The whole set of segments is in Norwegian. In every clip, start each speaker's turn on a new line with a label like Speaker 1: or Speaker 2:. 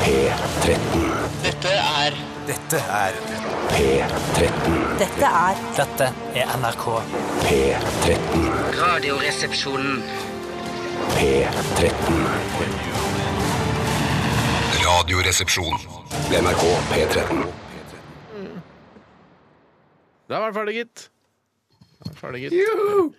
Speaker 1: P13.
Speaker 2: Dette er
Speaker 3: Dette er
Speaker 1: P13.
Speaker 4: Dette er
Speaker 5: Dette er NRK.
Speaker 1: P13.
Speaker 2: Radioresepsjonen.
Speaker 1: P13.
Speaker 6: Radioresepsjon.
Speaker 1: NRK P13.
Speaker 7: Da var den ferdig, gitt. Da var den Ferdig, gitt.
Speaker 8: Du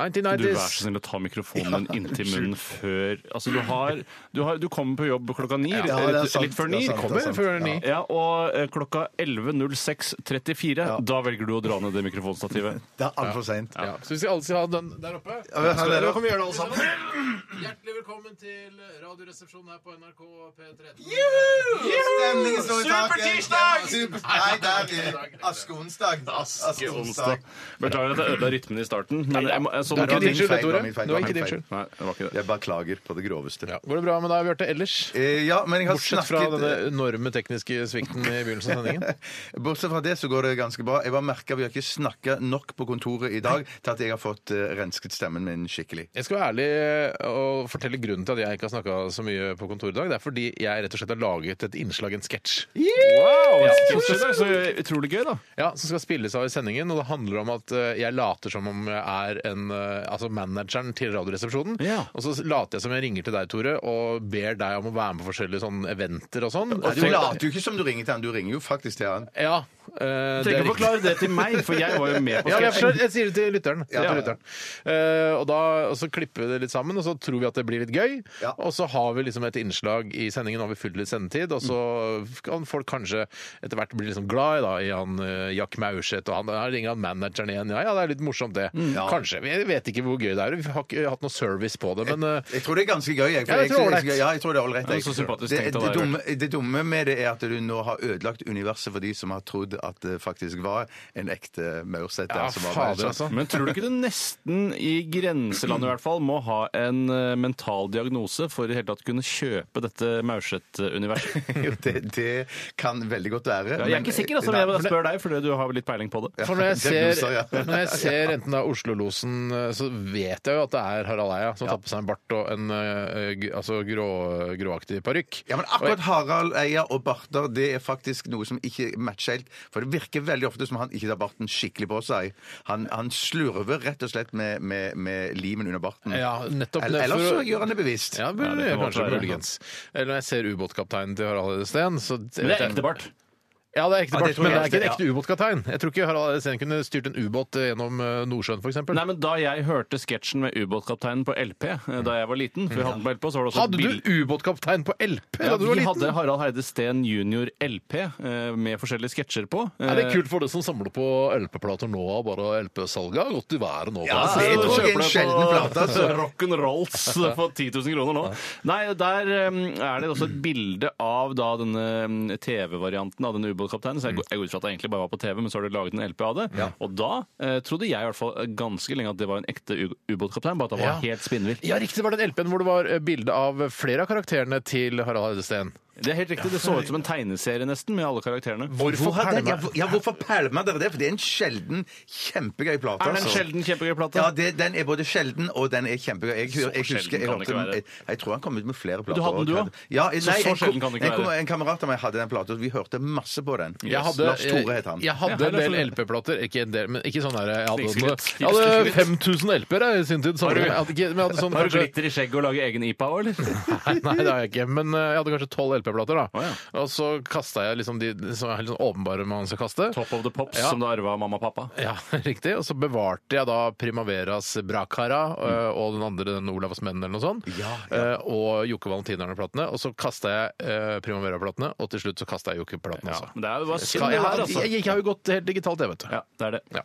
Speaker 8: vær
Speaker 7: 1990s.
Speaker 8: så snill å ta mikrofonen din inntil munnen før Altså, du har Du, har, du kommer på jobb klokka ni.
Speaker 3: Ja, det er
Speaker 8: rett-
Speaker 3: sant,
Speaker 8: litt før ni.
Speaker 3: det er sant,
Speaker 7: Kommer
Speaker 3: det er sant.
Speaker 7: før ni.
Speaker 8: Ja, og eh, klokka 11.06.34, da velger du å dra ned det mikrofonstativet.
Speaker 3: Det er altfor seint.
Speaker 7: Ja, så vi skal alle ha den der oppe.
Speaker 3: vi har den der
Speaker 7: Da
Speaker 3: oppe.
Speaker 7: kan vi gjøre det alle sammen. Hjertelig velkommen til Radioresepsjonen her på NRK P13.
Speaker 3: Stemningen står i taket! Supertirsdag! Nei, det er vi. Askeonsdag. Askeonsdag.
Speaker 8: Beklager at jeg ødela rytmen i starten, men jeg må, jeg, sånn
Speaker 7: Det var ikke
Speaker 3: var
Speaker 7: din
Speaker 3: min
Speaker 7: skyld,
Speaker 3: feil,
Speaker 7: dette,
Speaker 3: det var
Speaker 7: Tore.
Speaker 3: min feil,
Speaker 7: Det var
Speaker 3: det var
Speaker 7: ikke
Speaker 3: min
Speaker 7: din
Speaker 3: feil.
Speaker 7: skyld.
Speaker 8: Nei, det var ikke det.
Speaker 3: Jeg beklager på det groveste.
Speaker 7: Ja. Går det bra med deg, Bjarte, ellers?
Speaker 3: Eh, Ja, men jeg har
Speaker 7: Bortsett fra
Speaker 3: snakket eh,
Speaker 7: denne enorme tekniske svikten i begynnelsen av sendingen.
Speaker 3: Bortsett fra det så går det ganske bra. Jeg bare merker Vi har ikke snakka nok på kontoret i dag til at jeg har fått eh, rensket stemmen min skikkelig.
Speaker 7: Jeg skal være ærlig og fortelle grunnen til at jeg ikke har snakka så mye på kontoret i dag. Det er fordi jeg rett og slett har laget et innslag, en sketsj,
Speaker 8: Wow! Så, så, så utrolig gøy, da.
Speaker 7: ja, som skal spilles av i sendingen. Og det handler om at eh, jeg later som om jeg er en, eh, altså manageren til Radioresepsjonen.
Speaker 8: Ja.
Speaker 7: Og så later jeg som jeg ringer til deg, Tore, og ber deg om å være med på forskjellige sånne eventer og sånn.
Speaker 3: Du later jo ikke som du ringer til han, du ringer jo faktisk til han.
Speaker 7: Ja, eh, det
Speaker 8: Tenk å
Speaker 7: er riktig.
Speaker 8: forklare det til meg, for jeg var jo med på
Speaker 7: Ja, jeg,
Speaker 8: sketsjen.
Speaker 7: forstår. jeg sier det til lytteren. Ja,
Speaker 8: Ja.
Speaker 7: til lytteren. Eh, og, da, og så klipper vi det litt sammen, og så tror vi at det blir litt gøy.
Speaker 3: Ja.
Speaker 7: Og så har vi liksom et innslag i sendingen, og vi fyller litt sendetid. Og så kan folk kanskje etter hvert bli liksom glad i, da, i han eh, Jack Maurseth, og han, her ringer han manageren igjen. Ja, ja, det er litt morsomt, det.
Speaker 3: Mm.
Speaker 7: Kanskje. Jeg vet ikke hvor gøy det er. Vi har ikke hatt noe service på det, men eh,
Speaker 3: Jeg tror det er ganske gøy. Jeg, for
Speaker 7: Ja, jeg tror
Speaker 3: synes
Speaker 7: det er ålreit.
Speaker 3: ja, jeg tror det er ålreit.
Speaker 8: Ja,
Speaker 3: jeg.
Speaker 8: så sympatisk
Speaker 3: det,
Speaker 8: tenkt av
Speaker 3: det,
Speaker 8: deg,
Speaker 3: dumme, det dumme med det er at du nå har ødelagt universet for de som har trodd at det faktisk var en ekte Maurseth.
Speaker 7: ja,
Speaker 3: der som var bare
Speaker 7: fader,
Speaker 3: sånn.
Speaker 7: altså.
Speaker 8: Men tror du ikke du nesten i grenseland i hvert fall må ha en eh, mental diagnose for i hele tatt kunne kjøpe dette Maurseth-universet?
Speaker 3: Jo, det, det kan veldig godt være.
Speaker 8: altså. Ja, jeg er ikke sikker, altså, men jeg bare spør deg fordi du har litt peiling på det.
Speaker 7: For når jeg
Speaker 3: det
Speaker 7: ser,
Speaker 3: du sa, ja.
Speaker 7: når jeg ser enten det er Oslo-losen, eh, så vet jeg jo at det er Harald Eia som tar på seg en bart og en eh, g- altså grå, gråaktig parykk.
Speaker 3: Ja, men akkurat Harald Eia og barter det er faktisk noe som ikke matcher helt. For det virker veldig ofte som han ikke tar barten skikkelig på seg. Han, han slurver rett og slett med, med, med limen under barten.
Speaker 7: Ja, nettopp
Speaker 3: Eller, ellers
Speaker 7: derfor-
Speaker 3: så gjør han det bevisst.
Speaker 7: Ja, burde
Speaker 8: det
Speaker 7: jeg
Speaker 8: kan godt
Speaker 7: kanskje
Speaker 8: være.
Speaker 7: muligens. Eller når jeg ser ubåtkapteinen til Harald Eide Steen så
Speaker 8: Men det er ekte bart.
Speaker 7: Ja, det er ekte
Speaker 3: Ja, det
Speaker 7: bart,
Speaker 3: tror
Speaker 7: men det
Speaker 3: jeg
Speaker 7: er ikke en
Speaker 3: også,
Speaker 7: ekte ubåtkaptein. Jeg tror ikke Harald Eide Steen kunne styrt en ubåt gjennom eh, Nordsjøen, f.eks.
Speaker 8: Nei, men Da jeg hørte sketsjen med ubåtkapteinen på LP eh, da jeg var liten for vi hadde den på LP, så var det også et
Speaker 7: Hadde
Speaker 8: bilde-
Speaker 7: du ubåtkaptein på LP
Speaker 8: altså, Ja,
Speaker 7: da du var
Speaker 8: vi
Speaker 7: liten?
Speaker 8: hadde Harald Heide Steen jr. LP eh, med forskjellige sketsjer på. eh,
Speaker 7: Er det kult for det som samler på LP-plater nå, og bare LP-salget har gått i været nå?
Speaker 3: Ja,
Speaker 7: forresten?
Speaker 3: det
Speaker 8: du
Speaker 3: tror jeg er
Speaker 8: kjøper
Speaker 3: en
Speaker 8: det
Speaker 3: sjelden
Speaker 8: på-
Speaker 3: plate. Altså.
Speaker 8: Rock'n'rolls for 10 000 kroner nå. Nei, der um, er det også et bilde av da denne um, TV-varianten av denne ubåtkapteinen. Så jeg går- jeg går ut fra at det egentlig bare var på TV, men så har de laget en LP av det. Og da eh, trodde jeg i hvert fall ganske lenge at det var en ekte u- ubåtkaptein, bare at han var
Speaker 7: Ja.
Speaker 8: helt spinnvill.
Speaker 7: Ja, riktig var det den LP-en hvor det var eh, bilde av flere av karakterene til Harald Eide Steen.
Speaker 8: Det er helt riktig. Det så ut som en tegneserie nesten, med alle karakterene.
Speaker 7: Hvorfor
Speaker 3: Hvor har den-
Speaker 7: pælma?
Speaker 3: ja, hvor- ja, hvorfor pælma dere det? For det er en sjelden, kjempegøy plate.
Speaker 8: Er det en
Speaker 3: altså.
Speaker 8: sjelden kjempegøy plate?
Speaker 3: Ja, det, den er både sjelden og den er kjempegøy. Jeg, jeg, jeg,
Speaker 8: sjelden
Speaker 3: husker,
Speaker 8: kan
Speaker 3: jeg,
Speaker 8: det
Speaker 3: hørte
Speaker 8: ikke
Speaker 3: den-
Speaker 8: være.
Speaker 3: jeg, jeg tror han kom ut med flere plater.
Speaker 8: hadde den, du
Speaker 3: også.
Speaker 8: også?
Speaker 3: Ja, jeg-
Speaker 8: Så-
Speaker 3: nei,
Speaker 8: så
Speaker 3: en,
Speaker 8: sjelden kan det ikke
Speaker 3: en,
Speaker 8: være.
Speaker 3: en kamerat av meg hadde den platen, og vi hørte masse på den.
Speaker 7: Jeg hadde,
Speaker 3: Lars Tore het han.
Speaker 7: Jeg hadde
Speaker 8: Ja,
Speaker 7: en del
Speaker 8: Lars Tore.
Speaker 7: LP-plater. Ikke en del, men ikke sånn der, jeg hadde,
Speaker 8: Snikskritt.
Speaker 7: jeg hadde 5000 LP-er jeg, i sin tid.
Speaker 8: Har
Speaker 7: Har
Speaker 8: du-
Speaker 7: du, jeg hadde ikke, men jeg hadde sånn,
Speaker 8: Har du
Speaker 7: kanskje,
Speaker 8: glitter i skjegget og lager egen IPA òg, eller?
Speaker 7: nei, det har jeg ikke. Men eh, jeg hadde kanskje tolv LP-plater. da.
Speaker 8: Å,
Speaker 7: Og så kasta jeg liksom de som er helt sånn åpenbare man skal kaste.
Speaker 8: Top of the Pops,
Speaker 7: Ja.
Speaker 8: som du arva av mamma og pappa.
Speaker 7: Ja, riktig. Og så bevarte jeg da Primaveras Brakara eh, og den andre, den Olavs menn eller noe sånt, eh, og Jokke Valentinerne-platene. Og så kasta jeg eh, Primavera-platene, og til slutt så kasta jeg Jokke-platene også.
Speaker 8: Men det er jo bare synd,
Speaker 7: Skal
Speaker 8: det
Speaker 7: jeg,
Speaker 8: her, altså.
Speaker 7: jeg, jeg har jo gått helt digitalt, jeg, vet du.
Speaker 8: Ja, det er det.
Speaker 7: Ja.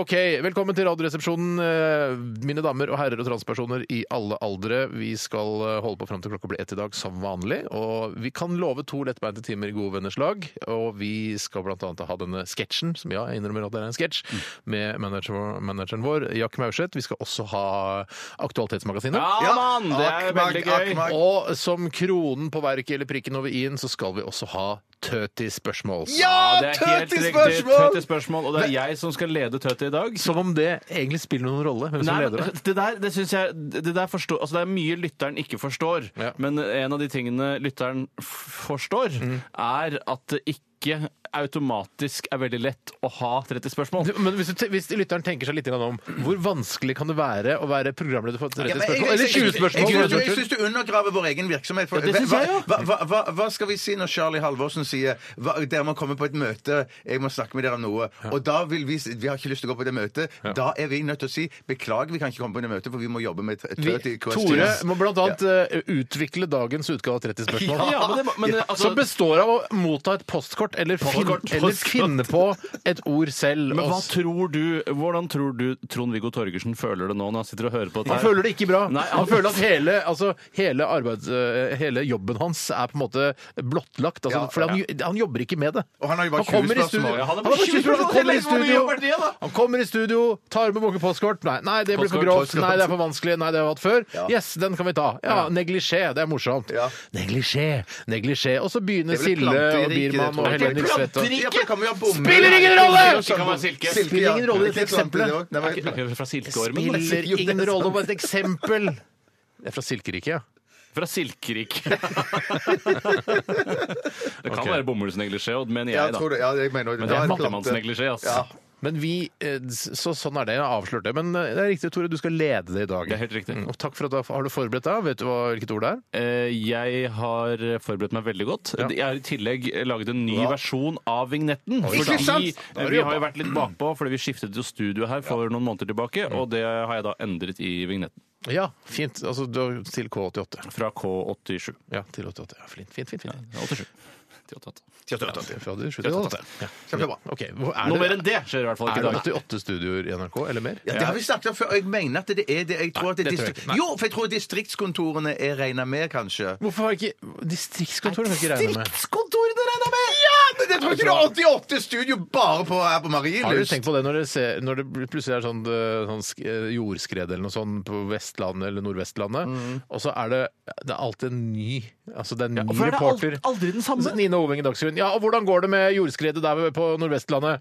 Speaker 7: Ok, velkommen til Radioresepsjonen. eh, Mine damer og herrer og transpersoner i alle aldre. Vi skal eh, holde på fram til klokka blir ett i dag, som vanlig. Og vi kan love to lettbeinte timer i gode venners lag. Og vi skal bl.a. ha denne sketsjen, som ja, jeg innrømmer at det er en sketsj, med manager, manageren vår, Jack Maurseth. Vi skal også ha Aktualitetsmagasinet.
Speaker 8: Ja, mann! Det er
Speaker 3: Akmag,
Speaker 8: veldig gøy.
Speaker 3: Akmag.
Speaker 7: Og som kronen på verket eller prikken over i-en, så skal vi også ha tøti spørsmål.
Speaker 3: Ja,
Speaker 8: det er helt riktig.
Speaker 3: tøtespørsmål!
Speaker 8: Tøti spørsmål! Og det er jeg som skal lede Tøti i dag.
Speaker 7: Som om det egentlig spiller noen rolle. hvem som
Speaker 8: Nei,
Speaker 7: leder det.
Speaker 8: men det der, det synes jeg det, der forstår, altså det er mye lytteren ikke forstår,
Speaker 7: Ja.
Speaker 8: men en av de tingene lytteren f- forstår, er at det ikke automatisk er veldig lett å ha 30 spørsmål.
Speaker 7: Du, Men hvis, du, te- hvis lytteren tenker seg litt grann om hvor vanskelig kan det være å være programleder for 30
Speaker 3: Ja, men jeg-
Speaker 7: spørsmål?
Speaker 3: jeg-
Speaker 7: Eller 20 spørsmål?
Speaker 3: Jeg, jeg,
Speaker 7: for
Speaker 3: jeg,
Speaker 7: den
Speaker 3: jeg
Speaker 7: saks skyld.
Speaker 3: syns du undergraver vår egen virksomhet. For,
Speaker 7: Ja, det synes
Speaker 3: hva,
Speaker 7: jeg, ja.
Speaker 3: hva, hva, hva, hva skal vi si når Charlie Halvorsen sier hva, dere må komme på et møte, jeg må snakke med dere om noe, og da vil vi si- Vi har ikke lyst til å gå på det møtet. Da er vi nødt til å si beklager, vi kan ikke komme på det møtet, for vi må jobbe med et
Speaker 7: Vi,
Speaker 3: tøt i
Speaker 7: Tore må blant annet eh, utvikle dagens utgave av 30 spørsmål.
Speaker 8: Ja, men det- men, eh, altså-
Speaker 7: som består av å motta et postkort eller,
Speaker 8: Postkort,
Speaker 7: fin, eller
Speaker 8: postkort.
Speaker 7: finne på et ord selv.
Speaker 8: Men hva
Speaker 7: Og s-
Speaker 8: tror du, Hvordan tror du Trond-Viggo Torgersen føler det nå når han sitter og hører på dette?
Speaker 7: han føler det ikke bra.
Speaker 8: Nei,
Speaker 7: han...
Speaker 8: han-
Speaker 7: føler at hele, altså, hele, arbeids, eh, hele jobben hans er på en måte blottlagt. Altså,
Speaker 3: Ja,
Speaker 7: for han, han jobber ikke med det.
Speaker 3: Og han har jo bare 20
Speaker 7: kommer i
Speaker 3: spørsmål.
Speaker 7: studio-
Speaker 3: Ja,
Speaker 8: han har
Speaker 7: han har bare 20 spørsmål, kommer
Speaker 8: Hvor
Speaker 7: i
Speaker 8: mye
Speaker 7: studio.
Speaker 8: jobber det, da?
Speaker 7: Han kommer i studio, tar med mange postkort. Nei, nei det blir for
Speaker 8: Postkort,
Speaker 7: grovt.
Speaker 3: postkort.
Speaker 7: Nei, det er for vanskelig. Nei, det har vi hatt før.
Speaker 3: Ja.
Speaker 7: Yes, den kan vi ta. Ja, neglisjé. Det er morsomt.
Speaker 3: Ja.
Speaker 7: Neglisjé, neglisjé. Og så begynner
Speaker 3: Det er vel
Speaker 7: Silje
Speaker 3: planterike,
Speaker 7: og
Speaker 3: det,
Speaker 7: Biermann
Speaker 3: tror
Speaker 7: og
Speaker 3: jeg.
Speaker 7: Helene Svett og
Speaker 3: Ja, for det kommer jo av bommer.
Speaker 7: Spiller ingen rolle!
Speaker 3: sånn-
Speaker 8: Det kan være silke.
Speaker 7: Spiller ingen rolle i dette eksempelet.
Speaker 8: Er ikke- er ikke Fra Silkeormen? liksom? da?
Speaker 7: Spiller
Speaker 3: Jo, det er
Speaker 7: ingen
Speaker 3: sant.
Speaker 7: rolle, bare et eksempel. Det er fra Silkeriket, ja.
Speaker 8: Fra Silkerik. det kan
Speaker 7: Ok.
Speaker 8: være bomullsneglisjé, Odd, mener
Speaker 3: Ja,
Speaker 8: jeg, da.
Speaker 3: tror det. Ja, jeg mener,
Speaker 8: Men det
Speaker 3: Ja,
Speaker 8: er
Speaker 3: en plante.
Speaker 8: fattigmannsneglisjé, ass.
Speaker 3: Ja.
Speaker 7: Men vi, eh, så sånn er det, jeg har avslørt det. Men eh, det er riktig, Tore, du skal lede det i dag.
Speaker 8: Det er helt riktig.
Speaker 7: Og takk for at du har- har du forberedt deg. Vet du hva, hvilket ord det er?
Speaker 8: Eh, Jeg har forberedt meg veldig godt.
Speaker 7: Ja.
Speaker 8: Jeg har i tillegg laget en ny versjon av vignetten.
Speaker 3: Ikke sant?
Speaker 8: Fordi
Speaker 7: Da har du
Speaker 8: vi har jo
Speaker 7: jobba.
Speaker 8: vært litt bakpå, fordi vi skiftet jo studio her for noen måneder tilbake, og det har jeg da endret i vignetten.
Speaker 7: Ja, fint. Altså du har- til K88.
Speaker 8: Fra K87.
Speaker 7: Ja, til 88. Ja, flint, fint, fint. fint.
Speaker 8: 87. Til 88.
Speaker 7: Fra du slutter i 88. Ja.
Speaker 3: Kjempebra.
Speaker 7: Ok, hvor er
Speaker 8: Noe mer
Speaker 7: det,
Speaker 8: enn det skjer i hvert fall
Speaker 7: er
Speaker 8: ikke i dag.
Speaker 7: det 88 studioer i NRK, eller mer?
Speaker 3: Ja, det har vi snakket om før, og jeg mener at det er det. Jeg tror at det er
Speaker 7: det tror jeg
Speaker 3: distri-
Speaker 7: ikke. Nei.
Speaker 3: Jo, for jeg tror distriktskontorene er regna med, kanskje.
Speaker 7: Hvorfor har ikke distriktskontoret ikke regnet med?
Speaker 3: Distriktskontorene regna med! Ja, men jeg tror ikke det er 88 studio bare på, her på
Speaker 7: Har du
Speaker 3: Marienlyst.
Speaker 7: tenkt på det når det, ser, når det plutselig er sånn, eh, sånn sk- eh, jordskred eller noe sånt på Vestlandet eller Nordvestlandet,
Speaker 8: Mm.
Speaker 7: og så er det, det er alltid en ny altså det er en ny
Speaker 8: hvorfor er det
Speaker 7: reporter.
Speaker 8: alt- aldri den samme?
Speaker 7: Så Nina Oving i Dagsrevyen. Ja, og hvordan går det med jordskredet der på Nordvestlandet?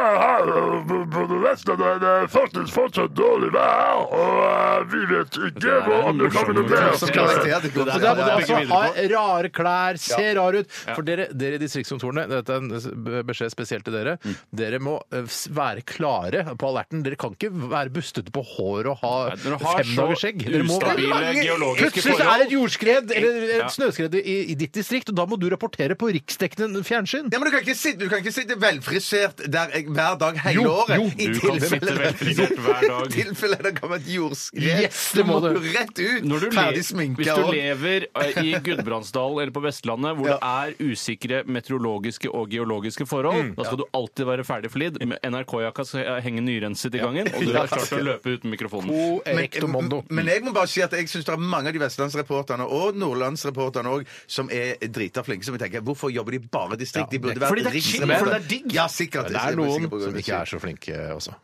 Speaker 4: eh, På det Vestlandet er det faktisk fortsatt dårlig vær, og eh, vi vet ikke hvor andre kommer til å bli.
Speaker 3: Som karakter, det går
Speaker 8: Det
Speaker 3: for
Speaker 8: der-
Speaker 7: Det er,
Speaker 3: det,
Speaker 7: det er
Speaker 3: ja.
Speaker 7: altså,
Speaker 8: bygger
Speaker 7: ha rare klær, se rar ut. For dere, dere i distriktskontorene, dette er en s- beskjed spesielt til dere, dere må eh, s- være klare på alerten. Dere kan ikke være bustete på håret og ha
Speaker 8: Nei, dere har så
Speaker 7: femdagersskjegg. Dere må-
Speaker 8: ustabile
Speaker 7: Mange-
Speaker 8: geologiske
Speaker 7: Plutselig så er
Speaker 8: forhold.
Speaker 7: det et jordskred eller
Speaker 8: Ja.
Speaker 7: et snøskred i, i ditt distrikt, og da må du rapportere på riksdekkende fjernsyn.
Speaker 3: Ja, men du kan ikke sitte, du kan ikke sitte velfrisert der jeg, hver dag hele
Speaker 7: Jo,
Speaker 3: året.
Speaker 7: jo,
Speaker 3: I
Speaker 8: Du kan
Speaker 3: tilfelle-
Speaker 8: sitte velfrisert hver
Speaker 3: I
Speaker 8: dag.
Speaker 3: tilfelle det kommer et jordskred.
Speaker 7: Yes, det må
Speaker 3: Da
Speaker 7: du.
Speaker 3: Rett ut,
Speaker 8: Når du le-
Speaker 3: ferdig sminka.
Speaker 8: Hvis du
Speaker 3: og-
Speaker 8: lever eh, i Gudbrandsdalen eller på Vestlandet hvor det er usikre meteorologiske og geologiske forhold,
Speaker 3: Mm.
Speaker 8: da skal du alltid være ferdig flid. Med NRK-jakka skal eh, henge nyrenset i gangen, og du er klar til å løpe uten mikrofonen.
Speaker 7: O erecto mondo.
Speaker 3: men jeg må bare si at jeg syns det er mange av de vestlandsreporterne og nordlandsreporterne òg som er drita flinke. Som jeg tenker, hvorfor jobber de bare distrikt? De burde vært
Speaker 8: Fordi det er chill,
Speaker 3: riksreporter.
Speaker 8: fordi det er digg.
Speaker 3: Ja, sikkert.
Speaker 7: Det
Speaker 3: Jeg
Speaker 7: er
Speaker 3: sikkert
Speaker 7: noen
Speaker 3: på grunn av
Speaker 7: som
Speaker 3: det.
Speaker 7: ikke er så flinke eh, også.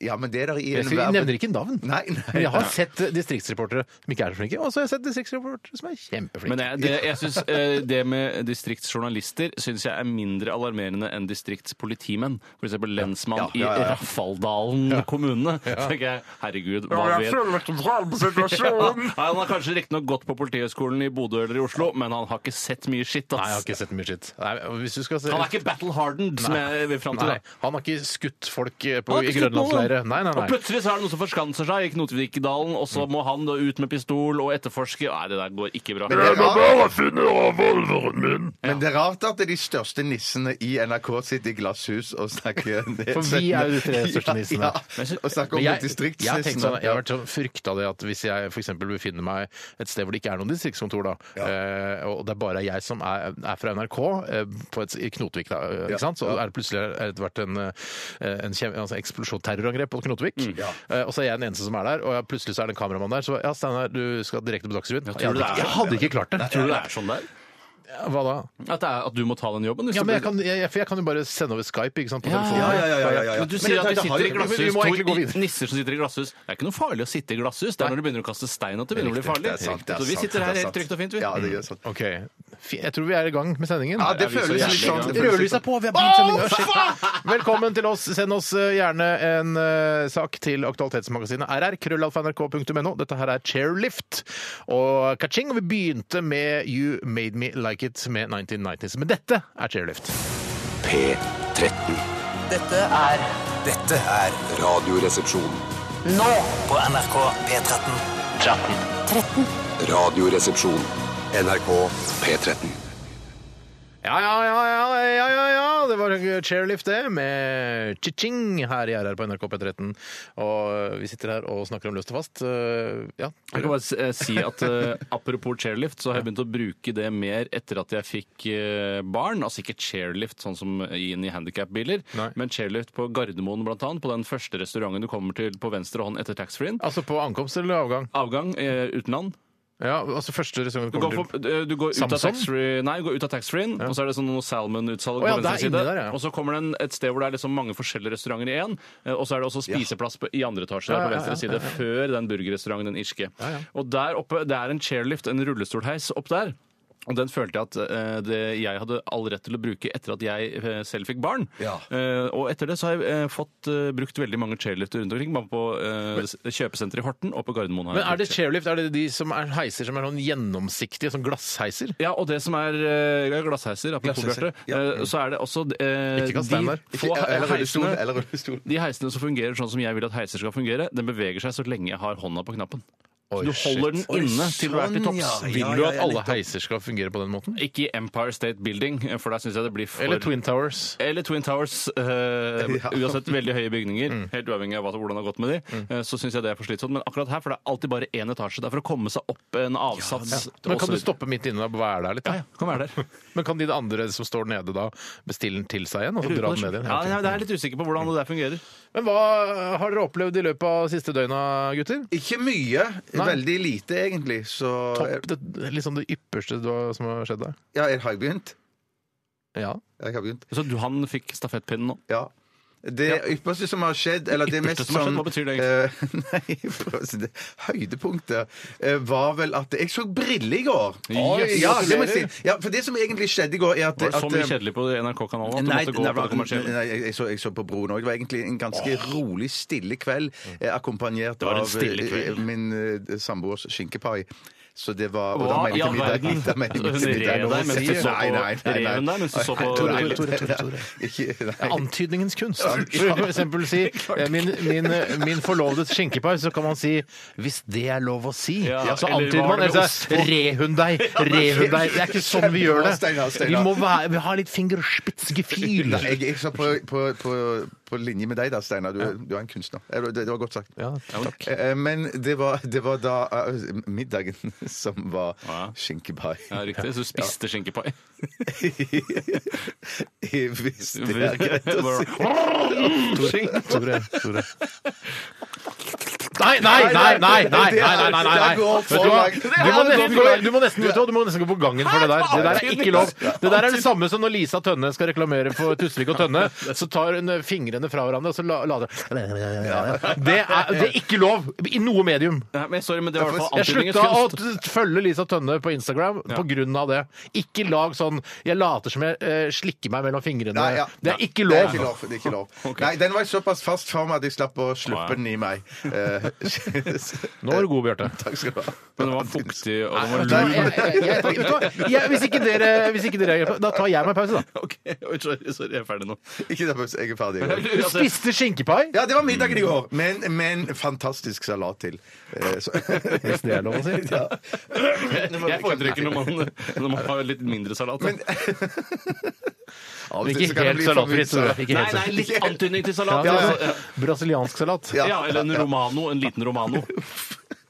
Speaker 3: Ja, men det er der i
Speaker 7: Jeg
Speaker 3: enhver-
Speaker 7: nevner ikke navn.
Speaker 3: Nei, nei.
Speaker 7: Men jeg har sett distriktsreportere som ikke er så flinke, og så har jeg sett distriktsreportere som er kjempeflinke.
Speaker 8: Men jeg, det, jeg synes, eh, det med distriktsjournalister syns jeg er mindre alarmerende enn distriktspolitimenn. F.eks. lensmann
Speaker 3: ja, ja.
Speaker 8: i Raffaldalen kommune. Så tenker jeg, herregud, hva vet
Speaker 4: situasjonen.
Speaker 8: Nei, Han har kanskje riktignok gått på Politihøgskolen i Bodø eller i Oslo, men han har ikke sett mye skitt. ass.
Speaker 7: Nei, jeg har ikke sett mye skitt. Nei, hvis du skal se...
Speaker 8: Han er ikke battle hardened, som jeg vil fram til.
Speaker 7: Nei,
Speaker 8: da.
Speaker 7: han har ikke skutt folk eh, på,
Speaker 8: Han har
Speaker 7: i
Speaker 8: ikke skutt noen.
Speaker 7: Grønlandsleire. Nei, nei, Mm.
Speaker 8: Og
Speaker 7: nei.
Speaker 8: plutselig så er det noen som forskanser seg i Knotvikdalen, og så må han da ut med pistol og etterforske. Nei, det der går ikke bra.
Speaker 4: Jeg må bare finne revolveren min.
Speaker 3: Men det er rart at det er de største nissene i NRK sitter i glasshus og snakker
Speaker 7: For vi er jo de tre største nissene.
Speaker 3: Ja, ja. Og snakker om
Speaker 7: Men jeg, jeg, har tenkt sånn,
Speaker 3: distriktsnissene.
Speaker 7: jeg har vært sånn frykta det at hvis jeg f.eks. befinner meg et sted hvor det ikke er noen distriktskontor, da, eh, og det er bare jeg som er, er fra NRK eh, på et, i Knotvik, da, eh,
Speaker 3: Ja.
Speaker 7: ikke sant? så er det plutselig er det vært en, eh, en kjem, altså eksplosjon, terrorangrep på Knotvik,
Speaker 8: Mm.
Speaker 7: eh, og så er jeg den eneste som er der, og jeg, plutselig så er det en kameramann der. Så ja, Steinar, du skal direkte på Dagsrevyen. Jeg,
Speaker 8: tror du
Speaker 7: hadde
Speaker 8: det
Speaker 7: ikke-
Speaker 8: er
Speaker 7: jeg hadde ikke klart det.
Speaker 8: Tror du det er sånn der?
Speaker 7: Ja, Hva da?
Speaker 8: At, det er, at du må ta den jobben? hvis
Speaker 7: Ja,
Speaker 8: det
Speaker 7: men jeg
Speaker 8: blir-
Speaker 7: kan, jeg, jeg- for jeg kan jo bare sende over Skype ikke sant, på
Speaker 8: Ja,
Speaker 7: telefonen.
Speaker 3: Ja, ja, ja, ja, ja, ja.
Speaker 8: Men du
Speaker 3: Men
Speaker 8: sier
Speaker 3: dette-
Speaker 8: at vi
Speaker 3: dette har
Speaker 8: sitter i
Speaker 7: Men
Speaker 3: jo-
Speaker 7: vi
Speaker 8: glasshus,
Speaker 7: må
Speaker 8: to
Speaker 7: egentlig gå videre.
Speaker 8: nisser som sitter i glasshus. Det er ikke noe farlig å sitte i glasshus. Det er når du begynner å kaste stein at det begynner å bli
Speaker 3: Det
Speaker 8: farlig.
Speaker 3: er sant, det er
Speaker 8: Så vi
Speaker 3: sant,
Speaker 8: sitter
Speaker 3: det sånn. er
Speaker 8: her helt
Speaker 3: sant.
Speaker 8: trygt og fint, vi. Mm.
Speaker 3: Ja, det er sant.
Speaker 7: OK. Fy- Jeg tror vi er i gang med sendingen.
Speaker 3: Ja, det
Speaker 8: vi så
Speaker 3: føles litt
Speaker 8: jævlig
Speaker 3: sånn. Det føles litt
Speaker 7: Rødlyset er på! Vi har begynt sendingen. Shit. Velkommen til oss. Send oss eh, gjerne en eh, sak til Aktualitetsmagasinet rr. krøllalfa.nrk.no. Dette her er Chairlift og ka-ching. Og vi begynte med You Made Me Like It med 1990s. Men dette er Chairlift.
Speaker 1: P13.
Speaker 2: Dette er
Speaker 6: Dette er Radioresepsjon.
Speaker 2: nå på NRK P13.
Speaker 6: Radioresepsjon.
Speaker 1: NRK P13.
Speaker 7: Ja, ja, ja, ja, ja, ja, ja. Det var Chairlift, det, med chi-ching her i RR på NRK P13. Og vi sitter her og snakker om løst og fast. Eh, Ja.
Speaker 8: Jeg kan bare s- eh, si at eh, Apropos chairlift, så har jeg begynt å bruke det mer etter at jeg fikk eh, barn. Altså ikke chairlift sånn som inn i handikapbiler,
Speaker 7: Nei.
Speaker 8: men chairlift på Gardermoen blant annet. På den første restauranten du kommer til på venstre hånd etter taxfree-en.
Speaker 7: Altså på ankomst eller avgang?
Speaker 8: Avgang eh, utenland.
Speaker 7: Ja, altså første restaurant
Speaker 8: Du
Speaker 7: du
Speaker 8: går,
Speaker 7: kommer til.
Speaker 8: for, eh, du går ut av
Speaker 7: Samson?
Speaker 8: taxfree Nei, du går ut av taxfree-en, og så er det sånn noe salmon-utsalg
Speaker 7: Å ja,
Speaker 8: på
Speaker 7: det er
Speaker 8: venstre
Speaker 7: inne
Speaker 8: side.
Speaker 7: der, ja.
Speaker 8: Og så kommer det en, et sted hvor det er liksom mange forskjellige restauranter i én, eh, og så er det også spiseplass på, i andre etasje der på
Speaker 7: Ja, ja,
Speaker 8: venstre
Speaker 7: ja, ja,
Speaker 8: side, før den burgerrestauranten, den irske.
Speaker 7: Ja, ja.
Speaker 8: Og der oppe, det er en chairlift, en rullestolheis opp der. Og den følte jeg at eh, det jeg hadde all rett til å bruke etter at jeg eh, selv fikk barn. Eh, og etter det så har jeg eh, fått eh, brukt veldig mange chairlifter rundt omkring, bare på eh, s- kjøpesenteret i Horten og på Gardermoen. har jeg
Speaker 7: Men er det
Speaker 8: brukt.
Speaker 7: chairlift? Er det de som er heiser som er sånn gjennomsiktige, sånn glassheiser?
Speaker 8: Ja, og det som er eh, glassheiser, apropos
Speaker 3: Glassheiser,
Speaker 8: Bjarte, eh, så er det også eh,
Speaker 7: Ikke kast stein
Speaker 8: de
Speaker 7: der.
Speaker 8: få
Speaker 3: Ikke- Eller rullestol.
Speaker 8: heisene
Speaker 3: Eller rullestol.
Speaker 8: de heisene som fungerer sånn som jeg vil at heiser skal fungere, den beveger seg så lenge jeg har hånda på knappen.
Speaker 7: Oi,
Speaker 8: Du holder den
Speaker 7: shit.
Speaker 8: inne til du er til
Speaker 3: sånn,
Speaker 8: topps.
Speaker 3: ja.
Speaker 7: Vil du at alle
Speaker 3: nettopp.
Speaker 7: heiser skal fungere på den måten?
Speaker 8: Ikke i Empire State Building, for der syns jeg det blir for
Speaker 7: Eller Twin Towers?
Speaker 8: eller Twin Towers. eh, Uansett veldig høye bygninger,
Speaker 7: Mm.
Speaker 8: helt uavhengig av hva- hvordan det har gått med de, eh, så syns jeg det er for slitsomt. Men akkurat her, for det er alltid bare én etasje. Det er for å komme seg opp en avsats.
Speaker 7: Men
Speaker 8: og så
Speaker 7: kan du stoppe midt inne og være der litt?
Speaker 8: Ja, ja,
Speaker 7: Da?
Speaker 8: kan være der.
Speaker 7: Men kan de andre som står nede da, bestille den til seg igjen? Og så
Speaker 8: Jeg
Speaker 7: dra
Speaker 8: lurer på
Speaker 7: den
Speaker 8: det.
Speaker 7: ned
Speaker 8: Ja,
Speaker 7: igjen?
Speaker 8: jeg er litt usikker på hvordan det der fungerer.
Speaker 7: Men hva har dere opplevd i løpet av siste døgna, gutter?
Speaker 3: Ikke mye.
Speaker 7: Nei.
Speaker 3: Veldig lite, egentlig. Så eh,
Speaker 7: Topp, det, liksom det ypperste du har, som har skjedd deg?
Speaker 3: Ja, jeg har begynt.
Speaker 7: Ja.
Speaker 3: Jeg har begynt.
Speaker 8: Så du, han fikk stafettpinnen nå?
Speaker 3: Ja. Det ypperste som har skjedd, eller det mest
Speaker 8: Ypperste som har skjedd, hva betyr det
Speaker 3: egentlig? nei, altså, det, høydepunktet eh, var vel at jeg så briller i går.
Speaker 8: Oi,
Speaker 3: ja, det må jeg si. Ja, for det som egentlig skjedde i går, er at
Speaker 8: Var det så
Speaker 3: at,
Speaker 8: mye
Speaker 3: eh,
Speaker 8: kjedelig på NRK-kanalen at du
Speaker 3: Nei,
Speaker 8: måtte gå
Speaker 3: nei,
Speaker 8: på det kommersielle?
Speaker 3: nei jeg, jeg, så, jeg så på Broen òg. Det var egentlig en ganske rolig, stille kveld. eh, Akkompagnert
Speaker 8: Mm. Det var en
Speaker 3: av
Speaker 8: stille
Speaker 3: eh,
Speaker 8: kveld.
Speaker 3: min eh, samboers skinkepai. Så det var Og
Speaker 8: Hva
Speaker 3: da mener
Speaker 8: i
Speaker 3: jeg
Speaker 8: all
Speaker 3: ikke middag.
Speaker 8: verden?
Speaker 3: Da mener jeg
Speaker 8: Hun
Speaker 3: ikke middag.
Speaker 8: rev deg mens du så på-
Speaker 3: Nei, nei, nei, nei.
Speaker 8: rev hun deg mens du så på-
Speaker 3: Nei,
Speaker 7: Tore, Tore, Tore, Tore.
Speaker 3: Ikke- nei.
Speaker 7: Antydningens kunst. For for eksempel si eh, min, min, min forlovede skinkepai, så kan man si 'hvis det er lov å si'.
Speaker 8: Ja,
Speaker 7: så
Speaker 8: eller
Speaker 7: antyder
Speaker 8: var
Speaker 7: man
Speaker 8: det med
Speaker 7: eller
Speaker 8: ost
Speaker 7: så er det 're hun deg', 're hun deg'. Det er ikke sånn vi gjør
Speaker 3: Kjempebra, Steinar,
Speaker 7: det. Vi
Speaker 3: Steinar.
Speaker 7: må være, vi har litt fingerspitzgefühl.
Speaker 3: Nei, Jeg, jeg så på, på, på, på linje med deg da, Steinar. Du, du er en kunstner. Eh, Det, det var godt sagt.
Speaker 7: Ja, takk.
Speaker 3: Eh, Men det var, det var da eh, middagen som var
Speaker 8: Ja.
Speaker 3: skinkepai.
Speaker 8: Ja, riktig. Så du spiste skinkepai?
Speaker 3: Hvis det er greit å si.
Speaker 8: Bare-
Speaker 7: Tore, Tore. Nei, nei, nei, nei! nei, nei, nei, nei, nei, nei.
Speaker 3: Det går
Speaker 7: Vet
Speaker 3: for
Speaker 7: du hva?
Speaker 3: langt.
Speaker 7: Du må nesten gå, du må nesten, vet du hva? du må nesten gå på gangen for det der. Det der er ikke lov. Det der er det samme som når Lisa Tønne skal reklamere for Tusvik og Tønne. Så tar hun eh, fingrene fra hverandre, og så la- lader det er, det er ikke lov i noe medium.
Speaker 8: Nei, men sorry, men det var i hvert fall
Speaker 7: Jeg
Speaker 8: antydningens
Speaker 7: slutta å
Speaker 8: kunst.
Speaker 7: t- følge Lisa Tønne på Instagram på grunn av det. Ikke lag sånn 'jeg later som jeg eh, slikker meg mellom fingrene'.
Speaker 3: Nei, ja.
Speaker 7: Det er ikke
Speaker 3: Det er
Speaker 7: lov.
Speaker 3: ikke lov. Det er ikke lov. Nei, den var såpass fast for meg at jeg slapp å sluppe
Speaker 8: Ja.
Speaker 3: den i meg. Eh,
Speaker 7: Nå er du god, Bjarte.
Speaker 3: Takk skal du ha.
Speaker 8: Men det var fuktig, og det var
Speaker 7: Vet du hva?
Speaker 8: lun.
Speaker 7: Jeg- jeg- jeg- vet du hva? Jeg- Hvis ikke dere hvis ikke dere reagerer på det, da tar jeg meg pause, da.
Speaker 8: OK, oi, sorry, sorry, jeg er ferdig nå.
Speaker 3: Ikke ta pause, jeg er ferdig.
Speaker 7: Du spiste skinkepai.
Speaker 3: Ja, det var middagen i går, men, men fantastisk salat til. Eh, så-
Speaker 7: Hvis det er lov å si.
Speaker 3: Ja.
Speaker 8: Jeg foretrekker når man, når man har litt mindre salat. da.
Speaker 7: Men
Speaker 3: det- så
Speaker 7: Ikke
Speaker 3: kan det
Speaker 7: helt
Speaker 3: bli
Speaker 7: salatfritt.
Speaker 3: for mye
Speaker 7: Tore.
Speaker 3: salat.
Speaker 7: Ikke
Speaker 8: Nei,
Speaker 7: helt
Speaker 8: nei,
Speaker 7: salat.
Speaker 8: litt antydning til salat.
Speaker 7: Ja,
Speaker 8: altså.
Speaker 7: altså, Brasiliansk salat. Jeg
Speaker 3: Ja.
Speaker 8: Ja, eller en romano. En liten romano.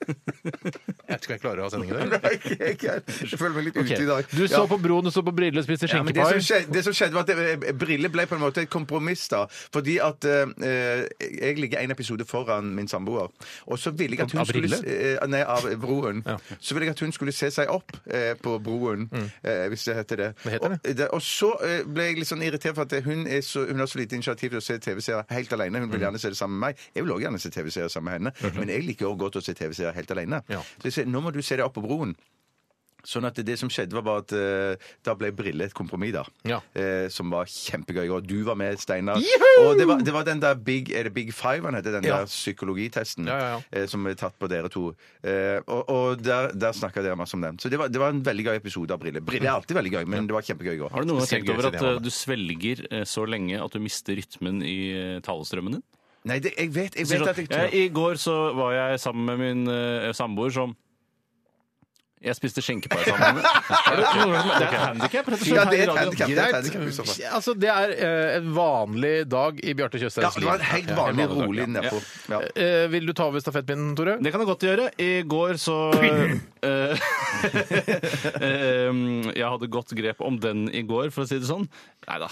Speaker 7: vet ikke om jeg klarer å ha sendingen i dag.
Speaker 3: Nei, jeg, jeg, jeg føler meg litt ute i dag.
Speaker 7: Ok. Du
Speaker 3: Ja.
Speaker 7: så på Broen, du så på Brille, spiste
Speaker 3: Ja, men det, som
Speaker 7: skinkepai.
Speaker 3: skjedde, det som skjedde var at eh, Brille ble på en måte et kompromiss. da Fordi at eh, jeg ligger en episode foran min samboer. Og så ville jeg at hun
Speaker 7: Av Brille?
Speaker 3: skulle eh, Nei, av Broen. Så ville jeg at hun skulle se seg opp eh, på Broen, eh, hvis det heter det.
Speaker 7: Det Mm. heter det.
Speaker 3: Og, og så eh, ble jeg litt sånn irritert for at hun, er så, hun har så lite initiativ til å se TV-serier helt alene.
Speaker 7: Mm.
Speaker 3: Hun vil gjerne se det sammen med meg. Jeg vil også gjerne se TV-serier sammen med henne. Men jeg liker også godt å se TV-serier helt alene.
Speaker 7: Mhm. Ja.
Speaker 3: Så jeg sier nå må du se deg opp på Broen. Sånn at det som skjedde var bare at eh, da ble Brille et kompromiss, da.
Speaker 7: Ja.
Speaker 3: Eh, som var kjempegøy. Og du var med, Steinar. Og det var, det var den der Big Er det Big Five han heter? Den
Speaker 7: Ja.
Speaker 3: der psykologitesten
Speaker 7: Ja, ja,
Speaker 3: eh, som er tatt på dere to. Eh, og og der, der snakka dere masse om den. Så det var, det var en veldig gøy episode av Brille. Brille er alltid veldig gøy, men det var kjempegøy i går.
Speaker 8: Har du noen gang
Speaker 7: Spesielt
Speaker 8: tenkt over
Speaker 7: gøy,
Speaker 8: at
Speaker 7: Silje,
Speaker 8: eh, du svelger eh, så lenge at du mister rytmen i eh, talestrømmen din?
Speaker 3: Nei, det, jeg vet, jeg
Speaker 8: Sier sånn,
Speaker 3: vet at jeg
Speaker 8: «Jeg- I går så var jeg sammen med min eh, samboer som jeg spiste skjenkepai sammen med. Er det noe som- det er et handikap, rett og slett.
Speaker 3: Ja, det
Speaker 8: her i
Speaker 3: er et
Speaker 8: radioen.
Speaker 3: handicap, det er et handicap i så fall.
Speaker 7: Altså, det er eh, en vanlig dag i Bjarte
Speaker 3: Ja,
Speaker 7: Tjøstheims
Speaker 3: det var en helt
Speaker 7: Ja,
Speaker 3: vanlig,
Speaker 7: dag,
Speaker 3: rolig
Speaker 7: ja.
Speaker 3: nedpå. Ja.
Speaker 7: Eh, vil du ta over stafettpinnen, Tore?
Speaker 8: Det kan jeg godt gjøre. I går så eh, em, Jeg hadde godt grep om den i går, for å si det sånn. Neida.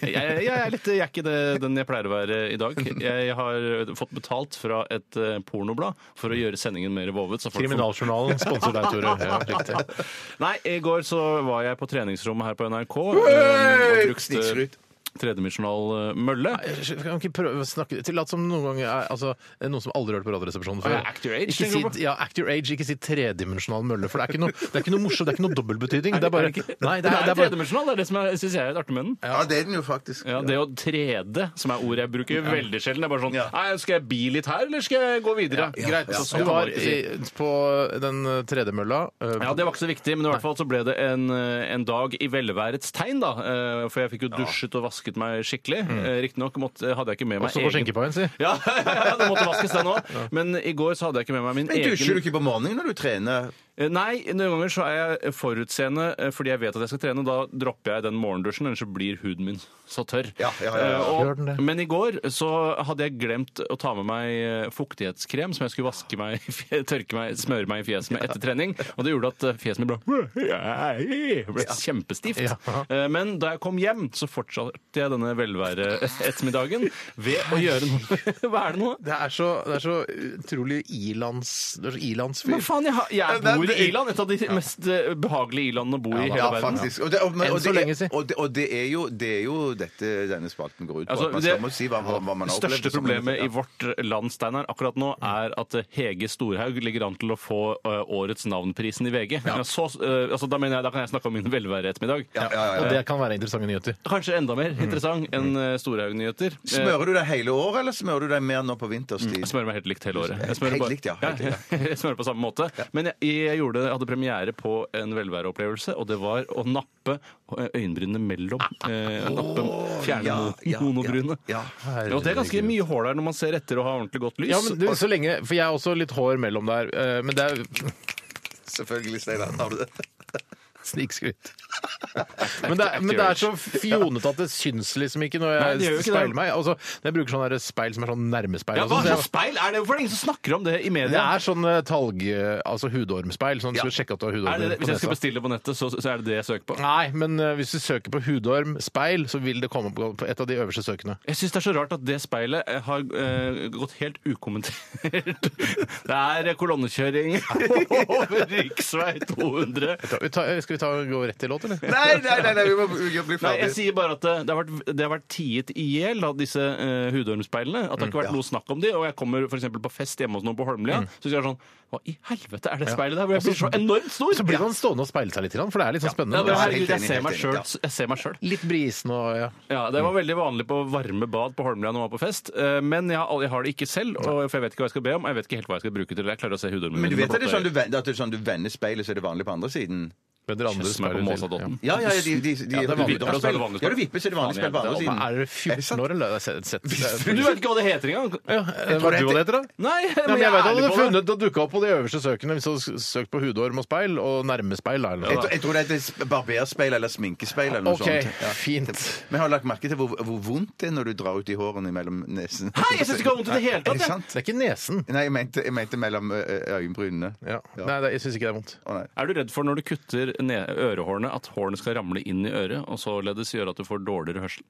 Speaker 8: Jeg, jeg, er litt, jeg er ikke det, den jeg pleier å være i dag. Jeg har fått betalt fra et eh, pornoblad for å gjøre sendingen mer vovet. så folk får-
Speaker 7: Kriminaljournalen sponser deg, Tore. Ja, riktig.
Speaker 8: Nei, i går så var jeg på treningsrommet her på NRK. eh,
Speaker 3: Hey!
Speaker 8: og brukte
Speaker 3: Snikskryt.
Speaker 8: tredimensjonal eh, mølle.
Speaker 7: Jeg Kan ikke prøve å snakke til at som noen ganger er altså, er noen som aldri har hørt på Radioresepsjonen
Speaker 8: Å,
Speaker 7: før.
Speaker 8: ja, act your age,
Speaker 7: ikke si,
Speaker 8: tenker du på?
Speaker 7: ja, act your age, ikke si tredimensjonal mølle, for det er ikke noe, det er ikke noe morsomt, det er ikke noe dobbeltbetydning. Det er bare
Speaker 8: Er det ikke?
Speaker 7: Nei, det er, det er bare
Speaker 8: tredimensjonal, det er det som jeg syns jeg er artig med den.
Speaker 3: ja, det er den jo faktisk.
Speaker 8: Ja, Det å trede, som er ordet jeg bruker veldig sjelden, det er bare sånn Nei, skal jeg bi litt her, eller skal jeg gå videre? Greit. så sånn
Speaker 7: Du
Speaker 8: kan man
Speaker 7: var
Speaker 8: ikke si.
Speaker 7: i, på den eh, tredemølla. eh,
Speaker 8: Ja, Det var ikke så viktig, men i hvert fall så ble det en, eh, en dag i velværets tegn. da, eh, For jeg fikk jo dusjet og vasket meg skikkelig. Eh, Riktignok hadde jeg ikke med meg
Speaker 7: Også Mm. på skjenkepaien, si.
Speaker 8: Ja, ja, det måtte vaskes den òg. Men i går så hadde jeg ikke med meg min
Speaker 3: Men
Speaker 8: egen
Speaker 3: dusjer du ikke på morgenen når du trener?
Speaker 8: Eh, Nei, noen ganger så er jeg forutseende eh, fordi jeg vet at jeg skal trene. Da dropper jeg den morgendusjen, ellers så blir huden min så tørr.
Speaker 3: Ja, ja, ja, ja.
Speaker 8: Eh,
Speaker 7: Gjør den det?
Speaker 8: Og, men i går så hadde jeg glemt å ta med meg eh, fuktighetskrem som jeg skulle vaske meg, i fje- tørke meg, smøre meg i fjeset med etter trening. Og det gjorde at eh, fjeset mitt ble, ble kjempestivt.
Speaker 7: Ja.
Speaker 8: Eh, Men da jeg kom hjem, så fortsatte jeg denne velvære-ettermiddagen ved å gjøre noe. Hva er det nå?
Speaker 7: Det er så, det er så utrolig ilands... Det er så ilandsfyr.
Speaker 8: Men faen, jeg, har- jeg
Speaker 3: Ja, det-
Speaker 8: bor i Irland, et av de mest eh, behagelige i-landene å bo i i hele
Speaker 3: Ja,
Speaker 8: verden.
Speaker 3: faktisk. Og det, og, men,
Speaker 7: Enn
Speaker 3: og,
Speaker 7: så
Speaker 3: det,
Speaker 7: lenge
Speaker 3: er,
Speaker 7: siden.
Speaker 3: og, det, og det er jo, det er jo dette denne spalten går ut på.
Speaker 8: Altså,
Speaker 3: at man
Speaker 8: det-
Speaker 3: skal må si hva, hva, hva man Mm.
Speaker 8: Det
Speaker 3: har
Speaker 8: største
Speaker 3: opplevd.
Speaker 8: problemet i vårt land Steinar, akkurat nå er at eh, Hege Storhaug ligger an til å få eh, årets navnprisen i VG. Ja, så, eh, altså, da, mener jeg, da kan jeg snakke om min velværeettermiddag.
Speaker 3: Ja, ja, ja, Mm.
Speaker 7: Og
Speaker 3: ja.
Speaker 7: det kan være interessante nyheter.
Speaker 8: Kanskje enda mer interessant enn eh, Storhaug-nyheter. Eh,
Speaker 3: Smører du deg hele året, eller smører du deg mer nå på vinterstid?
Speaker 8: Jeg smører meg helt likt hele året. Jeg smører
Speaker 3: Helt
Speaker 8: bare-
Speaker 3: likt, ja. Helt likt,
Speaker 8: jeg smører på samme måte. Men jeg, jeg, gjorde, jeg hadde premiere på en velværeopplevelse, og det var å nappe øyenbrynene mellom. Eh, nappe, fjerne
Speaker 3: Ah, ja, ja,
Speaker 8: monobrynet.
Speaker 3: ja, ja.
Speaker 8: Og det er ganske mye hår der når man ser etter å ha ordentlig godt lys.
Speaker 7: Ja, men du, så lenge, For jeg har også litt hår mellom der, eh, men det er
Speaker 3: Selvfølgelig, Steinar. Har du det?
Speaker 7: Snikskryt. Men det, er- men det er så fjonete at det syns liksom ikke når
Speaker 8: Nei, det gjør
Speaker 7: jeg
Speaker 8: jo ikke det.
Speaker 7: speiler meg. Altså, jeg bruker sånn der speil som er sånn nærmespeil.
Speaker 8: Ja,
Speaker 7: og
Speaker 8: hva
Speaker 7: sånn, så
Speaker 8: slags
Speaker 7: jeg-
Speaker 8: speil er det? Hvorfor er det ingen som snakker om det i media?
Speaker 7: det er sånn eh, talg... eh, Altså hudormspeil. Sånn at du skal sjekke at du har
Speaker 8: Er det
Speaker 7: hudorm
Speaker 8: det? Hvis jeg
Speaker 7: på
Speaker 8: skal
Speaker 7: nesa.
Speaker 8: bestille på nettet, så, så er det det jeg søker på.
Speaker 7: Nei, men eh, hvis du søker på hudorm speil, så vil det komme på på et av de øverste søkene.
Speaker 8: Jeg syns det er så rart at det speilet eh, har eh, gått helt ukommentert. Det er eh, kolonnekjøring over riksvei 200.
Speaker 7: Ta- vi tar- Skal vi ta, gå rett til låt, eller?
Speaker 3: Nei, nei, nei, nei, vi må vi må bli
Speaker 8: Nei, jeg
Speaker 3: ferdig.
Speaker 8: sier bare at eh, det, det, har, vært, det har vært tiet i hjel, da, disse eh, hudormspeilene. At det har ikke vært
Speaker 3: Mm,
Speaker 8: noe snakk om de, og jeg kommer for eksempel på fest hjemme hos noen på Holmlia, så sier jeg sånn Hva i helvete er det speilet der? Hvor jeg blir så enormt stor!
Speaker 7: Så blir man stående og speile seg litt, for det er litt sånn
Speaker 8: Ja, men
Speaker 7: spennende.
Speaker 8: herregud, jeg
Speaker 3: enig,
Speaker 8: ser
Speaker 3: helt
Speaker 8: meg
Speaker 3: enig,
Speaker 8: selv-
Speaker 3: ja.
Speaker 8: jeg ser meg sjøl.
Speaker 7: Litt brisen og ja.
Speaker 8: Ja, Det var veldig vanlig på varme bad på Holmlia når man var på fest. eh, Men jeg har, aldri- jeg har det ikke selv, og, for jeg vet ikke hva jeg skal be om. og Jeg vet ikke helt hva jeg skal bruke til det. Jeg klarer å se hudormen
Speaker 3: Men du
Speaker 8: min
Speaker 3: vet
Speaker 8: med
Speaker 3: at det er
Speaker 8: blotte
Speaker 3: sånn du, vender- at det er sånn du vender speilet, så er det vanlig på andre siden?
Speaker 7: Bedre
Speaker 8: øyne.
Speaker 7: andre
Speaker 8: Kjøss meg på
Speaker 7: speiler til.
Speaker 8: Måsadodden.
Speaker 3: Ja, ja, ja, de, de, de,
Speaker 7: Ja, det er vanlig.
Speaker 3: du vipper
Speaker 8: Da er det
Speaker 3: spill.
Speaker 8: vanlig
Speaker 3: Ja, du vipper, så er det vanlig spill på andre
Speaker 7: Ja,
Speaker 3: siden.
Speaker 7: men Er dere 14 år, eller? Jeg har sett- sett- sett-
Speaker 8: Men du vet ikke hva det heter engang?
Speaker 7: Ja, eh, Hva
Speaker 3: det
Speaker 7: du hva det heter, da?
Speaker 8: Nei,
Speaker 7: Nei, men jeg vet at
Speaker 8: ærlig
Speaker 7: det
Speaker 8: på
Speaker 7: hadde funnet og dukka opp på de øverste søkene hvis du hadde søkt på hudorm og speil og nærmespeil. da, Eller
Speaker 3: Jeg
Speaker 7: noe.
Speaker 3: tror- Jeg tror det heter sp- barberspeil eller sminkespeil eller noe
Speaker 7: OK,
Speaker 3: sånt.
Speaker 7: fint.
Speaker 3: Men har du lagt merke til hvor, hvor vondt det er når du drar ut i hårene mellom nesen?
Speaker 8: Hei, jeg synes ikke jeg har vondt i det hele tatt,
Speaker 3: Er det
Speaker 8: jeg.
Speaker 3: sant?
Speaker 7: Det er ikke nesen.
Speaker 3: Nei, jeg mente, jeg mente mellom ø, ø, øyenbrynene.
Speaker 7: Ja. Nei, det, jeg syns ikke det er vondt.
Speaker 3: Å, nei.
Speaker 8: Er du redd for når du kutter ned ørehårene, at hårene skal ramle inn i øret, og således gjøre at du får dårligere hørsel?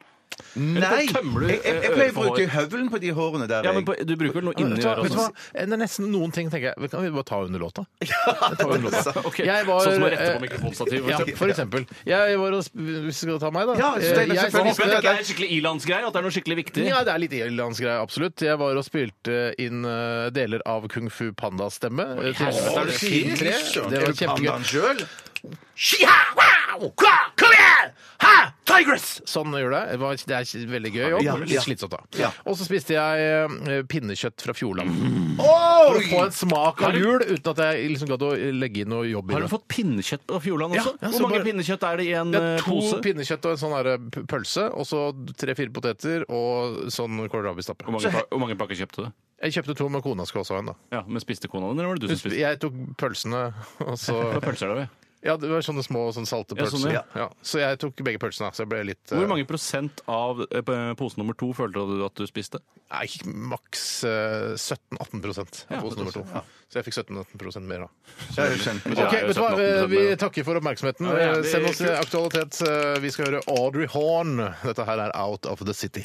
Speaker 3: Nei!
Speaker 8: tømmer du,
Speaker 3: Jeg, jeg,
Speaker 8: ø,
Speaker 3: jeg pleier
Speaker 8: øret
Speaker 3: å
Speaker 8: for
Speaker 3: bruke høvelen på de hårene der.
Speaker 8: Ja, men på,
Speaker 3: jeg-
Speaker 8: Du bruker vel noe
Speaker 7: Ja,
Speaker 8: inni
Speaker 7: men Vet du hva,
Speaker 8: øret?
Speaker 7: vet du hva?
Speaker 8: også?
Speaker 7: Det er nesten noen ting tenker jeg Kan vi bare ta under låta?
Speaker 3: Altså.
Speaker 8: Ok,
Speaker 7: Jeg var,
Speaker 8: Sånn som å rette
Speaker 7: eh,
Speaker 8: på mikrofonstativ?
Speaker 7: Ja, for eksempel. Jeg var og sp- Hvis du skal ta meg, da.
Speaker 3: Ja, så det er
Speaker 7: Eh, jeg-
Speaker 8: Håper
Speaker 3: selvfølgelig-
Speaker 8: jeg ikke det er en skikkelig ilandsgreie, at det er noe skikkelig viktig.
Speaker 7: Ja, det er litt irlandsgreie, absolutt. Jeg var og spilte inn eh, deler av Kung Fu Panda-stemme. eh, til-
Speaker 8: helvete, er du
Speaker 7: Tre.
Speaker 3: Fy søren,
Speaker 7: Det
Speaker 3: Er
Speaker 7: var
Speaker 3: du
Speaker 7: kjempegøy.
Speaker 3: pandaen sjøl?
Speaker 7: Tigress! Sånn gjør det. Det var- Det er veldig gøy jobb,
Speaker 3: Ja,
Speaker 7: men
Speaker 3: ja.
Speaker 7: litt slitsomt da.
Speaker 3: Ja.
Speaker 7: Og så spiste jeg eh, pinnekjøtt fra
Speaker 8: Mm.
Speaker 7: Fjordland. For å
Speaker 3: Oi!
Speaker 7: få en smak av jul uten at jeg liksom gadd å legge inn noe jobb i
Speaker 8: Har du
Speaker 7: det.
Speaker 8: fått pinnekjøtt på Fjordland
Speaker 7: Ja,
Speaker 8: også?
Speaker 7: ja, så
Speaker 8: Hvor mange
Speaker 7: bare-
Speaker 8: pinnekjøtt er det i en
Speaker 7: Det er
Speaker 8: eh,
Speaker 7: to
Speaker 8: pose?
Speaker 7: pinnekjøtt og en sånn her, eh, p- pølse, og så tre-fire poteter og sånn kålrabistappe.
Speaker 8: Hvor mange, pa- hvor mange pakker kjøpte du?
Speaker 7: Jeg kjøpte to, men kona skulle også ha en. da.
Speaker 8: Ja, Men spiste kona din, eller var det du som spiste?
Speaker 7: Jeg tok pølsene, og så
Speaker 8: Hva pølser er det? vel?
Speaker 7: Ja, det var sånne små sånn salte
Speaker 8: Ja, sånne,
Speaker 7: pølser.
Speaker 8: ja.
Speaker 7: Ja, Så jeg tok begge pølsene, så jeg ble litt eh,
Speaker 8: Hvor mange prosent av eh, p- pose nummer to følte du at du spiste?
Speaker 7: Nei, maks eh, 17-18 prosent av
Speaker 8: Ja,
Speaker 7: pose nummer to. Så jeg fikk 17-18 prosent mer, da.
Speaker 3: Ja, jeg skjønner.
Speaker 8: Men det er
Speaker 7: Ok,
Speaker 8: jo
Speaker 7: vet du hva? Eh,
Speaker 8: 17-18%
Speaker 7: Vi
Speaker 8: mer, da.
Speaker 7: takker for oppmerksomheten. Eh,
Speaker 8: Ja, det er
Speaker 7: Send oss
Speaker 8: kult.
Speaker 7: aktualitet. eh, Vi skal høre Audrey Horn. Dette her er Out of the City.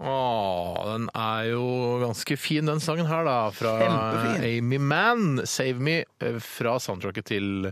Speaker 7: Åh, den er jo ganske fin, den sangen her, da. Fra
Speaker 3: Kjempefin.
Speaker 7: Amy Mann, 'Save Me', eh, fra soundtracket til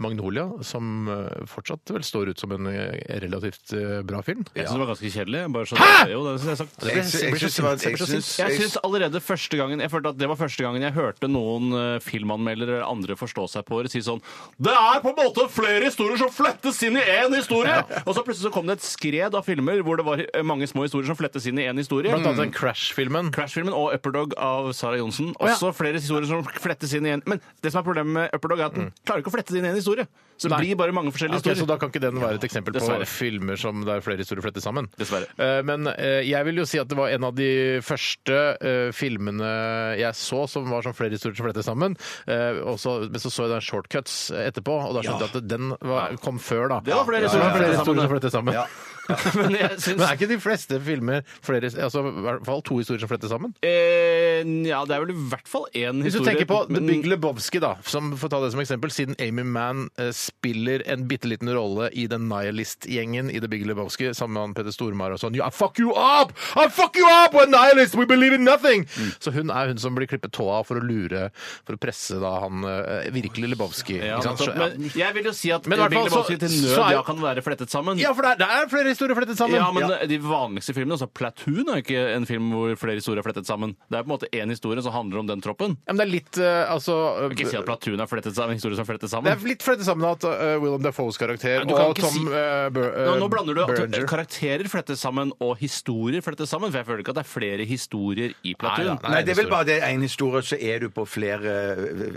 Speaker 7: Magnolia, som eh, fortsatt vel står ut som en eh, relativt eh, bra film.
Speaker 8: Jeg syns det var ganske kjedelig. Bare så, Jo, det synes jeg sagt.
Speaker 3: Jeg sy- jeg syns det var- jeg syns-
Speaker 8: Jeg
Speaker 3: jeg-
Speaker 8: synes allerede første gangen Jeg følte at det var første gangen jeg hørte noen eh, filmanmeldere eller andre forstå seg på det si sånn Det er på en måte flere historier som flettes inn i én historie! Og så plutselig så kom det et skred av filmer hvor det var eh, mange små historier som flettes inn i én historie.
Speaker 7: Blant
Speaker 3: Mm.
Speaker 7: annet den Crash-filmen.
Speaker 8: Crash-filmen og Upperdog av Sara Johnsen.
Speaker 7: ja.
Speaker 8: Også flere historier som flettes inn i en Men det som er problemet med Upperdog, er at
Speaker 7: Mm.
Speaker 8: den klarer ikke å flette det inn i en historie. Så det
Speaker 7: Nei.
Speaker 8: blir bare mange forskjellige
Speaker 7: Ok, så
Speaker 8: historier.
Speaker 7: da kan ikke den være et eksempel
Speaker 8: Dessverre.
Speaker 7: på filmer som der flere historier flettes sammen?
Speaker 8: Dessverre.
Speaker 7: Eh, Men eh, jeg vil jo si at det var en av de første eh, filmene jeg så som var sånn flere historier som flettes sammen. Eh, og så- Men så så jeg den Shortcuts etterpå, og da skjønte jeg at den var, kom før, da.
Speaker 8: Det var flere
Speaker 7: Ja,
Speaker 8: historier som
Speaker 7: flere
Speaker 8: flettes
Speaker 7: historier
Speaker 8: sammen,
Speaker 7: som flettes sammen.
Speaker 8: Men jeg synes-
Speaker 7: Men er ikke de fleste filmer flere, altså, i hvert fall to historier som flettes sammen?
Speaker 8: Eh, ja, det er vel i hvert fall én historie.
Speaker 7: Hvis du tenker på The
Speaker 8: men-
Speaker 7: Big Lebowski, da, som får ta det som eksempel, siden Amy Mann eh, spiller en bitte liten rolle i den Nihilist-gjengen i The Big Lebowski, sammen med han Peter Stormar og sånn I fuck you up! I fuck you up! We're nihilists! We believe in nothing! Så hun er hun som blir klippet tåa for å lure, for å presse da han eh, virkelig Lebowski.
Speaker 8: ja,
Speaker 7: ikke sant?
Speaker 8: nettopp.
Speaker 7: Så- ja.
Speaker 8: men jeg vil jo si at
Speaker 7: Men i hvert
Speaker 8: Big
Speaker 7: fall så-
Speaker 8: Lebowski til
Speaker 7: så
Speaker 8: nød
Speaker 7: er-
Speaker 8: ja, kan være flettet sammen.
Speaker 7: ja, for det er, det er flere historier flettet sammen.
Speaker 8: Ja, men de vanligste filmene, altså Platoon er ikke en film hvor flere historier er flettet sammen. Det er på en måte én historie som handler om den troppen.
Speaker 7: Ja, men det er litt eh, altså
Speaker 8: Du kan ikke si at Platoon er flettet sammen, en historie som er flettet sammen.
Speaker 7: det er litt flettet sammen at eh, Willem Dafoes karakter
Speaker 8: Men du kan
Speaker 7: og
Speaker 8: ikke
Speaker 7: Tom
Speaker 8: si-
Speaker 7: eh, Bur eh,
Speaker 8: nå, nå blander du at
Speaker 7: Berenger.
Speaker 8: karakterer flettes sammen og historier flettes sammen, for jeg føler ikke at det er flere historier i Platoon.
Speaker 7: Nei, da,
Speaker 3: Nei, det er vel bare det ene historie, så er du på flere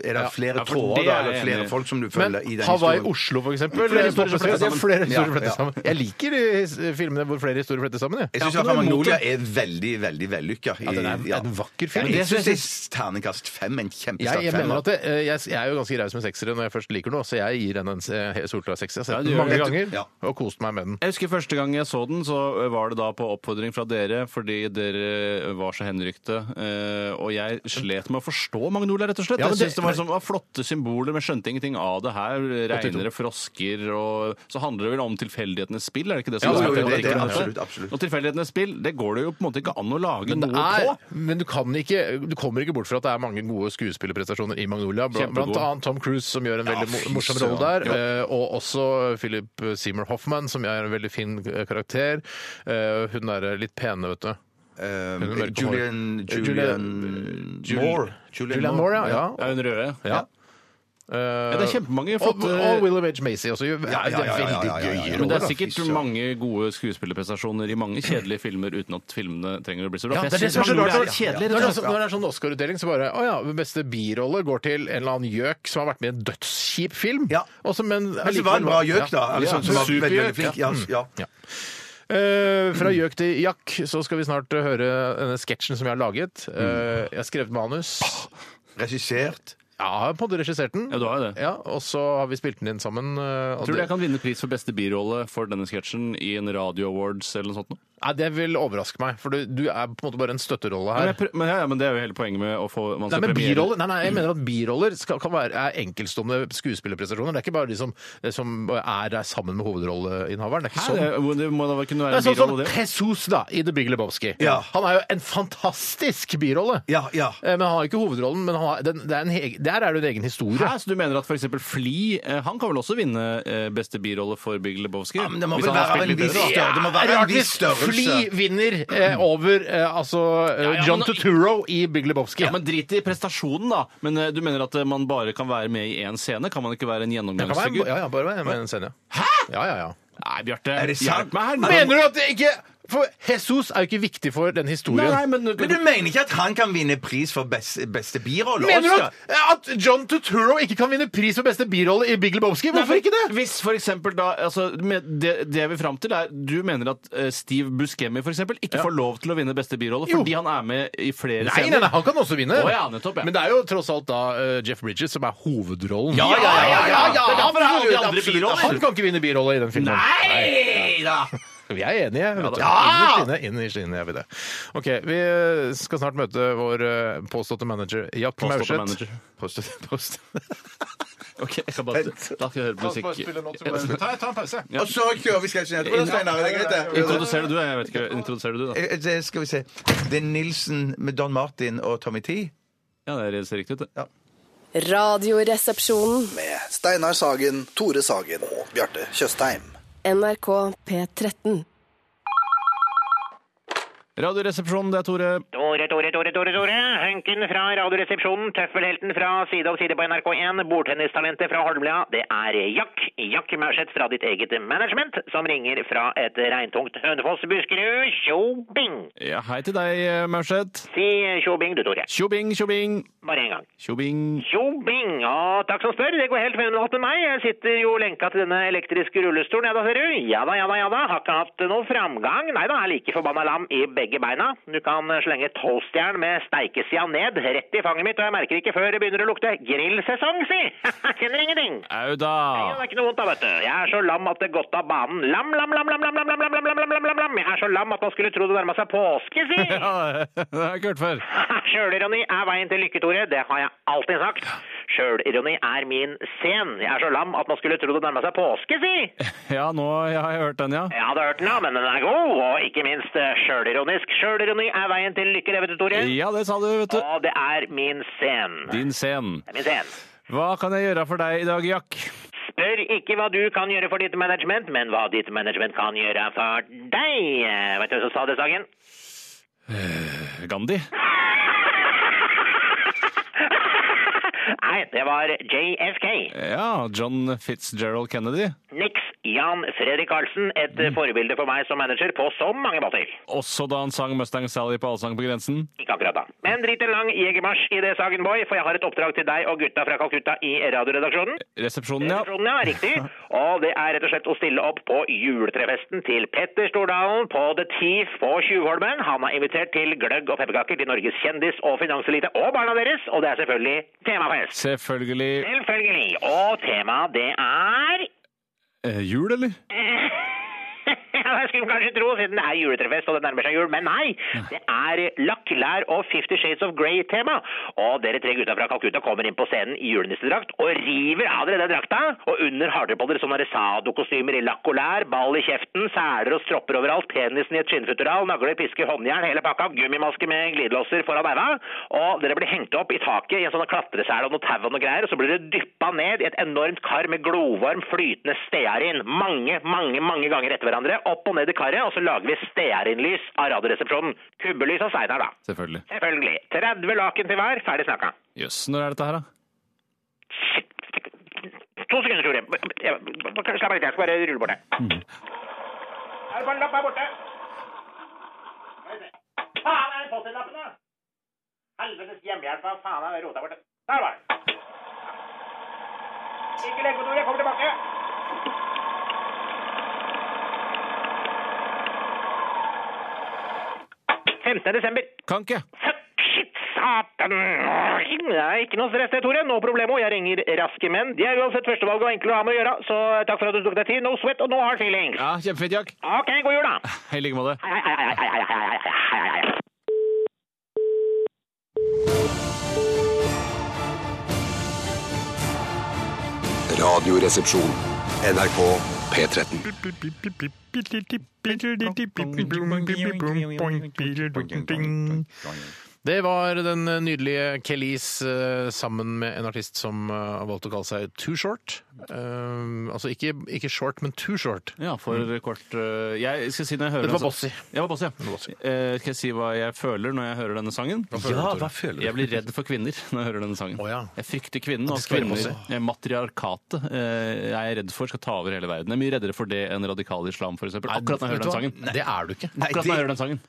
Speaker 3: Er det flere
Speaker 8: ja, for
Speaker 3: tråder,
Speaker 8: det
Speaker 3: da,
Speaker 8: er jeg
Speaker 3: eller flere
Speaker 8: enig i.
Speaker 3: folk som du følger i
Speaker 7: Men
Speaker 3: den historien?
Speaker 7: Hawaii-Oslo, for eksempel.
Speaker 8: Flere
Speaker 7: eller
Speaker 8: historier som flettes
Speaker 7: Stoppestedet, det er
Speaker 8: sammen.
Speaker 7: flere historier
Speaker 3: Ja,
Speaker 7: flettes
Speaker 3: ja.
Speaker 7: sammen. Jeg liker de filmene hvor flere historier flettes sammen. Jeg.
Speaker 3: Jeg syns
Speaker 8: Jeg har ikke noe imot
Speaker 3: Magnolia er veldig, veldig vellykka. i-
Speaker 7: Ja, den er-
Speaker 3: ja.
Speaker 7: en vakker film.
Speaker 3: Ja, men
Speaker 7: Det
Speaker 3: Jeg
Speaker 7: synes
Speaker 3: syns det er terningkast fem. En
Speaker 7: Jeg,
Speaker 3: kjempesterk
Speaker 7: jeg mener
Speaker 3: femmer.
Speaker 7: at det, eh, jeg, jeg er jo ganske raus med seksere når jeg først liker noe, så jeg gir den en eh, solklar sekser. Jeg
Speaker 8: Ja,
Speaker 7: har sett
Speaker 8: du
Speaker 7: den
Speaker 8: gjør
Speaker 7: mange
Speaker 8: det.
Speaker 7: ganger
Speaker 3: Ja.
Speaker 7: og kost meg med den.
Speaker 8: Jeg husker Første gang jeg så den, så var det da på oppfordring fra dere, fordi dere var så henrykte. eh, Og jeg slet med å forstå Magnolia, rett og slett.
Speaker 7: Ja, men
Speaker 8: jeg synes
Speaker 7: det-
Speaker 8: det var, sånn, var flotte symboler, men skjønte ingenting av det her. Regnere, frosker og Så handler det vel om tilfeldighetenes spill, er det ikke det som
Speaker 3: Ja,
Speaker 8: er
Speaker 3: jo, jo,
Speaker 8: tematikken
Speaker 3: det- det-
Speaker 8: på en måte?
Speaker 3: absolutt, absolutt.
Speaker 8: Og tilfeldighetenes spill, det går det jo på en måte ikke an å lage
Speaker 7: Men, det
Speaker 8: noe
Speaker 7: er,
Speaker 8: på.
Speaker 7: men du, kan ikke, du kommer ikke bort fra at det er mange gode skuespillerprestasjoner i Magnolia. Bl-
Speaker 8: Kjempegod.
Speaker 7: Blant annet Tom Cruise, som gjør en veldig mo-
Speaker 8: fy
Speaker 7: morsom
Speaker 8: søren.
Speaker 7: rolle der.
Speaker 8: Ja.
Speaker 7: eh, Og også Philip Seymour Hoffman, som er en veldig fin eh, karakter. Eh, Hun derre litt pene, vet du.
Speaker 3: Ehm,
Speaker 7: Hun er mørk på hår.
Speaker 3: Julian Julian
Speaker 7: Jul-
Speaker 3: Eh, Moore.
Speaker 7: Julian Moore, ja. eh, ja.
Speaker 8: Ja, hun røde.
Speaker 7: Ja.
Speaker 8: Ja, det er kjempemange
Speaker 7: Og,
Speaker 8: flotte
Speaker 7: og William H. Macy også. gjør-
Speaker 3: Ja, ja, ja, ja, ja, ja, ja, ja.
Speaker 7: Veldig gøye
Speaker 8: Men det
Speaker 7: roller,
Speaker 8: er
Speaker 7: da.
Speaker 8: sikkert
Speaker 3: fy søren.
Speaker 8: mange gode skuesspillerprestasjoner i mange kjedelige filmer uten at filmene trenger å bli så bra.
Speaker 7: Ja,
Speaker 8: For
Speaker 7: det er
Speaker 8: jeg
Speaker 7: det som er
Speaker 8: synes
Speaker 7: så rart.
Speaker 8: Magnolia
Speaker 7: Når
Speaker 8: er kjedelig,
Speaker 7: når det er, så- når det er sånn Oscar-utdeling, så bare Å ja, beste birolle går til en eller annen gjøk som har vært med i en dødskjip film.
Speaker 3: Ja.
Speaker 7: Og så- men
Speaker 3: Men det var en bra
Speaker 7: allikevel-
Speaker 3: gjøk, da. eller
Speaker 7: Ja.
Speaker 3: sånn som var veldig,
Speaker 7: Supergjøk,
Speaker 3: veldig flink. Ja, altså, ja.
Speaker 7: Ja. Eh, fra gjøk til jakk, så skal vi snart eh, høre denne sketsjen som jeg har laget. Eh,
Speaker 3: Mm.
Speaker 7: jeg har skrevet manus.
Speaker 3: Regissert.
Speaker 7: Ja, jeg har på en måte regissert den.
Speaker 8: Ja, du har jo det.
Speaker 7: Ja, og så har vi spilt den inn sammen. eh, og
Speaker 8: Tror du jeg
Speaker 7: det-
Speaker 8: kan vinne pris for beste birolle for denne sketsjen i en Radio Awards eller noe sånt? nå?
Speaker 7: Nei, Det vil overraske meg, for du, du er på en måte bare en støtterolle
Speaker 8: Men,
Speaker 7: her.
Speaker 8: jeg prø- men, ja, ja, men det er jo hele poenget med å få man
Speaker 3: Altså
Speaker 8: skal
Speaker 7: Nei, men
Speaker 8: premiere-
Speaker 7: biroller, nei, nei, jeg mener at biroller skal, kan være, er enkeltstående skuespillerprestasjoner. Det er ikke bare de som, som er der sammen med hovedrolleinnehaveren. Det er ikke
Speaker 8: Hæ,
Speaker 7: sånn.
Speaker 8: det, må- det må da kunne
Speaker 7: Det
Speaker 8: være
Speaker 7: er
Speaker 8: en
Speaker 7: sånn som
Speaker 8: birolle, det.
Speaker 7: Jesus da, i The Big Lebowski.
Speaker 3: Ja.
Speaker 7: Han er jo en fantastisk birolle.
Speaker 3: Ja, ja.
Speaker 7: Eh, Men han har ikke hovedrollen, men han har, den, det er en heg- der er det jo en egen historie.
Speaker 8: Hæ, så du mener at f.eks. Fli eh, han kan vel også vinne eh, beste birolle for Big Lebowski?
Speaker 3: Ja, men det må
Speaker 8: Hvis
Speaker 3: vel
Speaker 8: han har
Speaker 3: være av
Speaker 8: spilt
Speaker 3: en
Speaker 8: litt
Speaker 3: viss
Speaker 8: bedre, da.
Speaker 3: størrelse. Det må være
Speaker 7: Rart
Speaker 3: en viss
Speaker 7: hvis Fly
Speaker 3: størrelse.
Speaker 7: vinner eh, over eh, altså, eh,
Speaker 8: ja,
Speaker 7: John
Speaker 8: men-
Speaker 7: Turturro i Big Lebowski.
Speaker 8: Ja, men Drit i prestasjonen, da. Men eh, du mener at eh, man bare kan være med i én scene? Kan man ikke være en
Speaker 7: Det kan være en-
Speaker 8: gjennomgangsfigur?
Speaker 7: ja, ja, bare med- med en scene. Hæ?! Ja, ja, ja.
Speaker 8: Nei, Bjarte.
Speaker 3: Er det sant?
Speaker 8: Hjelp meg her.
Speaker 7: Mener du at det ikke For Jesus er jo ikke viktig for den
Speaker 8: Nei,
Speaker 7: historien.
Speaker 8: nei, men,
Speaker 3: Men du mener ikke at han kan vinne pris for best, beste birolle?
Speaker 7: Mener du
Speaker 3: Oscar?
Speaker 7: at, at John Turturro ikke kan vinne pris for beste birolle i Big Lebowski? Hvorfor ikke det?
Speaker 8: Hvis for eksempel da altså, med det, det vi fram til, er du mener at eh, Steve Buscemi for eksempel, ikke får lov til å vinne beste birolle
Speaker 7: Jo.
Speaker 8: fordi han er med i flere
Speaker 7: Nei, nei,
Speaker 8: scener?
Speaker 7: nei, han kan også vinne.
Speaker 8: Å, ja, nettopp, ja.
Speaker 7: Men det er jo tross alt da eh, Jeff Bridges som er hovedrollen.
Speaker 8: Ja, ja, ja, ja, ja. Det er derfor han har alle de
Speaker 7: absolutt,
Speaker 8: andre
Speaker 7: absolutt.
Speaker 8: biroller.
Speaker 7: Han kan ikke vinne birolle i den filmen.
Speaker 8: Nei da!
Speaker 7: Vi er enige. Vet du.
Speaker 8: Ja!
Speaker 7: Innerst inne, innerst inne er vi det. Ok, vi eh, skal snart møte vår eh, påståtte manager Jack
Speaker 8: Påståtte
Speaker 7: Maurseth.
Speaker 8: manager.
Speaker 7: Påståtte post.
Speaker 8: Ok, jeg skal bare, da skal jeg høre på musikk.
Speaker 7: Ta, ta en pause.
Speaker 3: Og så kjører vi sketsjen etterpå, da, Steinar. Er det greit, det?
Speaker 8: Introduserer du, jeg vet ikke. Introduserer du, da?
Speaker 3: Eh, Det skal vi se. Det er Nilsen med Don Martin og Tommy T.
Speaker 8: Ja, det ser riktig ut, det.
Speaker 5: Radioresepsjonen.
Speaker 9: med Steinar Sagen, Tore Sagen og Bjarte Tjøstheim.
Speaker 5: NRK P13.
Speaker 8: Radioresepsjonen, det er Tore.
Speaker 10: Tore, Tore, Tore, Tore, Tore. Hunken fra Radioresepsjonen. Tøffelhelten fra Side om side på NRK1. Bordtennistalentet fra Holmlia. Det er Jack. Jack Maurseth fra ditt eget management, som ringer fra et regntungt Hønefoss, Buskerud. Tjobing!
Speaker 8: Ja, hei til deg, eh, Maurseth.
Speaker 10: Si tjobing, du, Tore.
Speaker 8: Tjobing, tjobing.
Speaker 10: Bare en gang.
Speaker 8: Tjobing.
Speaker 10: Tjobing! Og takk som spør. Det går helt fenomenalt med meg. Jeg sitter jo lenka til denne elektriske rullestolen, ja da, ser du. Ja da, ja da, ja da. Har ikke hatt noe framgang. Nei da, er like forbanna lam i begge beina. Du kan slenge tolvstjern med steikesida ned rett i fanget mitt, og jeg merker ikke før det begynner å lukte grillsesong, si! Kjenner ingenting.
Speaker 8: Au da.
Speaker 10: Ja, det er ikke noe vondt da, vet du. Jeg er så lam at det gått av banen. Lam, lam, lam, lam, lam, lam, lam, lam, lam, lam, lam, lam, lam. Jeg er så lam at man skulle tro det nærma seg påske, si!
Speaker 8: Ja, det har jeg ikke hørt før.
Speaker 10: Sjølironi er veien til lykke, Tore. Det har jeg alltid sagt. Sjølironi er min scen. Jeg er så lam at man skulle tro det nærma seg påske, si!
Speaker 8: Ja, nå har jeg hørt den, ja.
Speaker 10: Jeg hadde hørt den, ja, men den er god. Og ikke minst eh, sjølironisk. Sjølironi er veien til lykke, det vet du, Tore.
Speaker 8: Ja, det sa du, vet du.
Speaker 10: Og det er min scen.
Speaker 8: Din scen.
Speaker 10: Det er min scen.
Speaker 8: Hva kan jeg gjøre for deg i dag, Jack?
Speaker 10: Spør ikke hva du kan gjøre for ditt management, men hva ditt management kan gjøre for deg. Eh, Vet du hvem som sa det, Sagen?
Speaker 8: Gandhi.
Speaker 10: Nei, det var JFK.
Speaker 8: Ja, John Fitzgerald Kennedy.
Speaker 10: Niks Jan Fredrik Karlsen, et eh, forbilde for meg som manager på så mange måter.
Speaker 8: Også da han sang Mustang Sally på Allsang på grensen.
Speaker 10: Ikke akkurat da. Men drit en lang jegermarsj i det, Sagen Boy, for jeg har et oppdrag til deg og gutta fra Calcutta i radioredaksjonen.
Speaker 8: Resepsjonen, ja.
Speaker 10: Redaksjonen, ja, riktig. Og det er rett og slett å stille opp på juletrefesten til Petter Stordalen på The Thief på Tjuvholmen. Han har invitert til gløgg og pepperkaker til Norges kjendis og finanselite og barna deres, og det er selvfølgelig temafest.
Speaker 8: Selvfølgelig.
Speaker 10: Selvfølgelig. Og temaet, det er
Speaker 8: Eh, jul, eller?
Speaker 10: Ja, Jeg skulle kanskje tro, siden det er juletrefest og det nærmer seg jul, men nei! Det er lakk, lær og Fifty Shades of Grey-tema. Og dere tre gutta fra Calcutta kommer inn på scenen i julenissedrakt og river av dere den drakta. Og under har dere på dere sånne sado-kostymer i lakk og lær, ball i kjeften, seler og stropper overalt, penisen i et skinnfutteral, nagler, pisker, håndjern, hele pakka, gummimaske med glidelåser foran øynene. Og dere blir hengt opp i taket i en sånn klatresel og noe tau og noe greier, og så blir dere dyppa ned i et enormt kar med glovarm, flytende stearin. Mange, mange, mange ganger etter hverandre. Opp og ned i karet, og så lager vi stearinlys av Radioresepsjonen. Kubbelys av Steinar, da.
Speaker 8: Selvfølgelig.
Speaker 10: Selvfølgelig. 30 laken til hver. Ferdig snakka.
Speaker 8: Jøss, når er dette her, da?
Speaker 10: To sekunder, Tore. Jeg- Slapp av litt, jeg skal bare rulle bort her. Er det bare en lapp her borte? Skal vi se. Faen, er det post-it-lappen, da? Helvetes hjemmehjelp, hva faen er det rota borte? Der var den. Ikke legg på, Tore. Jeg kommer tilbake. Femtende desember.
Speaker 8: Kan ikke.
Speaker 10: Fuck, shit, satan! Det er ikke noe stress det, Tore. No problemo. Jeg ringer raske menn. De er uansett eh, førstevalg og enkle å ha med å gjøre, så takk for at du tok deg tid. No sweat og no hard feelings.
Speaker 8: Ja, kjempefint, Jack.
Speaker 10: OK, god jul, da.
Speaker 8: I like måte.
Speaker 10: Hei, hei, hei, hei, hei, hei, hei, hei, hei, hei.
Speaker 6: Radioresepsjon. NRK P13.
Speaker 7: Det var den nydelige Kelis eh, sammen med en artist som eh, har valgt å kalle seg Too Short. Eh, altså ikke, ikke short, men too short.
Speaker 8: Ja, for kort eh, Jeg skal si når jeg hører
Speaker 7: Dette var
Speaker 8: den-
Speaker 7: Mm. Bossy.
Speaker 8: Ja, det var Bossy, ja.
Speaker 7: var Bossy.
Speaker 8: Eh, skal jeg si hva jeg føler når jeg hører denne sangen?
Speaker 7: Ja, hva føler
Speaker 8: Jeg blir redd for kvinner når jeg hører denne sangen.
Speaker 7: Å, ja.
Speaker 8: Jeg frykter kvinnen. Og
Speaker 7: skal være
Speaker 8: kvinner, eh, matriarkatet eh, jeg er redd for skal ta over hele verden. Jeg er mye reddere for det enn radikal islam, f.eks. Akkurat når jeg hører den sangen.
Speaker 7: Det er du ikke.
Speaker 8: Akkurat når jeg hører den sangen.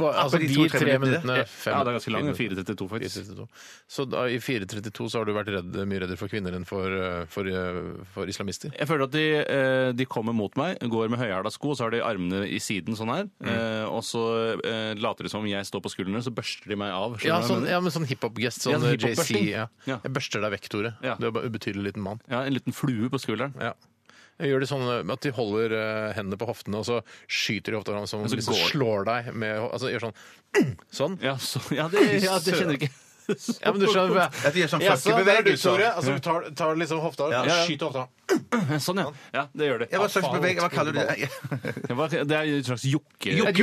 Speaker 7: Ba, altså
Speaker 3: de
Speaker 7: de
Speaker 3: to, tre
Speaker 7: tre
Speaker 3: minuttene.
Speaker 7: minuttene fem
Speaker 8: Ja, det er ganske lang.
Speaker 7: minutter.
Speaker 8: 4.32, faktisk.
Speaker 7: 4.32. Så da, i 4.32 så har du vært redd, mye reddere for kvinner enn for, eh, for, eh, for islamister.
Speaker 8: Jeg føler at de, eh, de kommer mot meg, går med høyhæla sko, så har de armene i siden sånn her.
Speaker 7: Mm.
Speaker 8: eh, Og så eh, later det som om jeg står på skuldrene, så børster de meg av. Skjønner du
Speaker 7: Ja,
Speaker 8: hva jeg
Speaker 7: sånn,
Speaker 8: mener?
Speaker 7: ja, men sånn hiphop-gest.
Speaker 8: Ja,
Speaker 7: Sånn
Speaker 8: sånn
Speaker 7: JC.
Speaker 8: hiphop-børsting.
Speaker 7: Ja.
Speaker 8: Ja.
Speaker 7: Jeg børster deg vekk, Tore.
Speaker 8: Ja.
Speaker 7: Du er bare ubetydelig liten mann.
Speaker 8: ja, En liten flue på skulderen.
Speaker 7: Ja. Jeg gjør det sånn eh, at de holder eh, hendene på hoftene, og så skyter de hofta hverandre som om
Speaker 8: så
Speaker 7: de så
Speaker 8: går-
Speaker 7: slår deg med ho- Altså gjør sånn Sånn.
Speaker 8: Ja, så, ja, det, ja, det kjenner jeg ikke.
Speaker 7: Ja, men du skjønner
Speaker 3: At de gjør sånn
Speaker 7: du,
Speaker 3: flankebevegelse.
Speaker 7: Tore. Altså, du tar, tar liksom hofta og
Speaker 8: Ja, ja.
Speaker 7: skyter hofta.
Speaker 8: Sånn, ja. Ja, det gjør det.
Speaker 3: Ja, hva slags bevegelse? Hva kaller du det?
Speaker 8: Det var- det er en slags jokke.
Speaker 3: Jokk.
Speaker 7: Et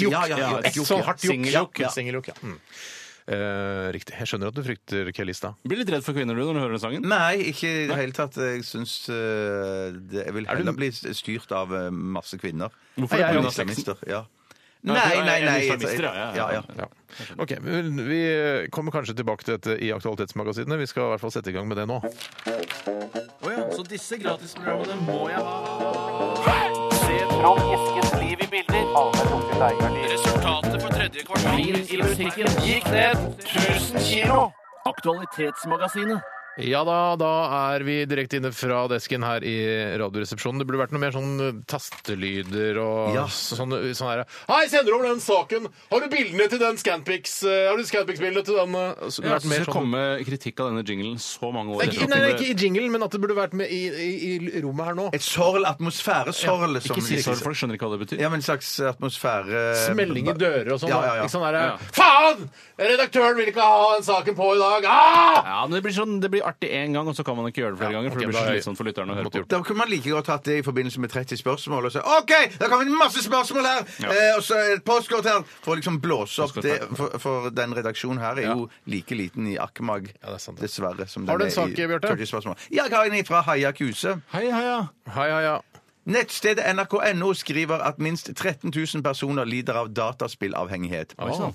Speaker 7: jokk.
Speaker 3: Ja, ja, ja,
Speaker 7: Et
Speaker 3: et jokk,
Speaker 7: sånn
Speaker 3: ja.
Speaker 7: hardt jokk.
Speaker 3: Singeljokk, ja.
Speaker 7: Singeljokk, ja. Mm. Eh, riktig. Jeg skjønner at du frykter Kelista.
Speaker 8: Blir litt redd for kvinner du når du hører den sangen?
Speaker 3: Nei, ikke i det hele tatt. Jeg syns eh, det, Jeg vil
Speaker 7: du-
Speaker 3: heller bli styrt av eh, masse kvinner.
Speaker 8: Hvorfor det?
Speaker 3: Jeg er jo
Speaker 8: Pga. sexen?
Speaker 3: islamister. Ja.
Speaker 8: Nei,
Speaker 3: Nei,
Speaker 8: jeg er
Speaker 3: nei, nei.
Speaker 8: islamister, ja, ja, ja.
Speaker 3: ja, ja.
Speaker 7: Ja. Ok, men Vi kommer kanskje tilbake til dette i Aktualitetsmagasinene. Vi skal i hvert fall sette i gang med det nå.
Speaker 8: Så disse gratisprogrammene må jeg ha. Resultatet på tredje kvartal i musikken gikk ned 1000 kilo. Aktualitetsmagasinet.
Speaker 7: Ja da, da er vi direkte inne fra desken her i Radioresepsjonen. Det burde vært noe mer sånn eh, tastelyder og
Speaker 3: Ja.
Speaker 7: sånn, sånn her Hei, sender over den saken! Har du bildene til den Scanpix? eh, Har du Scanpix-bildene til den eh?» Så det burde
Speaker 8: Jeg
Speaker 7: vært mer
Speaker 8: skal
Speaker 7: sånn-
Speaker 8: komme kritikk av denne jinglen så mange år
Speaker 7: Nei,
Speaker 8: etter at
Speaker 7: ikke, nei,
Speaker 8: den ble-
Speaker 7: ikke i jinglen, men at det burde vært med i, i, i rommet her nå.
Speaker 3: Et sorl, atmosfæresorl. som
Speaker 8: Ikke si
Speaker 3: de-
Speaker 8: sorry, folk skjønner ikke hva det betyr.
Speaker 3: Ja, men en slags atmosfære
Speaker 7: Smelling i dører og sånn.
Speaker 3: Ja,
Speaker 7: da.
Speaker 3: ja, ja.
Speaker 7: Ikke sånn der,
Speaker 8: Ja.
Speaker 7: Faen! Redaktøren vil ikke ha den saken på i dag! Ah!
Speaker 8: Ja, men det blir, sånn, det blir artig én gang, og så kan man ikke gjøre det flere ganger. For
Speaker 7: ok,
Speaker 8: det blir så
Speaker 7: da er-
Speaker 8: slitsomt for lytterne å høre på.
Speaker 3: Da kunne man like godt hatt det i forbindelse med 30 spørsmål. Og så, OK, det kommer en masse spørsmål her! Eh, og så et postkort her! For å liksom blåse opp det. For, for den redaksjonen her er jo like liten i Akkmag,
Speaker 7: Ja, det er sant, det.
Speaker 3: dessverre. Som
Speaker 7: Har du
Speaker 3: den
Speaker 7: en
Speaker 3: er
Speaker 7: sak,
Speaker 3: i
Speaker 7: Bjarte?
Speaker 3: 40 spørsmål. Ja, jeg har en fra Haja Kuse.
Speaker 8: Hei, hei, ja.
Speaker 7: Hei, hei, ja.
Speaker 3: Nettstedet nrk.no skriver at minst 13 000 personer lider av dataspillavhengighet.
Speaker 7: sånn.
Speaker 8: sann.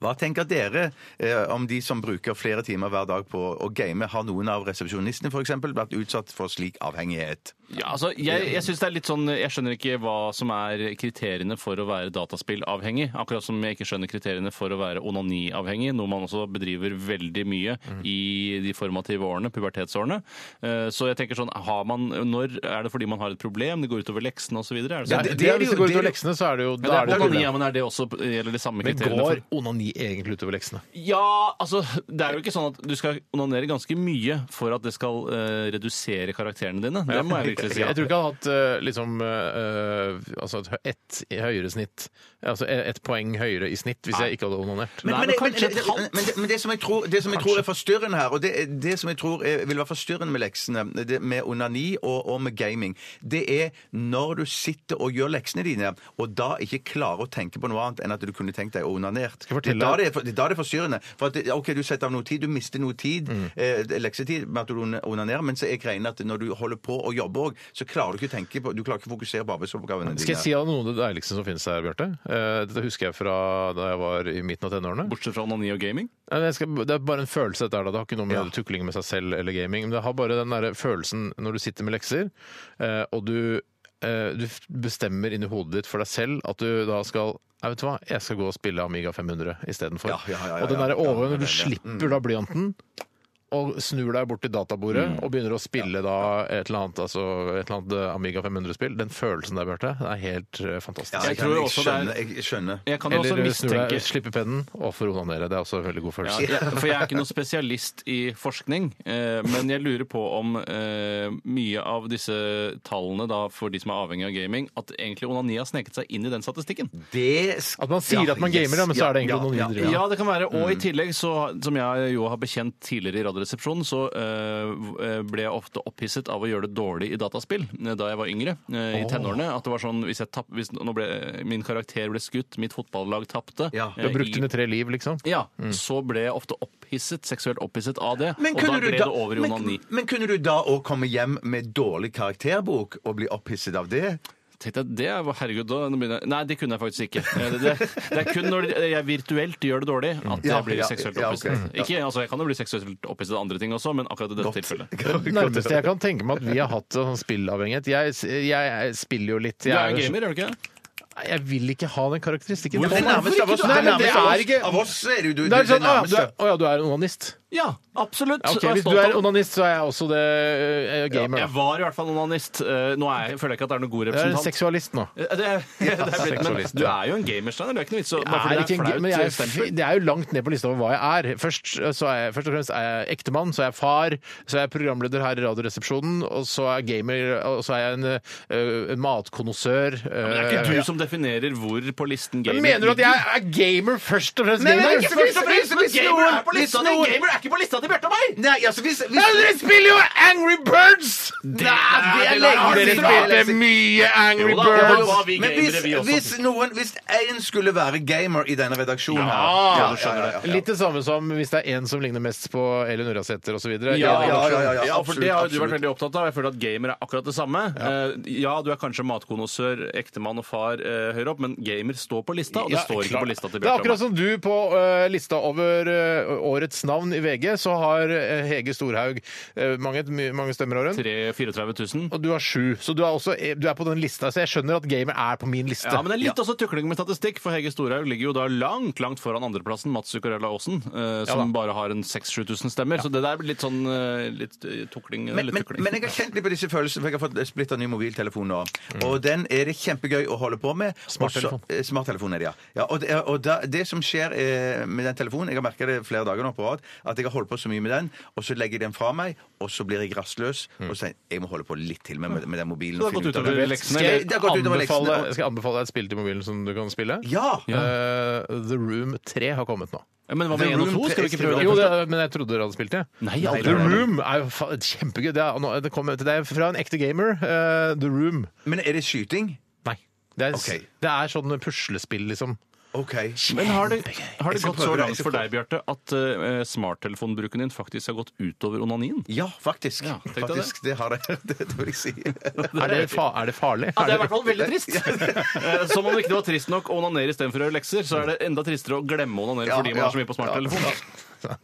Speaker 3: Hva tenker dere eh, om de som bruker flere timer hver dag på å game? Har noen av resepsjonistene f.eks. vært utsatt for slik avhengighet?
Speaker 8: Ja, altså, jeg, jeg synes det er litt sånn Jeg skjønner ikke hva som er kriteriene for å være dataspillavhengig. Akkurat som jeg ikke skjønner kriteriene for å være onaniavhengig, noe man også bedriver veldig mye
Speaker 7: Mhm.
Speaker 8: i de formative årene, pubertetsårene. Eh, Så jeg tenker sånn har man, Når er det fordi man har et problem, det går utover leksene osv.? Er det
Speaker 7: Det,
Speaker 8: sånn?
Speaker 7: det,
Speaker 3: det er
Speaker 7: hvis
Speaker 3: jo-
Speaker 7: det går
Speaker 3: det er
Speaker 7: utover
Speaker 3: jo-
Speaker 7: leksene, så er det jo
Speaker 8: Ja, det er onani,
Speaker 7: problem.
Speaker 8: ja, men er det også gjelder de samme
Speaker 7: Men
Speaker 8: kriteriene? for-
Speaker 7: går onani egentlig utover leksene?
Speaker 8: Ja, altså Det er jo ikke sånn at du skal onanere ganske mye for at det skal eh, redusere karakterene dine. Det må jeg virkelig si.
Speaker 7: Jeg tror ikke han har hatt eh, liksom eh, altså et hø- ett i høyere snitt. Altså eh, ett poeng høyere i snitt hvis jeg ikke hadde onanert.
Speaker 8: Nei, men
Speaker 3: Men, men, men,
Speaker 8: kanskje et
Speaker 3: men,
Speaker 8: halvt?
Speaker 3: men, det- men det som jeg tror, det som jeg tror er forstyrrende her, og det, det som jeg tror er, vil være forstyrrende med leksene, det med onani og, og med gaming, det er når du sitter og gjør leksene dine, og da ikke klarer å tenke på noe annet enn at du kunne tenkt deg onanert.
Speaker 7: jeg
Speaker 3: Det er
Speaker 7: fortelle-
Speaker 3: da det er, for- det er da det er forstyrrende. For at, det- ok, du setter av noe tid, du mister noe tid, eh, leksetid, med at du on- onanerer, men så er greien at når du holder på å jobbe òg, så klarer du ikke å tenke på Du klarer ikke å fokusere på arbeidsoppgavene dine.
Speaker 7: Skal jeg si deg noe av det deiligste som finnes her, Bjarte? Eh, Dette husker jeg fra da jeg var i midten av tenårene.
Speaker 8: Bortsett fra onani og gaming.
Speaker 7: Nei, men jeg skal, det er bare en følelse, dette her. da. Det har ikke noe med tukling med seg selv eller gaming. Men det har bare den derre følelsen når du sitter med lekser, eh, og du, eh, du f- bestemmer inni hodet ditt for deg selv at du da skal Nei, vet du hva? Jeg skal gå og spille Amiga 500 istedenfor.
Speaker 3: Ja, ja, ja, ja,
Speaker 7: og den
Speaker 3: ja.
Speaker 7: derre overgangen når du slipper da blyanten og snur deg bort til databordet
Speaker 3: Mm.
Speaker 7: og begynner å spille da et eller annet, altså, et eller annet eh, Amiga 500-spill, den følelsen der, Bjarte, den er helt eh, fantastisk.
Speaker 3: Ja,
Speaker 8: Jeg tror
Speaker 3: jeg
Speaker 8: også det er-
Speaker 3: skjønner. Jeg skjønner.
Speaker 8: Jeg kan jo også
Speaker 7: Eller eh, snur deg,
Speaker 8: mistenke
Speaker 7: slipper pennen og får onanere. Det er også en veldig god
Speaker 8: ja,
Speaker 7: følelse.
Speaker 8: jeg, For jeg er ikke noen spesialist i forskning, eh, men jeg lurer på om eh, mye av disse tallene da, for de som er avhengig av gaming, at egentlig onani har sneket seg inn i den statistikken.
Speaker 3: Det sk-
Speaker 7: At man sier
Speaker 3: Ja,
Speaker 7: at man
Speaker 3: yes,
Speaker 7: gamer, da, men så er det egentlig noen videre.
Speaker 8: Ja, det kan være. Og i
Speaker 7: Mm.
Speaker 8: tillegg, så, som jeg jo har bekjent tidligere i Radioresepsjonen, så eh, ble jeg ofte opphisset av å gjøre det dårlig i dataspill eh, da jeg var yngre, eh, i tenårene. At det var sånn hvis, jeg tapp, hvis nå ble, min karakter ble skutt, mitt fotballag tapte
Speaker 3: Ja.
Speaker 8: eh,
Speaker 7: Du har brukt
Speaker 8: i-
Speaker 7: dine tre liv, liksom.
Speaker 8: ja, så ble jeg ofte opphisset, seksuelt opphisset av det.
Speaker 3: Men
Speaker 8: og da
Speaker 3: kunne,
Speaker 8: ble
Speaker 3: du
Speaker 8: det
Speaker 3: da,
Speaker 8: over i onani.
Speaker 3: men, men kunne du da òg komme hjem med dårlig karakterbok og bli opphisset av det?
Speaker 8: Tenkte jeg, det var, herregud, da, nå begynner jeg. Nei, det kunne jeg faktisk ikke. Eh, Det, det, det er kun når jeg virtuelt gjør det dårlig, at
Speaker 3: Ja,
Speaker 8: jeg blir
Speaker 3: ja,
Speaker 8: seksuelt
Speaker 3: ja, ok.
Speaker 8: opphisset. Ikke, altså, jeg kan jo bli seksuelt opphisset av andre ting også, men akkurat i dette tilfellet.
Speaker 7: Det nærmeste jeg kan tenke meg at vi har hatt sånn spillavhengighet jeg, jeg spiller jo litt.
Speaker 8: Du
Speaker 7: Jeg,
Speaker 8: er
Speaker 7: jo
Speaker 8: jo
Speaker 7: så-
Speaker 8: gamer, er du ikke det?
Speaker 7: Nei, jeg vil ikke ha den karakteristikken.
Speaker 3: Det nærmeste av oss,
Speaker 7: Nei,
Speaker 3: det
Speaker 7: men det
Speaker 3: nærmeste av
Speaker 7: er
Speaker 3: oss-
Speaker 7: ikke
Speaker 3: av oss er det jo du.
Speaker 7: det er
Speaker 3: det
Speaker 7: sånn, å, ja, du
Speaker 3: nærmeste.
Speaker 7: er, å ja, du er en onanist.
Speaker 8: Ja, absolutt.
Speaker 7: Ja, ok,
Speaker 8: Jeg er
Speaker 7: hvis du
Speaker 8: stolt av
Speaker 7: er
Speaker 8: det.
Speaker 7: onanist, så er jeg også det eh, gamer.
Speaker 8: Jeg
Speaker 7: Da.
Speaker 8: var i hvert fall onanist. Eh, Nå er jeg, føler jeg ikke at det er noen god
Speaker 7: Jeg er
Speaker 8: representant.
Speaker 7: seksualist nå.
Speaker 8: Eh, Det, er- det er blitt, men
Speaker 7: seksualist,
Speaker 8: du
Speaker 7: ja.
Speaker 8: er jo en gamer, Steiner. Det er ikke noe vits. å- Bare
Speaker 7: Jeg er
Speaker 8: fordi
Speaker 7: ikke
Speaker 8: det
Speaker 7: en
Speaker 8: er
Speaker 7: ga- men
Speaker 8: flaut
Speaker 7: jeg,
Speaker 8: stempel.
Speaker 7: er- det er jo langt ned på lista over hva jeg er. Først, eh, så er jeg, først og fremst er jeg ektemann, så er jeg far, så er jeg programleder her i Radioresepsjonen, og så er jeg gamer, og så er jeg en uh, matkonnoissør.
Speaker 8: Men det er ikke du som definerer hvor på listen gamer
Speaker 7: Mener du at
Speaker 8: ligger.
Speaker 7: jeg er gamer først og fremst?
Speaker 3: Nei, men
Speaker 7: gamer?
Speaker 3: ikke først og fremst,
Speaker 8: Men
Speaker 3: hvis
Speaker 8: gamer
Speaker 3: noen-
Speaker 8: er på
Speaker 3: hvis
Speaker 8: lista di!
Speaker 3: noen-
Speaker 8: Gamer er ikke på lista til Bjarte og meg!
Speaker 3: Nei, altså hvis, hvis...
Speaker 7: Ja, dere spiller jo Angry Birds! Nei,
Speaker 3: det er lenge
Speaker 7: Dere
Speaker 3: siden.
Speaker 7: spilte mye Angry
Speaker 8: Jo da, det
Speaker 7: Birds!
Speaker 8: var vi
Speaker 3: Men
Speaker 8: gamere,
Speaker 3: hvis,
Speaker 8: vi også.
Speaker 3: hvis noen Hvis én skulle være gamer i denne redaksjonen her
Speaker 7: Ja,
Speaker 8: du skjønner det.
Speaker 7: Litt det samme som hvis det er en som ligner mest på Elin Urasæter osv.
Speaker 3: Ja, ja, ja, ja,
Speaker 8: Ja, for
Speaker 3: absolutt,
Speaker 8: Det har jo du vært
Speaker 3: absolutt.
Speaker 8: veldig opptatt av. Jeg føler at gamer er akkurat det samme. Ja, ja du er kanskje matkonnoissør, ektemann og far eh, høyere opp, men gamer står på lista, og det står ikke på lista til
Speaker 7: Det er
Speaker 8: Bjarte. og meg.
Speaker 7: akkurat som du på eh, lista over eh, årets navn i VG, så har eh, Hege Storhaug eh, mange, my- mange stemmer har hun.
Speaker 8: 3 34 000.
Speaker 7: Og du har sju, så du er, også, eh, du er på den lista. Så jeg skjønner at gamer er på min liste.
Speaker 8: Ja, men det er litt også tukling med statistikk, for Hege Storhaug ligger jo da langt langt foran andreplassen, Mats Zuccarella Aasen, eh, som
Speaker 7: Ja da.
Speaker 8: bare har en 6000-7000 stemmer. Så det der blir litt sånn eh, litt eh, tukling.
Speaker 3: men,
Speaker 8: litt
Speaker 3: men,
Speaker 8: tukling.
Speaker 3: men jeg har kjent litt på disse følelsene, for jeg har fått splitta ny mobiltelefon nå.
Speaker 8: Mm.
Speaker 3: Og den er det kjempegøy å holde på med.
Speaker 7: Smarttelefon.
Speaker 3: Også- eh, Smarttelefon er det, ja. ja og det, og da, det som skjer eh, med den telefonen Jeg har merka det flere dager nå på rad, at jeg har holdt på så mye med den, og så legger jeg den fra meg, og så blir jeg rastløs,
Speaker 8: Mm.
Speaker 3: og så tenker jeg jeg må holde på litt til med, med den mobilen.
Speaker 8: Så det
Speaker 3: og
Speaker 8: har gått
Speaker 3: finne ut av
Speaker 8: utover
Speaker 3: det.
Speaker 8: leksene,
Speaker 3: Skal jeg-
Speaker 8: eller?
Speaker 3: Det har gått utover
Speaker 7: anbefale,
Speaker 3: leksene.
Speaker 7: jeg skal anbefale et spill til mobilen som du kan spille.
Speaker 3: og- Ja!
Speaker 7: Eh, The Room 3 har kommet nå.
Speaker 8: Ja, men hva med 1
Speaker 3: The
Speaker 8: og
Speaker 3: Room
Speaker 8: 2? Skal vi ikke prøve det?
Speaker 7: Jo, det, men jeg trodde dere hadde spilt det.
Speaker 8: Nei, aldri.
Speaker 7: The Room er jo fa- kjempegøy. Det er, nå- det kommer- det er fra en ekte gamer. eh, The Room.
Speaker 3: Men er det skyting?
Speaker 7: Nei. Det er,
Speaker 3: Ok.
Speaker 7: det er sånn puslespill, liksom.
Speaker 3: OK.
Speaker 8: Men har det, har det
Speaker 3: Jeg skal
Speaker 8: gått så
Speaker 3: prøve det, jeg
Speaker 8: langt for
Speaker 3: skal
Speaker 8: deg, Bjarte, at eh, smarttelefonbruken din faktisk har gått utover onanien?
Speaker 3: Ja, faktisk.
Speaker 8: Ja, tenkte jeg det.
Speaker 3: faktisk det har jeg. Det, det vil jeg si.
Speaker 7: Er det, fa er det farlig?
Speaker 8: Ja, det er i
Speaker 7: Er
Speaker 8: hvert fall veldig trist. Eh, Som om det ikke var trist nok å onanere istedenfor å gjøre lekser, så er det enda tristere å glemme å onanere
Speaker 3: Ja,
Speaker 8: fordi man
Speaker 3: ja,
Speaker 8: har så mye på smarttelefon.
Speaker 7: det-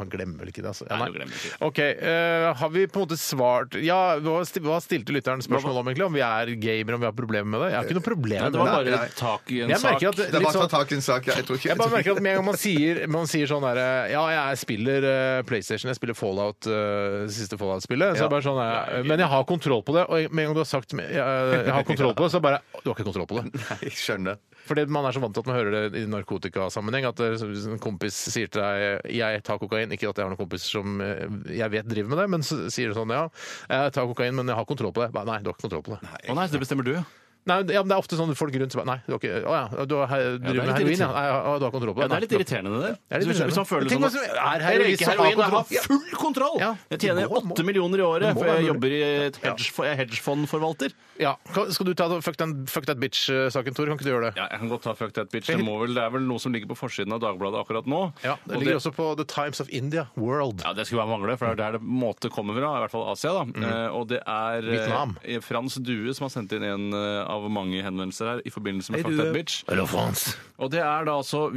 Speaker 7: Man glemmer vel ikke det, altså. Ja,
Speaker 8: Nei, du glemmer ikke det.
Speaker 7: OK. eh, har vi på en måte svart Ja, hva sti- hva stilte lytteren spørsmål om, egentlig? Om vi er gamere, om vi har problemer med det? Jeg har ikke noe problem med
Speaker 8: Det var bare tak i en
Speaker 7: Jeg
Speaker 8: sak.
Speaker 7: merker at
Speaker 3: Det er
Speaker 7: litt
Speaker 3: bare å
Speaker 7: sånn-
Speaker 3: ta tak i en sak. ja. Jeg tror ikke
Speaker 7: Jeg bare merker at med en gang man sier, man sier sånn derre Ja, jeg spiller eh, PlayStation, jeg spiller Fallout, eh, det siste Fallout-spillet. Så er det bare sånn eh, Men jeg har kontroll på det. Og med en gang du har sagt eh, jeg har kontroll på det, så bare Du har ikke kontroll på det.
Speaker 3: Jeg skjønner.
Speaker 7: Fordi man er så vant til at man hører det i narkotikasammenheng. At eh, hvis en kompis sier til deg 'jeg tar kokain', ikke at jeg har noen kompis som eh, jeg vet driver med det, men så sier du sånn 'ja, jeg tar kokain, men jeg har kontroll på det'. Bare, Nei, du har ikke kontroll på det.
Speaker 8: Å nei, så det bestemmer du, ja.
Speaker 7: Nei, ja, men Det er ofte sånn folk rundt som bare 'nei, du har ikke Å ja, du har, driver
Speaker 8: litt
Speaker 7: med heroin',
Speaker 8: irriterende.
Speaker 7: ja. Nei, ja, du har kontroll på
Speaker 8: Ja,
Speaker 7: det.
Speaker 8: det er
Speaker 7: Nei,
Speaker 8: litt irriterende, det.
Speaker 7: er litt
Speaker 8: Hvis-
Speaker 7: irriterende.
Speaker 8: Hvis man føler
Speaker 7: Men tenk
Speaker 8: sånn
Speaker 7: hva som
Speaker 8: at-
Speaker 7: er her,
Speaker 8: Jeg
Speaker 7: vi
Speaker 8: røyker
Speaker 7: som har
Speaker 8: heroin, jeg har
Speaker 7: kontroll. Ja.
Speaker 8: full kontroll!
Speaker 7: Ja,
Speaker 8: Jeg
Speaker 7: det
Speaker 8: tjener
Speaker 7: må- må-
Speaker 8: åtte millioner i året,
Speaker 7: må
Speaker 8: for
Speaker 7: være
Speaker 8: jeg
Speaker 7: mulig.
Speaker 8: jobber i et hedge- jeg er hedgefondforvalter.
Speaker 7: Ja. Kan- Skal du ta det- fuck, den, fuck that bitch-saken, Tore? Kan ikke du gjøre det?
Speaker 8: Ja, jeg kan godt ta fuck that bitch. Det, må vel, det er vel noe som ligger på forsiden av Dagbladet akkurat nå.
Speaker 7: Ja, det
Speaker 8: Og
Speaker 7: ligger også på The Times of India World.
Speaker 8: ja, Det skulle bare mangle, for det er der det måte kommer fra, i hvert fall Asia. da. Eh, og det er eh,
Speaker 7: Vietnam.
Speaker 8: Frans Due som har sendt inn en eh, av mange henvendelser her i forbindelse med
Speaker 3: Hei,
Speaker 8: Fuck
Speaker 3: Due.
Speaker 8: That Bitch.
Speaker 7: Hello, France.
Speaker 8: Og det er da altså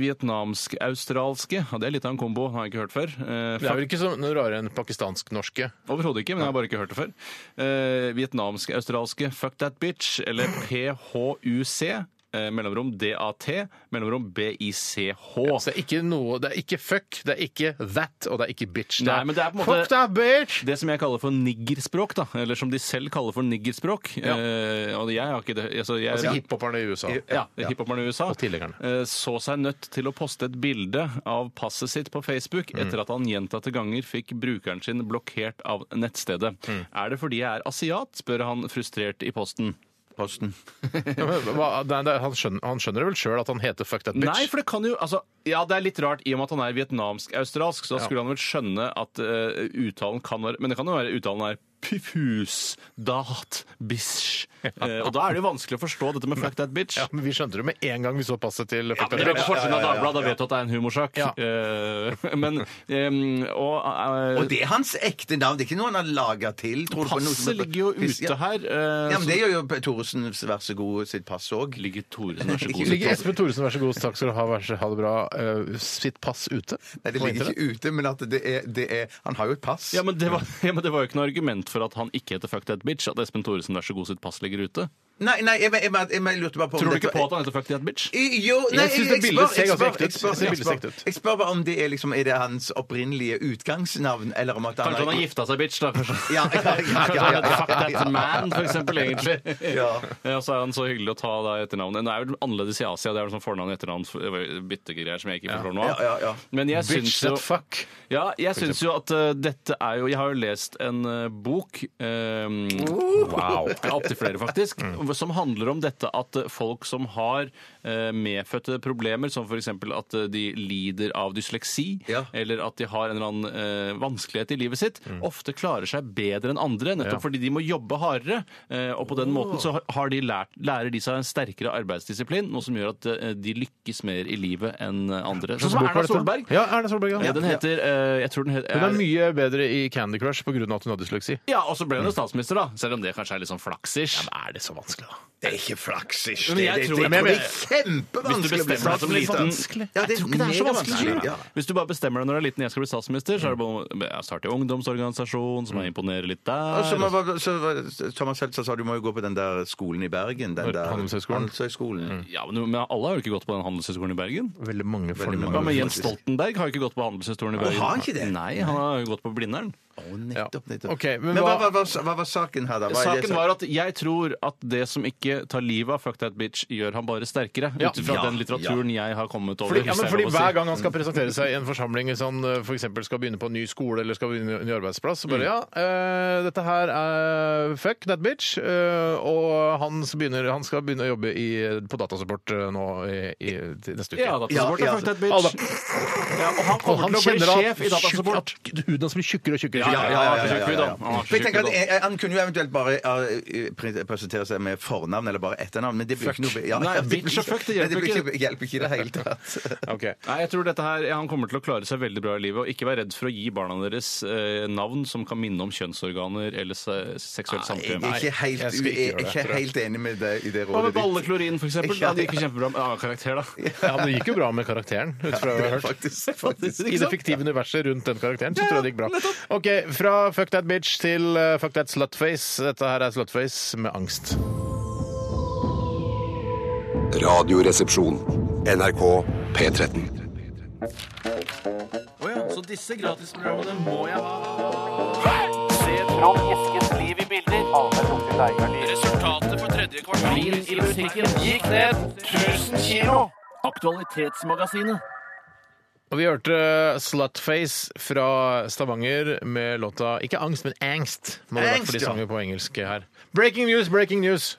Speaker 8: vietnamsk-australske. Ja, det er litt av en kombo, har jeg ikke hørt før. Eh,
Speaker 7: Det er vel ikke så noe rarere enn pakistansk-norske.
Speaker 8: Overhodet ikke, men jeg har bare ikke hørt det før. Eh, Vietnamsk-australske Fuck That Bitch, eller PHUC. eh, mellomrom DAT, mellomrom BICH.
Speaker 7: Ja, så det er ikke noe Det er ikke fuck, det er ikke that, og det er ikke bitch.
Speaker 8: Nei, men det er på en måte-
Speaker 7: Fuck that bitch!
Speaker 8: Det som jeg kaller for niggerspråk, da, eller som de selv kaller for niggerspråk
Speaker 7: Ja.
Speaker 8: eh, Og jeg har ikke det altså, jeg,
Speaker 7: Altså hiphoperne i USA.
Speaker 8: ja, hiphoperne i USA
Speaker 7: Og tilhengerne.
Speaker 8: eh, så seg nødt til å poste et bilde av passet sitt på Facebook
Speaker 7: Mm.
Speaker 8: etter at han gjentatte ganger fikk brukeren sin blokkert av nettstedet.
Speaker 7: Mm.
Speaker 8: Er det fordi jeg er asiat, spør han frustrert i posten.
Speaker 3: Posten.
Speaker 7: Ja, men hva- nei, det er- han, skjønner, han skjønner det vel sjøl at han heter fuck that bitch?
Speaker 8: Nei, for det kan jo altså, Ja, det er litt rart i og med at han er vietnamsk-australsk, så da skulle han vel skjønne at eh, uttalen kan være Men det kan jo være uttalen er pifus, dat, bish. Eh, og da er det jo vanskelig å forstå dette med fuck that bitch.
Speaker 7: ja, men Vi skjønte det med en gang vi så passet til fuck
Speaker 8: Ja, men
Speaker 7: that
Speaker 8: det er på
Speaker 7: bitch.
Speaker 8: forsiden av Dagbladet, da vet du at det er en humorsak.
Speaker 7: Ja.
Speaker 8: Eh, men eh, og, eh,
Speaker 3: Og det er hans ekte navn, det er ikke noe han har laga til. tror du, for noe som
Speaker 8: Passet
Speaker 3: er-
Speaker 8: ligger jo ute her. eh,
Speaker 3: Ja, men Det
Speaker 8: så
Speaker 3: gjør jo Thoresens Vær så god sitt pass òg.
Speaker 8: ligger Toresen, vær så god.
Speaker 7: Ligger Espen Thoresen, vær så god, takk skal du ha, vær så ha det bra, eh, sitt pass ute?
Speaker 3: Nei, det
Speaker 7: på
Speaker 3: ligger
Speaker 7: internett?
Speaker 3: ikke ute, men at det er, det er Han har jo et pass.
Speaker 8: Ja men, det var, ja, men det var jo ikke noe argument for at han ikke heter Fuck That Bitch. At Espen Thoresen, vær så god, sitt pass ligger ute.
Speaker 3: Nei, nei, jeg, jeg, jeg, jeg lurte bare på om
Speaker 8: Tror du ikke
Speaker 3: dette-
Speaker 8: på at han heter Fuck That Bitch?
Speaker 3: I- Jo, nei,
Speaker 7: Jeg synes det
Speaker 3: jeg,
Speaker 7: bildet
Speaker 3: spør,
Speaker 7: ser
Speaker 3: jeg,
Speaker 7: ganske ekte
Speaker 3: spør,
Speaker 7: ut.
Speaker 3: jeg, spør,
Speaker 7: Jeg synes
Speaker 3: jeg,
Speaker 7: bildet ser ekte
Speaker 3: spør,
Speaker 7: ut.
Speaker 3: jeg spør bare om det er, liksom, er det hans opprinnelige utgangsnavn, eller om at han
Speaker 8: Kanskje han har gifta seg, bitch, da. Kanskje
Speaker 3: Ja, ja, ja, ja,
Speaker 8: Kanskje
Speaker 3: ja,
Speaker 8: han
Speaker 3: ja,
Speaker 8: heter Fuck
Speaker 3: ja, ja.
Speaker 8: That Man, for eksempel, egentlig.
Speaker 3: Ja.
Speaker 8: Ja, så er han så hyggelig å ta deg etternavnet. Det er vel annerledes i Asia. Det er vel sånn fornavn og etternavn byttegreier som jeg ikke forstår nå.
Speaker 3: Ja, ja, ja.
Speaker 8: Men jeg
Speaker 7: Bitch
Speaker 8: syns
Speaker 7: that
Speaker 8: jo
Speaker 7: fuck.
Speaker 8: Ja, jeg syns jo at eh, dette er jo Jeg har jo lest en eh, bok uh,
Speaker 7: Wow.
Speaker 8: Opptil flere, faktisk. Som handler om dette at eh, folk som har eh, medfødte problemer, som f.eks. at eh, de lider av dysleksi,
Speaker 3: Ja.
Speaker 8: eller at de har en eller annen eh, vanskelighet i livet sitt, ofte klarer seg bedre enn andre, nettopp fordi de må jobbe hardere. eh, og på den måten så har- har de lært, lærer de seg en sterkere arbeidsdisiplin, noe som gjør at eh, de lykkes mer i livet enn andre. Sånn som
Speaker 7: Bok var
Speaker 8: Erna
Speaker 7: dette?
Speaker 8: Solberg.
Speaker 7: Ja, Erna Solberg. Ja.
Speaker 8: Ja, den heter eh, Jeg tror den heter
Speaker 7: Hun er mye bedre i Candy Crush pga. at hun har dysleksi.
Speaker 8: Ja, og så ble hun jo statsminister, da. Selv om det kanskje er litt sånn flaksish.
Speaker 7: Er det så vanskelig, da?
Speaker 3: Det er ikke flaksish.
Speaker 8: Men
Speaker 3: Det,
Speaker 8: jeg
Speaker 3: det, det,
Speaker 8: tror-
Speaker 3: det,
Speaker 8: men jeg
Speaker 3: blir kjempevanskelig
Speaker 8: Hvis du
Speaker 3: å bli
Speaker 8: bestemmer deg som liten
Speaker 3: statsminister. Ja,
Speaker 8: Jeg tror ikke det er så vanskelig.
Speaker 3: megavanskelig, ja.
Speaker 8: Hvis du bare bestemmer deg når du er liten jeg skal bli statsminister, så er det bare å starte i ungdomsorganisasjon, så må jeg imponere litt
Speaker 3: Og Altså, så må
Speaker 8: der.
Speaker 3: bare- så- Thomas Seltzer sa du må jo gå på den der skolen i Bergen. Den der
Speaker 7: Handelshøyskolen.
Speaker 3: Handelshøyskolen.
Speaker 8: Ja, men, men alle har jo ikke gått på den handelshøyskolen i Bergen.
Speaker 7: Veldig mange
Speaker 8: Hva
Speaker 7: fornavn.
Speaker 8: med Jens Stoltenberg? Har jo ikke gått på handelshøyskolen i
Speaker 3: Å,
Speaker 8: Bergen.
Speaker 3: har han ikke det?
Speaker 8: Nei, han har jo gått på Blindern.
Speaker 3: Å, nettopp,
Speaker 7: Ja.
Speaker 3: nettopp.
Speaker 7: Ok, men
Speaker 3: men hva,
Speaker 7: hva-
Speaker 3: hva, hva, hva var saken her, da? Hva er det
Speaker 8: Saken
Speaker 3: som-
Speaker 8: var at jeg tror at det som ikke tar livet av Fuck That Bitch, gjør han bare sterkere.
Speaker 7: Ja.
Speaker 8: Ut ifra
Speaker 7: Ja,
Speaker 8: den litteraturen jeg har kommet over.
Speaker 7: Fordi, ja,
Speaker 8: hvis
Speaker 7: men
Speaker 8: det er
Speaker 7: fordi
Speaker 8: lov å si.
Speaker 7: Hver gang han skal presentere seg i en forsamling, sånn, hvis han f.eks. skal begynne på en ny skole eller skal begynne i en ny arbeidsplass, så bare ja, eh, dette her er fuck that bitch, eh, og han, s- begynner, han skal begynne å jobbe i, på datasupport eh, nå i, i, til neste uke.
Speaker 8: Ja, datasupport er
Speaker 3: Ja, ja,
Speaker 8: Fuck That
Speaker 7: Alle-
Speaker 8: Bitch. Ja, og han
Speaker 7: Og
Speaker 8: kommer til
Speaker 7: han
Speaker 8: å bli
Speaker 7: kjenner at,
Speaker 8: sjef i datasupport.
Speaker 7: tjukk- at huden hans blir tjukkere og tjukkere.
Speaker 8: Ja, ja, ja, ja, ja, ja, ja.
Speaker 3: For jeg tenker at eh, Han kunne jo eventuelt bare eh, pre- presentere seg med fornavn eller bare etternavn, men det blir ikke noe ja,
Speaker 8: Nei,
Speaker 3: ja, det
Speaker 8: bitch og fuck, det
Speaker 3: men
Speaker 8: hjelper
Speaker 3: blir hjelper ikke i det hele tatt.
Speaker 7: Ok.
Speaker 8: Nei, jeg tror dette her, Han kommer til å klare seg veldig bra i livet og ikke være redd for å gi barna deres eh, navn som kan minne om kjønnsorganer eller se seksuelt
Speaker 3: Jeg
Speaker 8: samkvem.
Speaker 3: er ikke helt,
Speaker 7: jeg skal ikke gjøre
Speaker 3: jeg er
Speaker 7: det,
Speaker 3: ikke
Speaker 7: tror jeg.
Speaker 3: helt enig med deg i det
Speaker 8: Hva med
Speaker 3: rådet
Speaker 8: balleklorin, for eksempel?
Speaker 3: Ja,
Speaker 8: Ja, det gikk jo kjempebra med ah, karakter, da.
Speaker 7: Ja, men Det gikk jo bra med karakteren, ut fra hva jeg har hørt.
Speaker 3: Faktisk, faktisk.
Speaker 7: I det fiktive universet rundt den karakteren, så tror jeg det gikk bra. Ok, Fra fuck that bitch til eh, fuck that slutface. Dette her er slutface med angst.
Speaker 6: Radioresepsjon. NRK P13.
Speaker 8: Så disse gratisprogrammene må jeg ha. Resultatet på tredje kvartal i butikken gikk ned 1000 kilo. Aktualitetsmagasinet.
Speaker 7: Og vi hørte eh, Slutface fra Stavanger med låta Ikke angst, men angst. Må det ha vært
Speaker 3: Angst,
Speaker 7: fordi de
Speaker 3: ja.
Speaker 7: sang jo på engelsk her. Breaking news, breaking news!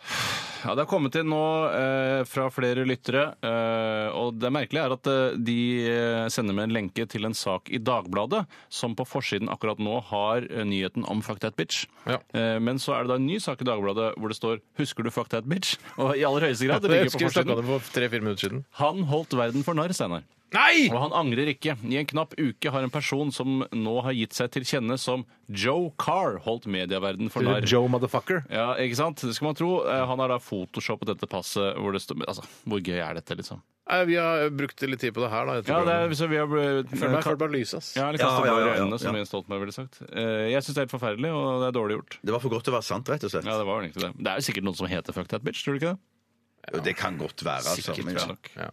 Speaker 8: Ja, Det har kommet inn nå eh, fra flere lyttere. Eh, og det merkelige er at eh, de eh, sender med en lenke til en sak i Dagbladet som på forsiden akkurat nå har eh, nyheten om Fuck That Bitch.
Speaker 7: Ja.
Speaker 8: Eh, men så er det da en ny sak i Dagbladet hvor det står 'Husker du Fuck That Bitch?' Og i aller høyeste grad. Det
Speaker 7: Jeg
Speaker 8: ligger
Speaker 7: husker
Speaker 8: på
Speaker 7: vi snakka om
Speaker 8: forsiden.
Speaker 7: det for tre-fire minutter siden.
Speaker 8: Han holdt verden for narr, Steinar.
Speaker 7: Nei!
Speaker 8: Og han angrer ikke. I en knapp uke har en person som nå har gitt seg til kjenne som Joe Carr, holdt medieverden for narr.
Speaker 7: Joe motherfucker.
Speaker 8: Ja, ikke sant? Det skal man tro. Eh, Han har da photoshoppet dette passet hvor det står men Altså, hvor gøy er dette, liksom?
Speaker 7: Nei, Vi har brukt litt tid på det her, da. Jeg
Speaker 8: Ja,
Speaker 7: tror
Speaker 8: det er, så vi har blitt
Speaker 7: Jeg føler meg ført bak lyset, ass.
Speaker 8: Ja, liksom, eller
Speaker 3: Ja,
Speaker 8: kastet
Speaker 3: ja,
Speaker 8: blår i
Speaker 3: ja, ja,
Speaker 8: øynene, som
Speaker 3: ja.
Speaker 8: Jens Stoltenberg ville sagt. Eh, Jeg syns det er helt forferdelig, og det er dårlig gjort.
Speaker 3: Det var for godt til å være sant, rett og slett.
Speaker 8: Ja, Det var vel egentlig det. Det er jo sikkert noen som heter Fuck That Bitch, tror du ikke det?
Speaker 3: Jo, det kan godt være, altså.
Speaker 8: Sikkert
Speaker 3: men-
Speaker 8: bra nok.
Speaker 7: Ja.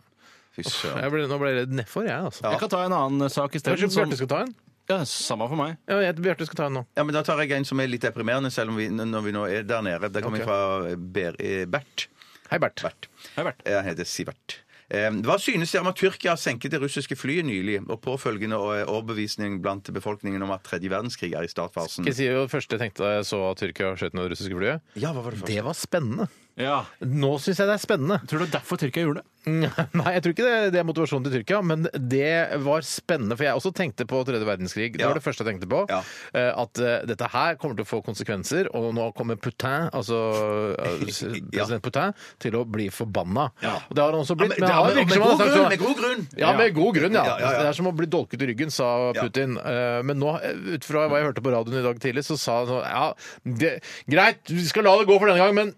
Speaker 3: Fy søren.
Speaker 7: Jeg ble, nå ble jeg redd nedfor, jeg, altså.
Speaker 8: Jeg kan ta en annen sak i stedet.
Speaker 7: Kanskje
Speaker 8: som-
Speaker 7: Bjarte skal ta en? sånn-
Speaker 8: Ja, samme for meg.
Speaker 7: Ja, jeg- Bjarte skal ta en nå.
Speaker 3: Ja, men Da tar jeg en som er litt deprimerende, selv om vi, når vi nå er der nede. Der kommer jeg fra Ber, eh, Bert.
Speaker 7: Hei, Bert.
Speaker 3: Bert.
Speaker 8: Hei, Bert.
Speaker 3: Jeg heter Sivert. Eh, Hva synes dere om at Tyrkia senket det russiske flyet nylig, og påfølgende eh, overbevisning blant befolkningen om at tredje verdenskrig er i startfasen?
Speaker 7: Skal jeg si jo det første jeg tenkte da jeg så at Tyrkia skjøt ned det russiske flyet?
Speaker 3: Ja, hva var det
Speaker 7: Det var spennende.
Speaker 8: Ja.
Speaker 7: Nå syns jeg det er spennende.
Speaker 8: Tror du det er derfor Tyrkia gjorde det?
Speaker 7: Nei, jeg tror ikke det, det er motivasjonen til Tyrkia, men det var spennende. For jeg også tenkte på tredje verdenskrig. Det
Speaker 3: Ja.
Speaker 7: var det første jeg tenkte på.
Speaker 3: Ja.
Speaker 7: eh, At eh, dette her kommer til å få konsekvenser, og nå kommer Putin, altså eh, president Putin, til å bli forbanna. Og det har han også blitt.
Speaker 3: Ja, men-
Speaker 7: han
Speaker 3: ja, men-
Speaker 7: virker som
Speaker 3: med
Speaker 7: han har
Speaker 3: god grunn,
Speaker 7: sagt
Speaker 3: med
Speaker 7: sånn-
Speaker 3: god grunn.
Speaker 7: Ja, med god grunn, ja.
Speaker 3: Ja, ja, ja.
Speaker 7: Det er som å bli dolket i ryggen, sa
Speaker 3: Ja.
Speaker 7: Putin. Eh, Men nå, eh, ut fra hva jeg hørte på radioen i dag tidlig, så sa han sånn Ja, det, greit, vi skal la det gå for denne gang, men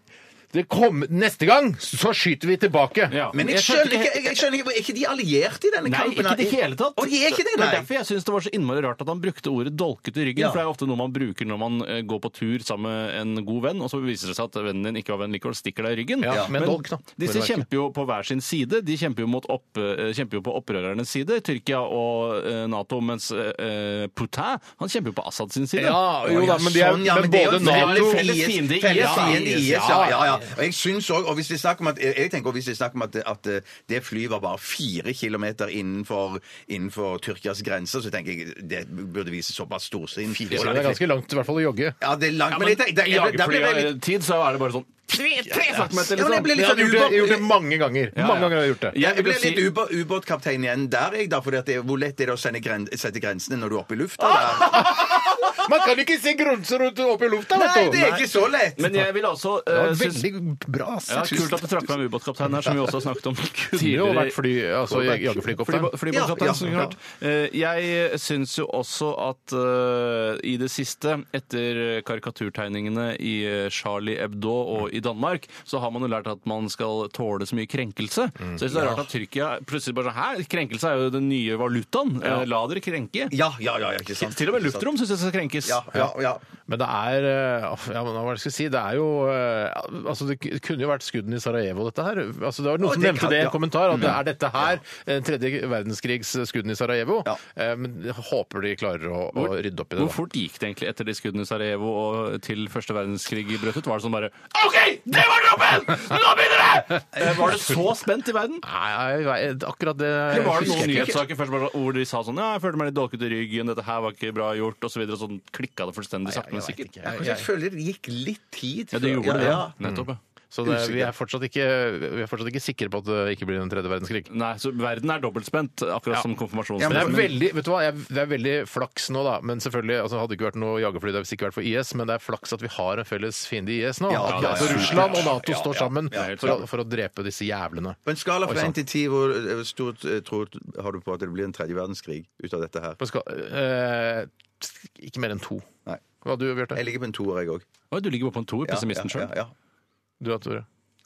Speaker 7: det kom, neste gang så skyter vi tilbake.
Speaker 8: Ja.
Speaker 3: Men jeg skjønner ikke, jeg, jeg skjønner ikke Er ikke de allierte i denne
Speaker 8: Nei,
Speaker 3: kampen?
Speaker 8: ikke i det hele tatt.
Speaker 3: Og de er ikke det,
Speaker 8: Det
Speaker 3: nei.
Speaker 8: er derfor jeg syns det var så innmari rart at han brukte ordet 'dolket i ryggen',
Speaker 3: Ja.
Speaker 8: for det er jo ofte noe man bruker når man eh, går på tur sammen med en god venn, og så viser det seg at vennen din ikke var venn likevel, stikker deg i ryggen.
Speaker 7: Ja, med dolk, da.
Speaker 8: Disse
Speaker 7: Vil det
Speaker 8: kjemper jo på hver sin side. De kjemper jo, mot opp, eh, kjemper jo på opprørernes side, Tyrkia og eh, Nato, mens eh, Putin han kjemper jo på Assad sin side.
Speaker 7: Ja, jo da,
Speaker 3: Å, ja,
Speaker 7: men de er,
Speaker 3: sånn, ja,
Speaker 7: men
Speaker 3: det er jo
Speaker 7: både
Speaker 3: en
Speaker 7: Nato
Speaker 8: felles fiende i IS,
Speaker 3: Felles
Speaker 8: ja.
Speaker 3: fiende i IS, ja, ja, ja. Og jeg syns også, og hvis det er snakk om at, jeg tenker også hvis det er snakk om at, at eh, det flyet var bare fire kilometer innenfor, innenfor Tyrkias grenser, så tenker jeg det burde vise såpass storsinn.
Speaker 7: Det er ganske langt i hvert fall å jogge.
Speaker 3: Ja, det er langt,
Speaker 8: Ja,
Speaker 3: men,
Speaker 8: men
Speaker 3: jeg tenker- der-
Speaker 8: i
Speaker 3: jeg ble- der ble jeg litt
Speaker 8: jagerflytid så er det bare sånn tre, tre centimeter,
Speaker 3: Ja, men jeg
Speaker 8: liksom.
Speaker 3: ble litt
Speaker 7: Jeg har
Speaker 3: sånn
Speaker 7: gjort det, jeg har gjort
Speaker 3: ubåt...
Speaker 7: det mange ganger. Mange ganger har jeg gjort det.
Speaker 8: Jeg
Speaker 3: Jeg
Speaker 8: vil
Speaker 3: ble
Speaker 8: jo si-
Speaker 3: litt ubå- ubåtkaptein igjen der, jeg, da, for hvor lett er det å sende gren sette grensene når du er oppe i lufta?
Speaker 8: Ah!
Speaker 3: Der?
Speaker 7: Man kan ikke se grunser rundt oppe i lufta,
Speaker 3: Nei,
Speaker 7: vet du!
Speaker 3: det er ikke så lett!
Speaker 8: Men jeg vil også
Speaker 7: Det
Speaker 8: eh,
Speaker 7: var
Speaker 8: synes-
Speaker 7: veldig bra
Speaker 8: Ja,
Speaker 7: sagt.
Speaker 8: kult at du trakk fram ubåtkapteinen her, som vi også har snakket om
Speaker 7: Tidligere har
Speaker 8: tidligere.
Speaker 7: vært fly,
Speaker 3: eh,
Speaker 7: altså jagerflykopter.
Speaker 8: Flybo- Flybåtkaptein,
Speaker 3: Ja, ja,
Speaker 8: som vi
Speaker 3: ja.
Speaker 8: har hørt. Eh, Jeg syns jo også at eh, i det siste, etter karikaturtegningene i eh, Charlie Hebdo og i Danmark, så har man jo lært at man skal tåle så mye
Speaker 3: Mm.
Speaker 8: krenkelse. Så jeg synes det er rart at Tyrkia plutselig bare sånn Hæ, krenkelse er jo den nye valutaen. Eh, La dere krenke.
Speaker 3: Ja, ja, ja, ja, ikke sant.
Speaker 8: Til og med
Speaker 3: Ikke sant.
Speaker 8: luftrom syns jeg skal krenkes.
Speaker 3: Ja, ja, ja.
Speaker 7: Men det er eh, åh, ja, men hva skal jeg si, det er jo eh, altså Det k- kunne jo vært skuddene i Sarajevo, dette her. Altså, det var
Speaker 3: Å,
Speaker 7: Noen som
Speaker 3: det
Speaker 7: nevnte
Speaker 3: kan-
Speaker 7: det i
Speaker 3: ja. Mm.
Speaker 7: en kommentar, at det er dette her, eh, tredje verdenskrigs skuddene i Sarajevo.
Speaker 3: Ja.
Speaker 7: Eh, Men jeg håper de klarer å, å rydde opp i det.
Speaker 8: Hvor
Speaker 7: da.
Speaker 8: fort gikk det egentlig etter de skuddene i Sarajevo og til første verdenskrig brøt ut? Var det sånn bare OK, det var droppen! Nå begynner det! Eh, Var det så spent i verden?
Speaker 7: Nei, jeg vet- akkurat det
Speaker 8: Eller var det
Speaker 7: husker
Speaker 8: noen
Speaker 7: jeg ikke.
Speaker 8: nyhetssaker først bare, hvor de sa sånn Ja, jeg følte meg litt dolket i ryggen, dette her var ikke bra gjort, osv. Og så, videre, og sånn klikka det fullstendig sakte, men sikkert.
Speaker 7: Jeg-
Speaker 3: Kanskje jeg føler det gikk litt tid.
Speaker 8: Ja, det
Speaker 3: før-
Speaker 8: gjorde det.
Speaker 3: ja.
Speaker 8: ja. Nettopp, ja.
Speaker 7: Så det, vi, er fortsatt ikke, vi er fortsatt ikke sikre på at det ikke blir en tredje verdenskrig.
Speaker 8: Nei, så verden er dobbeltspent, akkurat som
Speaker 7: Men det er
Speaker 8: konfirmasjonsfesten.
Speaker 7: veldig, vet du hva, jeg, det er veldig flaks nå, da. Men selvfølgelig, altså, Hadde det ikke vært noe jagerfly, det hadde sikkert vært for IS, men det er flaks at vi har en felles fiende i IS nå.
Speaker 3: Ja,
Speaker 7: at
Speaker 3: ja,
Speaker 7: altså,
Speaker 3: ja, ja.
Speaker 7: Russland og Nato
Speaker 3: Ja,
Speaker 7: står
Speaker 3: ja,
Speaker 7: sammen
Speaker 3: ja, helt
Speaker 7: for, å, for å drepe disse jævlene.
Speaker 3: På en skala
Speaker 7: Oi,
Speaker 3: fra
Speaker 7: sant.
Speaker 3: 1 til 10, hvor eh, stort eh, tror du- har du på at det blir en tredje verdenskrig ut av dette her?
Speaker 7: Man skal, eh, ikke mer enn to.
Speaker 3: Nei.
Speaker 7: Hva du, Bjarte?
Speaker 3: Jeg ligger på en toer, jeg òg.
Speaker 8: Oi, du ligger bare på en toer, pessimisten sjøl.
Speaker 3: Ja, ja.
Speaker 7: Du da, Tore?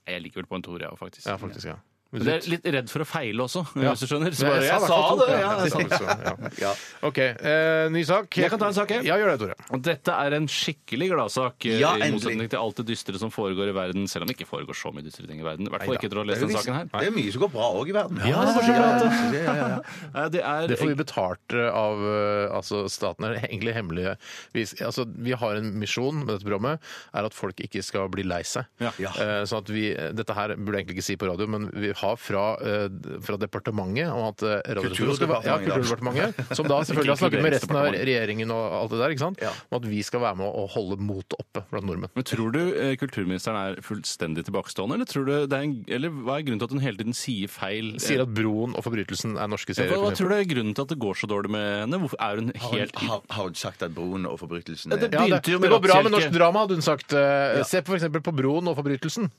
Speaker 8: Jeg ligger vel på en toer, jeg òg, faktisk.
Speaker 7: Ja, faktisk. ja.
Speaker 8: Men jeg er litt redd for å feile også,
Speaker 7: Ja.
Speaker 8: hvis du skjønner. Så
Speaker 7: Men
Speaker 8: bare, jeg
Speaker 7: i hvert
Speaker 8: sa
Speaker 7: fall to.
Speaker 8: det! Ja,
Speaker 7: Ja,
Speaker 8: jeg sa det.
Speaker 7: jeg sa faktisk, ja.
Speaker 3: Ja.
Speaker 7: OK. Eh, ny sak.
Speaker 8: Jeg kan ta en sak, jeg.
Speaker 7: Ja, gjør det, Tore.
Speaker 8: Og dette er en skikkelig gladsak, eh,
Speaker 3: Ja,
Speaker 8: i
Speaker 3: endelig.
Speaker 8: motsetning til alt det dystre som foregår i verden. Selv om det ikke foregår så mye dystre ting i verden. I hvert fall ikke etter å ha
Speaker 3: Det
Speaker 8: lest
Speaker 3: er jo
Speaker 8: denne
Speaker 3: vis-
Speaker 8: saken
Speaker 3: det
Speaker 8: her.
Speaker 3: er mye som går bra òg i verden.
Speaker 7: Ja, det er så
Speaker 3: ja, ja, ja, ja.
Speaker 8: Eh, Det er
Speaker 7: Det får vi betalt eh, av eh, altså staten. Det er egentlig hemmelige vi, altså, vi har en misjon med dette programmet, er at folk ikke skal bli lei seg.
Speaker 8: Ja.
Speaker 3: Ja.
Speaker 7: Eh, Sånn at vi, dette her burde jeg egentlig ikke si på radio, men vi har fra, eh, fra departementet og at eh, Radioresepsjonen skal være- ja, Kulturdepartementet, som da selvfølgelig har snakket med resten av regjeringen og alt det der, ikke sant?
Speaker 3: Ja.
Speaker 7: om at vi skal være med å holde motet oppe blant nordmenn.
Speaker 8: Men Tror du eh, kulturministeren er fullstendig tilbakestående, eller, tror du det er en, eller hva er grunnen til at hun hele tiden sier feil?
Speaker 7: Sier at Broen og Forbrytelsen er norske
Speaker 8: Ja,
Speaker 7: serier.
Speaker 8: hva,
Speaker 7: for
Speaker 8: hva
Speaker 7: eksempel.
Speaker 8: tror du er grunnen til at det går så dårlig med henne? Hvorfor er hun
Speaker 3: Har,
Speaker 8: helt
Speaker 3: hun- har, har hun sagt at broen og forbrytelsen
Speaker 8: Ja, det-
Speaker 3: er
Speaker 7: Ja, det,
Speaker 8: Begynte jo med
Speaker 7: det går bra med
Speaker 8: Rattkjelke.
Speaker 7: norsk drama, hadde hun sagt. Eh, Se på f.eks. på Broen og Forbrytelsen.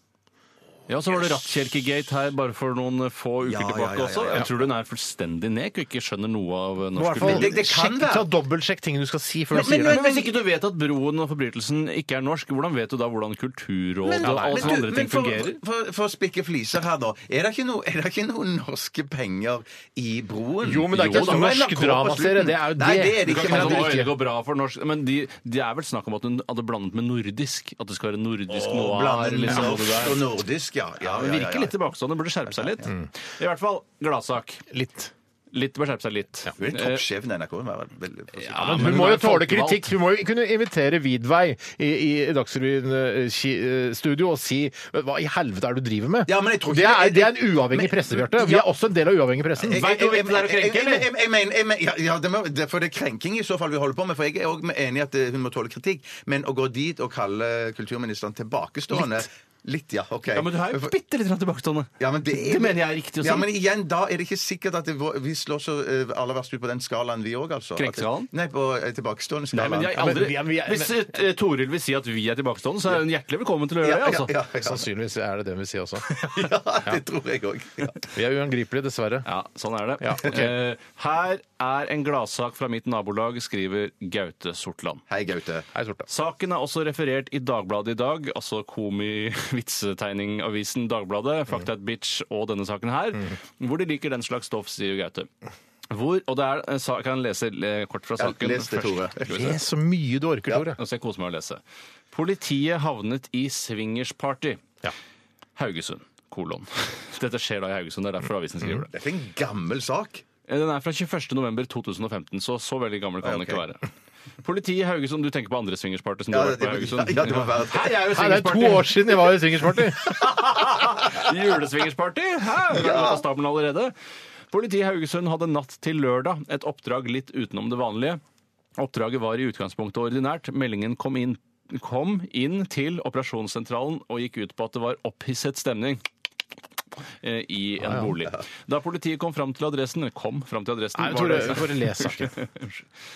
Speaker 8: Ja, så var det Rattkjelkegate her bare for noen eh, få uker
Speaker 3: Ja, ja,
Speaker 8: tilbake
Speaker 3: ja, ja,
Speaker 8: også.
Speaker 3: ja.
Speaker 8: Jeg tror du hun er fullstendig nek og ikke skjønner noe av eh,
Speaker 7: Må i hvert
Speaker 8: norsk
Speaker 7: fall
Speaker 3: Men det- det kan
Speaker 7: sjekk-
Speaker 3: være.
Speaker 7: Ta dobbeltsjekk ting du skal si før du
Speaker 8: Men,
Speaker 7: sier det.
Speaker 8: hvis ikke du vet at Broen og forbrytelsen ikke er norsk, hvordan vet du da hvordan Kulturrådet og alle sånne andre ting
Speaker 3: for,
Speaker 8: fungerer?
Speaker 3: for, for å spikke fliser her, da. Er det ikke noe- er det ikke noen norske penger i broen?
Speaker 7: Jo, men det er ikke
Speaker 3: Jo,
Speaker 7: en
Speaker 3: da.
Speaker 7: norsk
Speaker 3: NRK på
Speaker 7: dramaserie,
Speaker 3: slutten.
Speaker 7: det er jo det. Du kan
Speaker 3: Nei, det er det
Speaker 7: ikke
Speaker 3: ikke. Men
Speaker 8: Men
Speaker 7: kalle
Speaker 3: det
Speaker 8: det,
Speaker 3: er
Speaker 8: var,
Speaker 7: ikke.
Speaker 8: det går bra for norsk Men de, de er vel snakk om at hun hadde blandet med nordisk? At det skal være nordisk
Speaker 3: Å,
Speaker 8: noir?
Speaker 3: blande
Speaker 8: Liksom, og det
Speaker 3: norsk
Speaker 8: der.
Speaker 3: og nordisk, ja. ja,
Speaker 8: Ja,
Speaker 3: ja,
Speaker 8: men
Speaker 3: ja,
Speaker 8: virker
Speaker 3: ja.
Speaker 8: litt tilbakestående. Burde skjerpe seg litt. I hvert fall gladsak.
Speaker 7: Litt.
Speaker 8: Litt bør skjerpe seg litt.
Speaker 3: Hun er toppsjefen i NRK. Hun er vel,
Speaker 8: Eh, Ja,
Speaker 7: men
Speaker 8: men
Speaker 7: hun må
Speaker 8: hun er
Speaker 7: jo tåle
Speaker 8: folkevalgt.
Speaker 7: kritikk. Hun må jo kunne invitere Vidvei i, i eh, Dagsrevyen-studio og si hva i helvete er det du driver med?
Speaker 3: Ja, men jeg tror
Speaker 7: det,
Speaker 3: ikke-
Speaker 7: er, det er en uavhengig
Speaker 3: Men-
Speaker 7: presse, Bjarte. Vi
Speaker 3: Ja.
Speaker 7: er også en del av uavhengig pressen.
Speaker 3: Jeg-
Speaker 8: Vet du
Speaker 3: jeg-
Speaker 8: hvem det er å krenke, eller?
Speaker 3: jeg- jeg- jeg mener- jeg mener- ja, ja, det må- det- for det er krenking i så fall vi holder på med. For jeg er òg enig i at eh, hun må tåle kritikk. Men å gå dit og kalle kulturministeren tilbakestående Litt, ja. OK.
Speaker 8: Ja, men du er jo bitte litt tilbakestående.
Speaker 3: Ja, men det, er,
Speaker 8: Det mener jeg er riktig å si.
Speaker 3: Ja, men igjen, da er det ikke sikkert at det, vår- vi slår så eh, aller verst ut på den skalaen, vi òg, altså. At-
Speaker 8: Krenkeskalaen?
Speaker 3: Nei, på eh, tilbakestående
Speaker 8: Nei,
Speaker 3: skalaen.
Speaker 8: men jeg
Speaker 7: Ja, men
Speaker 8: aldri,
Speaker 7: vi er- vi er-
Speaker 8: Hvis eh, Toril vil si at vi er tilbakestående, så er hun hjertelig velkommen til å gjøre
Speaker 3: ja,
Speaker 8: det.
Speaker 3: ja,
Speaker 8: altså.
Speaker 3: ja, ja,
Speaker 7: Sannsynligvis er det det vi sier også.
Speaker 3: ja, det tror jeg òg. Ja.
Speaker 7: Vi er uangripelige, dessverre.
Speaker 8: Ja, sånn er det.
Speaker 7: Ja, ok.
Speaker 8: Eh, her er en gladsak fra mitt nabolag, skriver Gaute Sortland.
Speaker 3: Hei, Gaute.
Speaker 7: Hei, Sorte.
Speaker 8: Saken er også referert i Dagbladet i dag, altså komi-vitsetegningavisen Dagbladet, Fuck That Bitch og denne saken her, hvor de liker den slags stoff, sier Gaute. Hvor, og det er, en sak- kan jeg lese eh, kort fra
Speaker 3: Ja,
Speaker 8: saken
Speaker 3: les det, Tore.
Speaker 8: først? Skal vi se.
Speaker 7: Les så mye du orker, Tore.
Speaker 8: Nå skal jeg kose meg å lese. Politiet havnet i swingersparty.
Speaker 7: Ja.
Speaker 8: Haugesund. Kolon. Dette skjer da i Haugesund, det er derfor avisen skriver det.
Speaker 3: Dette er en gammel sak.
Speaker 8: Eh, Den er fra 21.11.2015, så så veldig gammel kan
Speaker 3: Ja,
Speaker 8: den
Speaker 3: ok.
Speaker 8: ikke være. Politiet i Haugesund, du tenker på andre swingersparty som
Speaker 3: Ja,
Speaker 8: du har
Speaker 3: det, sånn-
Speaker 8: vært på i Haugesund?
Speaker 3: ja, det må være
Speaker 8: Hei, jeg er jo
Speaker 7: Nei, det er to år
Speaker 8: swingersparty!
Speaker 7: siden jeg var i swingersparty!
Speaker 8: Juleswingersparty! Her er det av stabelen allerede. Politiet i Haugesund hadde natt til lørdag et oppdrag litt utenom det vanlige. Oppdraget var i utgangspunktet ordinært. Meldingen kom inn, kom inn til operasjonssentralen og gikk ut på at det var opphisset stemning eh, i
Speaker 3: Ah,
Speaker 8: en bolig. Da politiet kom fram til adressen Kom fram til adressen.
Speaker 7: Nei,
Speaker 8: var
Speaker 7: Tore,
Speaker 8: det-
Speaker 7: bare les saken.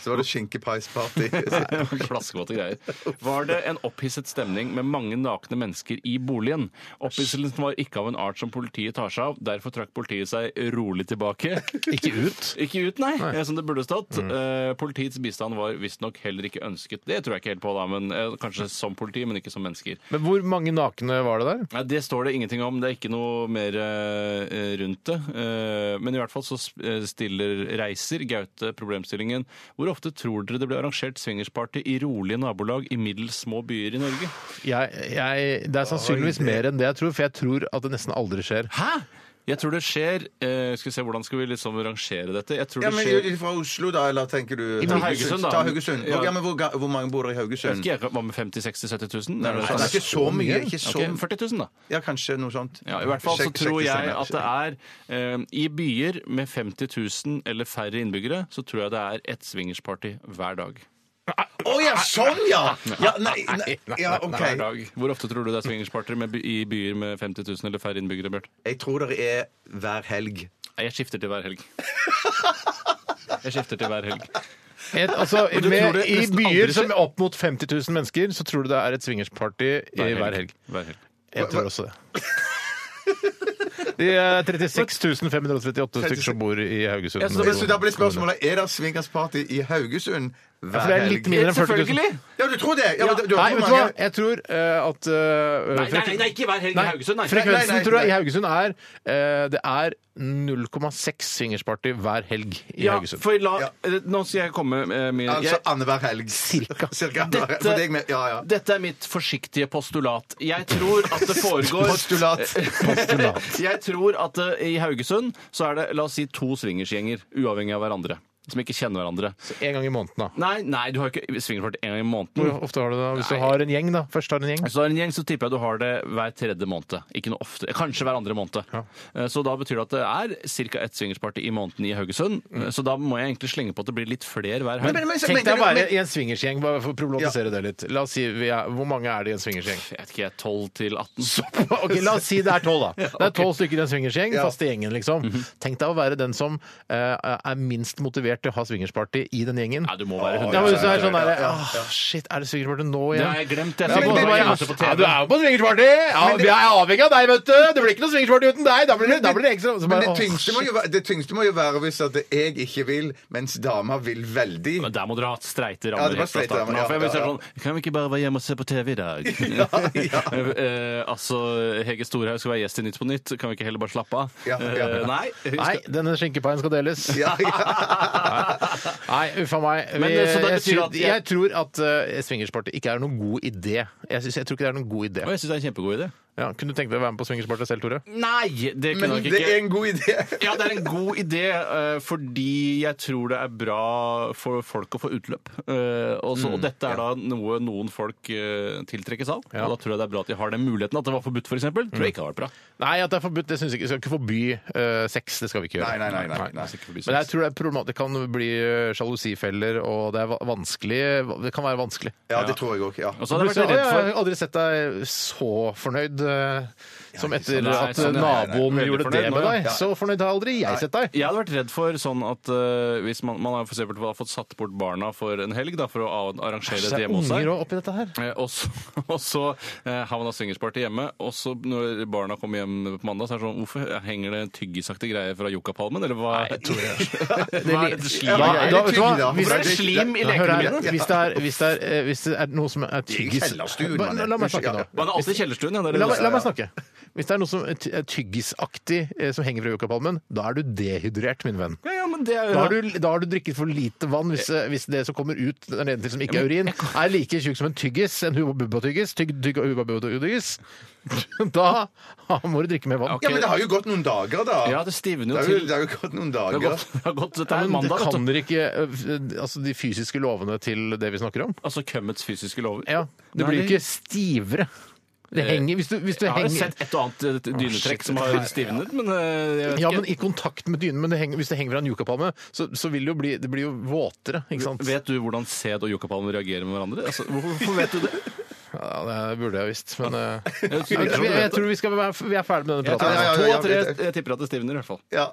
Speaker 3: Så var det skinkepies-party.
Speaker 8: Flaskevåte greier. Var det en opphisset stemning med mange nakne mennesker i boligen? Opphisselsen var ikke av en art som politiet tar seg av, derfor trakk politiet seg rolig tilbake.
Speaker 7: Ikke ut.
Speaker 8: Ikke ut, nei, eh, som det burde stått. Eh, Politiets bistand var visstnok heller ikke ønsket. Det tror jeg ikke helt på, da, men eh, kanskje som politi, men ikke som mennesker.
Speaker 7: Men hvor mange nakne var det der?
Speaker 8: Nei, Det står det ingenting om. Det er ikke noe mer eh, rundt det. Eh, men i hvert fall så sp- eh, stiller Reiser Gaute problemstillingen. Hvor ofte tror dere det ble arrangert swingersparty i rolige nabolag i middels små byer i Norge?
Speaker 7: Jeg, jeg, det er sannsynligvis mer enn det jeg tror, for jeg tror at det nesten aldri skjer.
Speaker 8: Hæ? Jeg tror det skjer eh, Skal vi se, hvordan skal vi liksom rangere dette? Jeg tror
Speaker 3: Ja,
Speaker 8: det
Speaker 3: men
Speaker 8: skjer
Speaker 3: er du Fra Oslo, da, eller tenker du
Speaker 8: Ta Haugesund, da.
Speaker 3: Ta Haugesund.
Speaker 8: Ja.
Speaker 3: Ja, men hvor, ga- hvor mange bor der i
Speaker 8: Jeg vet
Speaker 3: Haugesund?
Speaker 8: ikke, jeg, Hva med 50 60 70 000? Er det
Speaker 3: Nei,
Speaker 8: sånn?
Speaker 3: det er ikke så mye. Ikke så,
Speaker 8: Ok, 40 000, da.
Speaker 3: ja, kanskje noe sånt.
Speaker 8: Ja, I hvert fall så
Speaker 3: Sjekk-
Speaker 8: tror
Speaker 3: sjekk
Speaker 8: jeg at
Speaker 3: stemmer.
Speaker 8: det er eh, I byer med 50 000 eller færre innbyggere, så tror jeg det er ett swingersparty hver dag.
Speaker 3: Å ja, sånn, ja! ja nei, nei, ja, OK.
Speaker 8: Hver dag. Hvor ofte tror du det er swingersparty med by- i byer med 50 000 eller færre innbyggere, Bjørt?
Speaker 3: Jeg tror det er hver helg.
Speaker 8: Nei, Jeg skifter til hver helg. Jeg skifter til hver helg.
Speaker 7: Et, altså,
Speaker 8: du tror
Speaker 7: med,
Speaker 8: det
Speaker 7: I
Speaker 8: nesten
Speaker 7: byer
Speaker 8: aldri
Speaker 7: som
Speaker 8: skjer?
Speaker 7: opp mot 50 000 mennesker, så tror du det er et swingersparty i hver helg.
Speaker 8: Hver helg.
Speaker 7: Jeg tror også det. De eh, er 36 538 stykker som bor i Haugesund.
Speaker 8: Ja, så-
Speaker 3: Så da blir spørsmålet er det swingersparty i Haugesund
Speaker 7: for
Speaker 3: hver
Speaker 7: det er
Speaker 3: helg.
Speaker 7: litt mindre enn 40 000.
Speaker 8: Selvfølgelig!
Speaker 3: Ja, du tror det? Ja, men, du, du,
Speaker 7: Nei,
Speaker 3: har
Speaker 7: vet
Speaker 3: så
Speaker 7: du hva?
Speaker 3: mange-
Speaker 7: Jeg tror eh, at eh,
Speaker 8: Nei, nei, nei, nei, ikke hver helg i
Speaker 7: Nei,
Speaker 8: Haugesund, nei.
Speaker 7: Frekvensen
Speaker 3: Nei, nei,
Speaker 7: tror jeg i
Speaker 3: nei.
Speaker 7: Haugesund er eh, Det er 0,6 swingersparty hver helg i
Speaker 8: Ja,
Speaker 7: Haugesund.
Speaker 8: for la, eh, nå skal jeg komme med eh, min
Speaker 3: Altså
Speaker 8: jeg,
Speaker 3: annenhver helg.
Speaker 7: Cirka.
Speaker 3: Cirka annenhver helg. For deg
Speaker 8: dette,
Speaker 3: med, ja, ja.
Speaker 8: dette er mitt forsiktige postulat. Jeg tror at det foregår
Speaker 3: Postulat.
Speaker 8: Jeg tror at eh, i Haugesund så er det la oss si to swingersgjenger, uavhengig av hverandre. Som ikke kjenner hverandre.
Speaker 7: En gang i måneden, da.
Speaker 8: Nei, nei, du har ikke swingersparty en gang i måneden.
Speaker 7: Hvor ofte har du det da? Hvis du har en gjeng, da. Først har du en gjeng.
Speaker 8: Så har du en gjeng, så tipper jeg du har det hver tredje måned. Ikke noe ofte. Kanskje hver andre måned. Eh, Så da betyr det at det er ca. ett swingersparty i måneden i Haugesund. Eh, Så da må jeg egentlig slenge på at det blir litt flere hver helg.
Speaker 3: Mm. Men- men-
Speaker 7: Tenk deg å
Speaker 3: du-
Speaker 7: være
Speaker 3: men-
Speaker 7: i en swingersgjeng, bare for å problematisere det litt. La oss si vi er, Hvor mange er det i en swingersgjeng?
Speaker 8: Jeg vet ikke, 12 til 18.
Speaker 7: Ok, La oss si det er tolv, da. Det er tolv stykker i en swingersgjeng. Faste gjengen, liksom. Tenk deg å være den som eh, er minst motivert til å ha swingersparty i den gjengen.
Speaker 8: Nei, du må være
Speaker 7: Ja,
Speaker 8: 100
Speaker 7: men hvis du er sånn der, «Åh, Shit, er det swingersparty nå
Speaker 8: Det
Speaker 7: igjen?
Speaker 8: har jeg glemt. Jeg
Speaker 7: Ja,
Speaker 8: ser
Speaker 7: men
Speaker 8: på
Speaker 7: det-
Speaker 8: det på
Speaker 7: ja, ja, du
Speaker 8: TV.
Speaker 7: er jo på swingersparty! Ja, vi er avhengig av deg, vet du! Det blir ikke noe swingersparty uten deg! Da blir det, da blir det ekstra. Så
Speaker 3: Men
Speaker 7: bare,
Speaker 3: det
Speaker 7: «Åh,
Speaker 3: tyngste, må jo være, det tyngste må jo være hvis at jeg ikke vil, mens dama vil veldig.
Speaker 8: Men der må dere ha hatt streite
Speaker 3: Ja,
Speaker 8: rammer helt
Speaker 3: det var
Speaker 8: fra
Speaker 3: streite
Speaker 8: starten
Speaker 3: rammer,
Speaker 8: av. For jeg
Speaker 3: ja,
Speaker 8: vil si
Speaker 3: ja,
Speaker 8: sånn, kan vi ikke bare være hjemme og se på TV i dag? Eh, altså, Hege Storhaug skal være gjest i Nytt på Nytt. Kan vi ikke heller bare slappe av?
Speaker 3: Ja, ja.
Speaker 8: Eh, nei. vi
Speaker 7: Nei,
Speaker 8: skal-
Speaker 7: denne skinkepaien skal deles.
Speaker 3: Ja, ja.
Speaker 7: Nei, uffa meg. Vi,
Speaker 8: Men, eh, så det
Speaker 7: jeg,
Speaker 8: betyr
Speaker 7: syr-
Speaker 8: at jeg-
Speaker 7: jeg, eh, tror at uh, swingersparty ikke er noen god idé. Jeg, synes, jeg tror ikke det er noen god idé.
Speaker 8: Og jeg syns det er en kjempegod idé.
Speaker 7: Ja, kunne du tenke deg å være med på swingersparty selv, Tore?
Speaker 8: Nei, det kunne
Speaker 3: Men
Speaker 8: nok
Speaker 3: det
Speaker 8: ikke.
Speaker 3: er en god idé.
Speaker 8: Ja, det er en god idé, eh, fordi jeg tror det er bra for folk å få utløp. Eh, Og så- og dette er da noe noen folk eh, tiltrekkes av.
Speaker 7: Ja.
Speaker 8: Og da tror jeg det er bra at de har den muligheten. At det var forbudt, f.eks. Tror jeg ikke har vært bra.
Speaker 7: Nei, at det er forbudt, det synes jeg ikke. Vi skal ikke forby eh, sex. Det skal vi ikke gjøre.
Speaker 3: Nei, nei, nei, nei, nei.
Speaker 8: vi skal ikke forby
Speaker 7: Men jeg
Speaker 8: sex.
Speaker 7: tror det er problematisk. Det kan bli eh, sjalusifeller, og det er va- vanskelig Det kan være vanskelig.
Speaker 3: Ja, det tror jeg òg. Ja.
Speaker 8: Og så hadde jeg
Speaker 7: Du
Speaker 8: vært
Speaker 7: blir
Speaker 8: redd
Speaker 7: sånn, «Å, Jeg
Speaker 8: for
Speaker 7: har aldri sett deg så fornøyd eh, som etter
Speaker 8: Nei,
Speaker 7: at
Speaker 8: sånn, ja, ja, ja.
Speaker 7: naboen
Speaker 8: Veldig
Speaker 7: gjorde
Speaker 8: fornøyd
Speaker 7: det
Speaker 8: nå,
Speaker 7: med
Speaker 8: ja.
Speaker 7: deg. Så fornøyd har aldri jeg sett deg.
Speaker 8: jeg hadde vært redd for sånn at eh, hvis man, man har for eksempel fått satt bort barna for en helg da, for å av- arrangere
Speaker 7: Så
Speaker 8: et
Speaker 7: er
Speaker 8: hjemme hos
Speaker 7: unger
Speaker 8: seg,
Speaker 7: òg oppi dette her.
Speaker 8: Eh, Og så, og så eh, har man da swingersparty hjemme, og så når barna kommer hjem på mandag, så er det sånn Hvorfor henger det tyggisaktige greier fra yuccapalmen, eller hva? Nei, hva er det slim?
Speaker 3: Ja, men
Speaker 7: Nei,
Speaker 3: jeg er
Speaker 7: da,
Speaker 3: litt
Speaker 7: vet du hva?
Speaker 3: tydelig da, for
Speaker 7: Hvis
Speaker 3: det
Speaker 7: det er
Speaker 3: er litt-
Speaker 7: slim i
Speaker 3: Ja,
Speaker 8: hør her,
Speaker 7: lekemiddelet hvis, det er- hvis, det er, eh, hvis det er noe som er
Speaker 3: I
Speaker 7: tyggis
Speaker 3: kjellerstuen,
Speaker 7: Bare-
Speaker 3: mann.
Speaker 7: La meg snakke, da.
Speaker 3: Unnskyld, ja.
Speaker 8: Var det alltid kjellerstuen? Ja, det er
Speaker 7: La, meg- la
Speaker 8: det-
Speaker 7: meg snakke. Hvis det er noe som er ty- er tyggisaktig eh, som henger fra yuccapalmen, da er du dehydrert, min venn.
Speaker 8: ja, ja, men det er
Speaker 7: Da har,
Speaker 8: jo
Speaker 7: du, da har du drikket for lite vann hvis, eh, hvis det som kommer ut der nede til som ikke er urin, er like tjukk som en tyggis, en hubba-bubba-tyggis, tygg, tygg og hubba-bubba-tyggis, da må du drikke mer vann.
Speaker 8: Ok.
Speaker 3: Ja, men det har jo gått noen dager, da.
Speaker 8: Ja, det stivner jo
Speaker 3: Det har jo,
Speaker 8: til.
Speaker 3: det har jo gått noen
Speaker 8: Det har
Speaker 3: dager.
Speaker 8: gått, det har gått dette
Speaker 7: Ja,
Speaker 8: er
Speaker 7: men det
Speaker 8: mandag. vet
Speaker 7: kan
Speaker 8: du.
Speaker 7: dere ikke eh, altså, de fysiske lovene til det vi snakker om.
Speaker 8: Altså kømmets fysiske lover.
Speaker 7: Ja, Du
Speaker 8: Nei,
Speaker 7: blir jo
Speaker 8: det- Eh,
Speaker 7: ikke stivere. Det henger, hvis du, hvis du
Speaker 8: Jeg har jo
Speaker 7: henger
Speaker 8: sett et og annet eh, dynetrekk som har stivnet, men eh, jeg vet
Speaker 7: ja,
Speaker 8: ikke.
Speaker 7: men I kontakt med dynen, men det henger, hvis det henger fra en yucapalme, så, så vil det jo bli, det blir jo våtere. ikke sant?
Speaker 8: Vet du hvordan sæd og yuccapalmen reagerer med hverandre? Altså, hvorfor, hvorfor vet du det?
Speaker 7: Ja, Det burde jeg visst, men eh,
Speaker 8: Jeg tror-
Speaker 7: jeg,
Speaker 8: jeg tror
Speaker 7: jeg tror vi, skal være, vi er ferdig med
Speaker 8: Altså,
Speaker 7: denne
Speaker 8: To
Speaker 7: praten.
Speaker 3: ja, ja,
Speaker 8: av tre
Speaker 3: ja, ja.
Speaker 8: jeg tipper at det stivner, i hvert fall.
Speaker 3: Ja.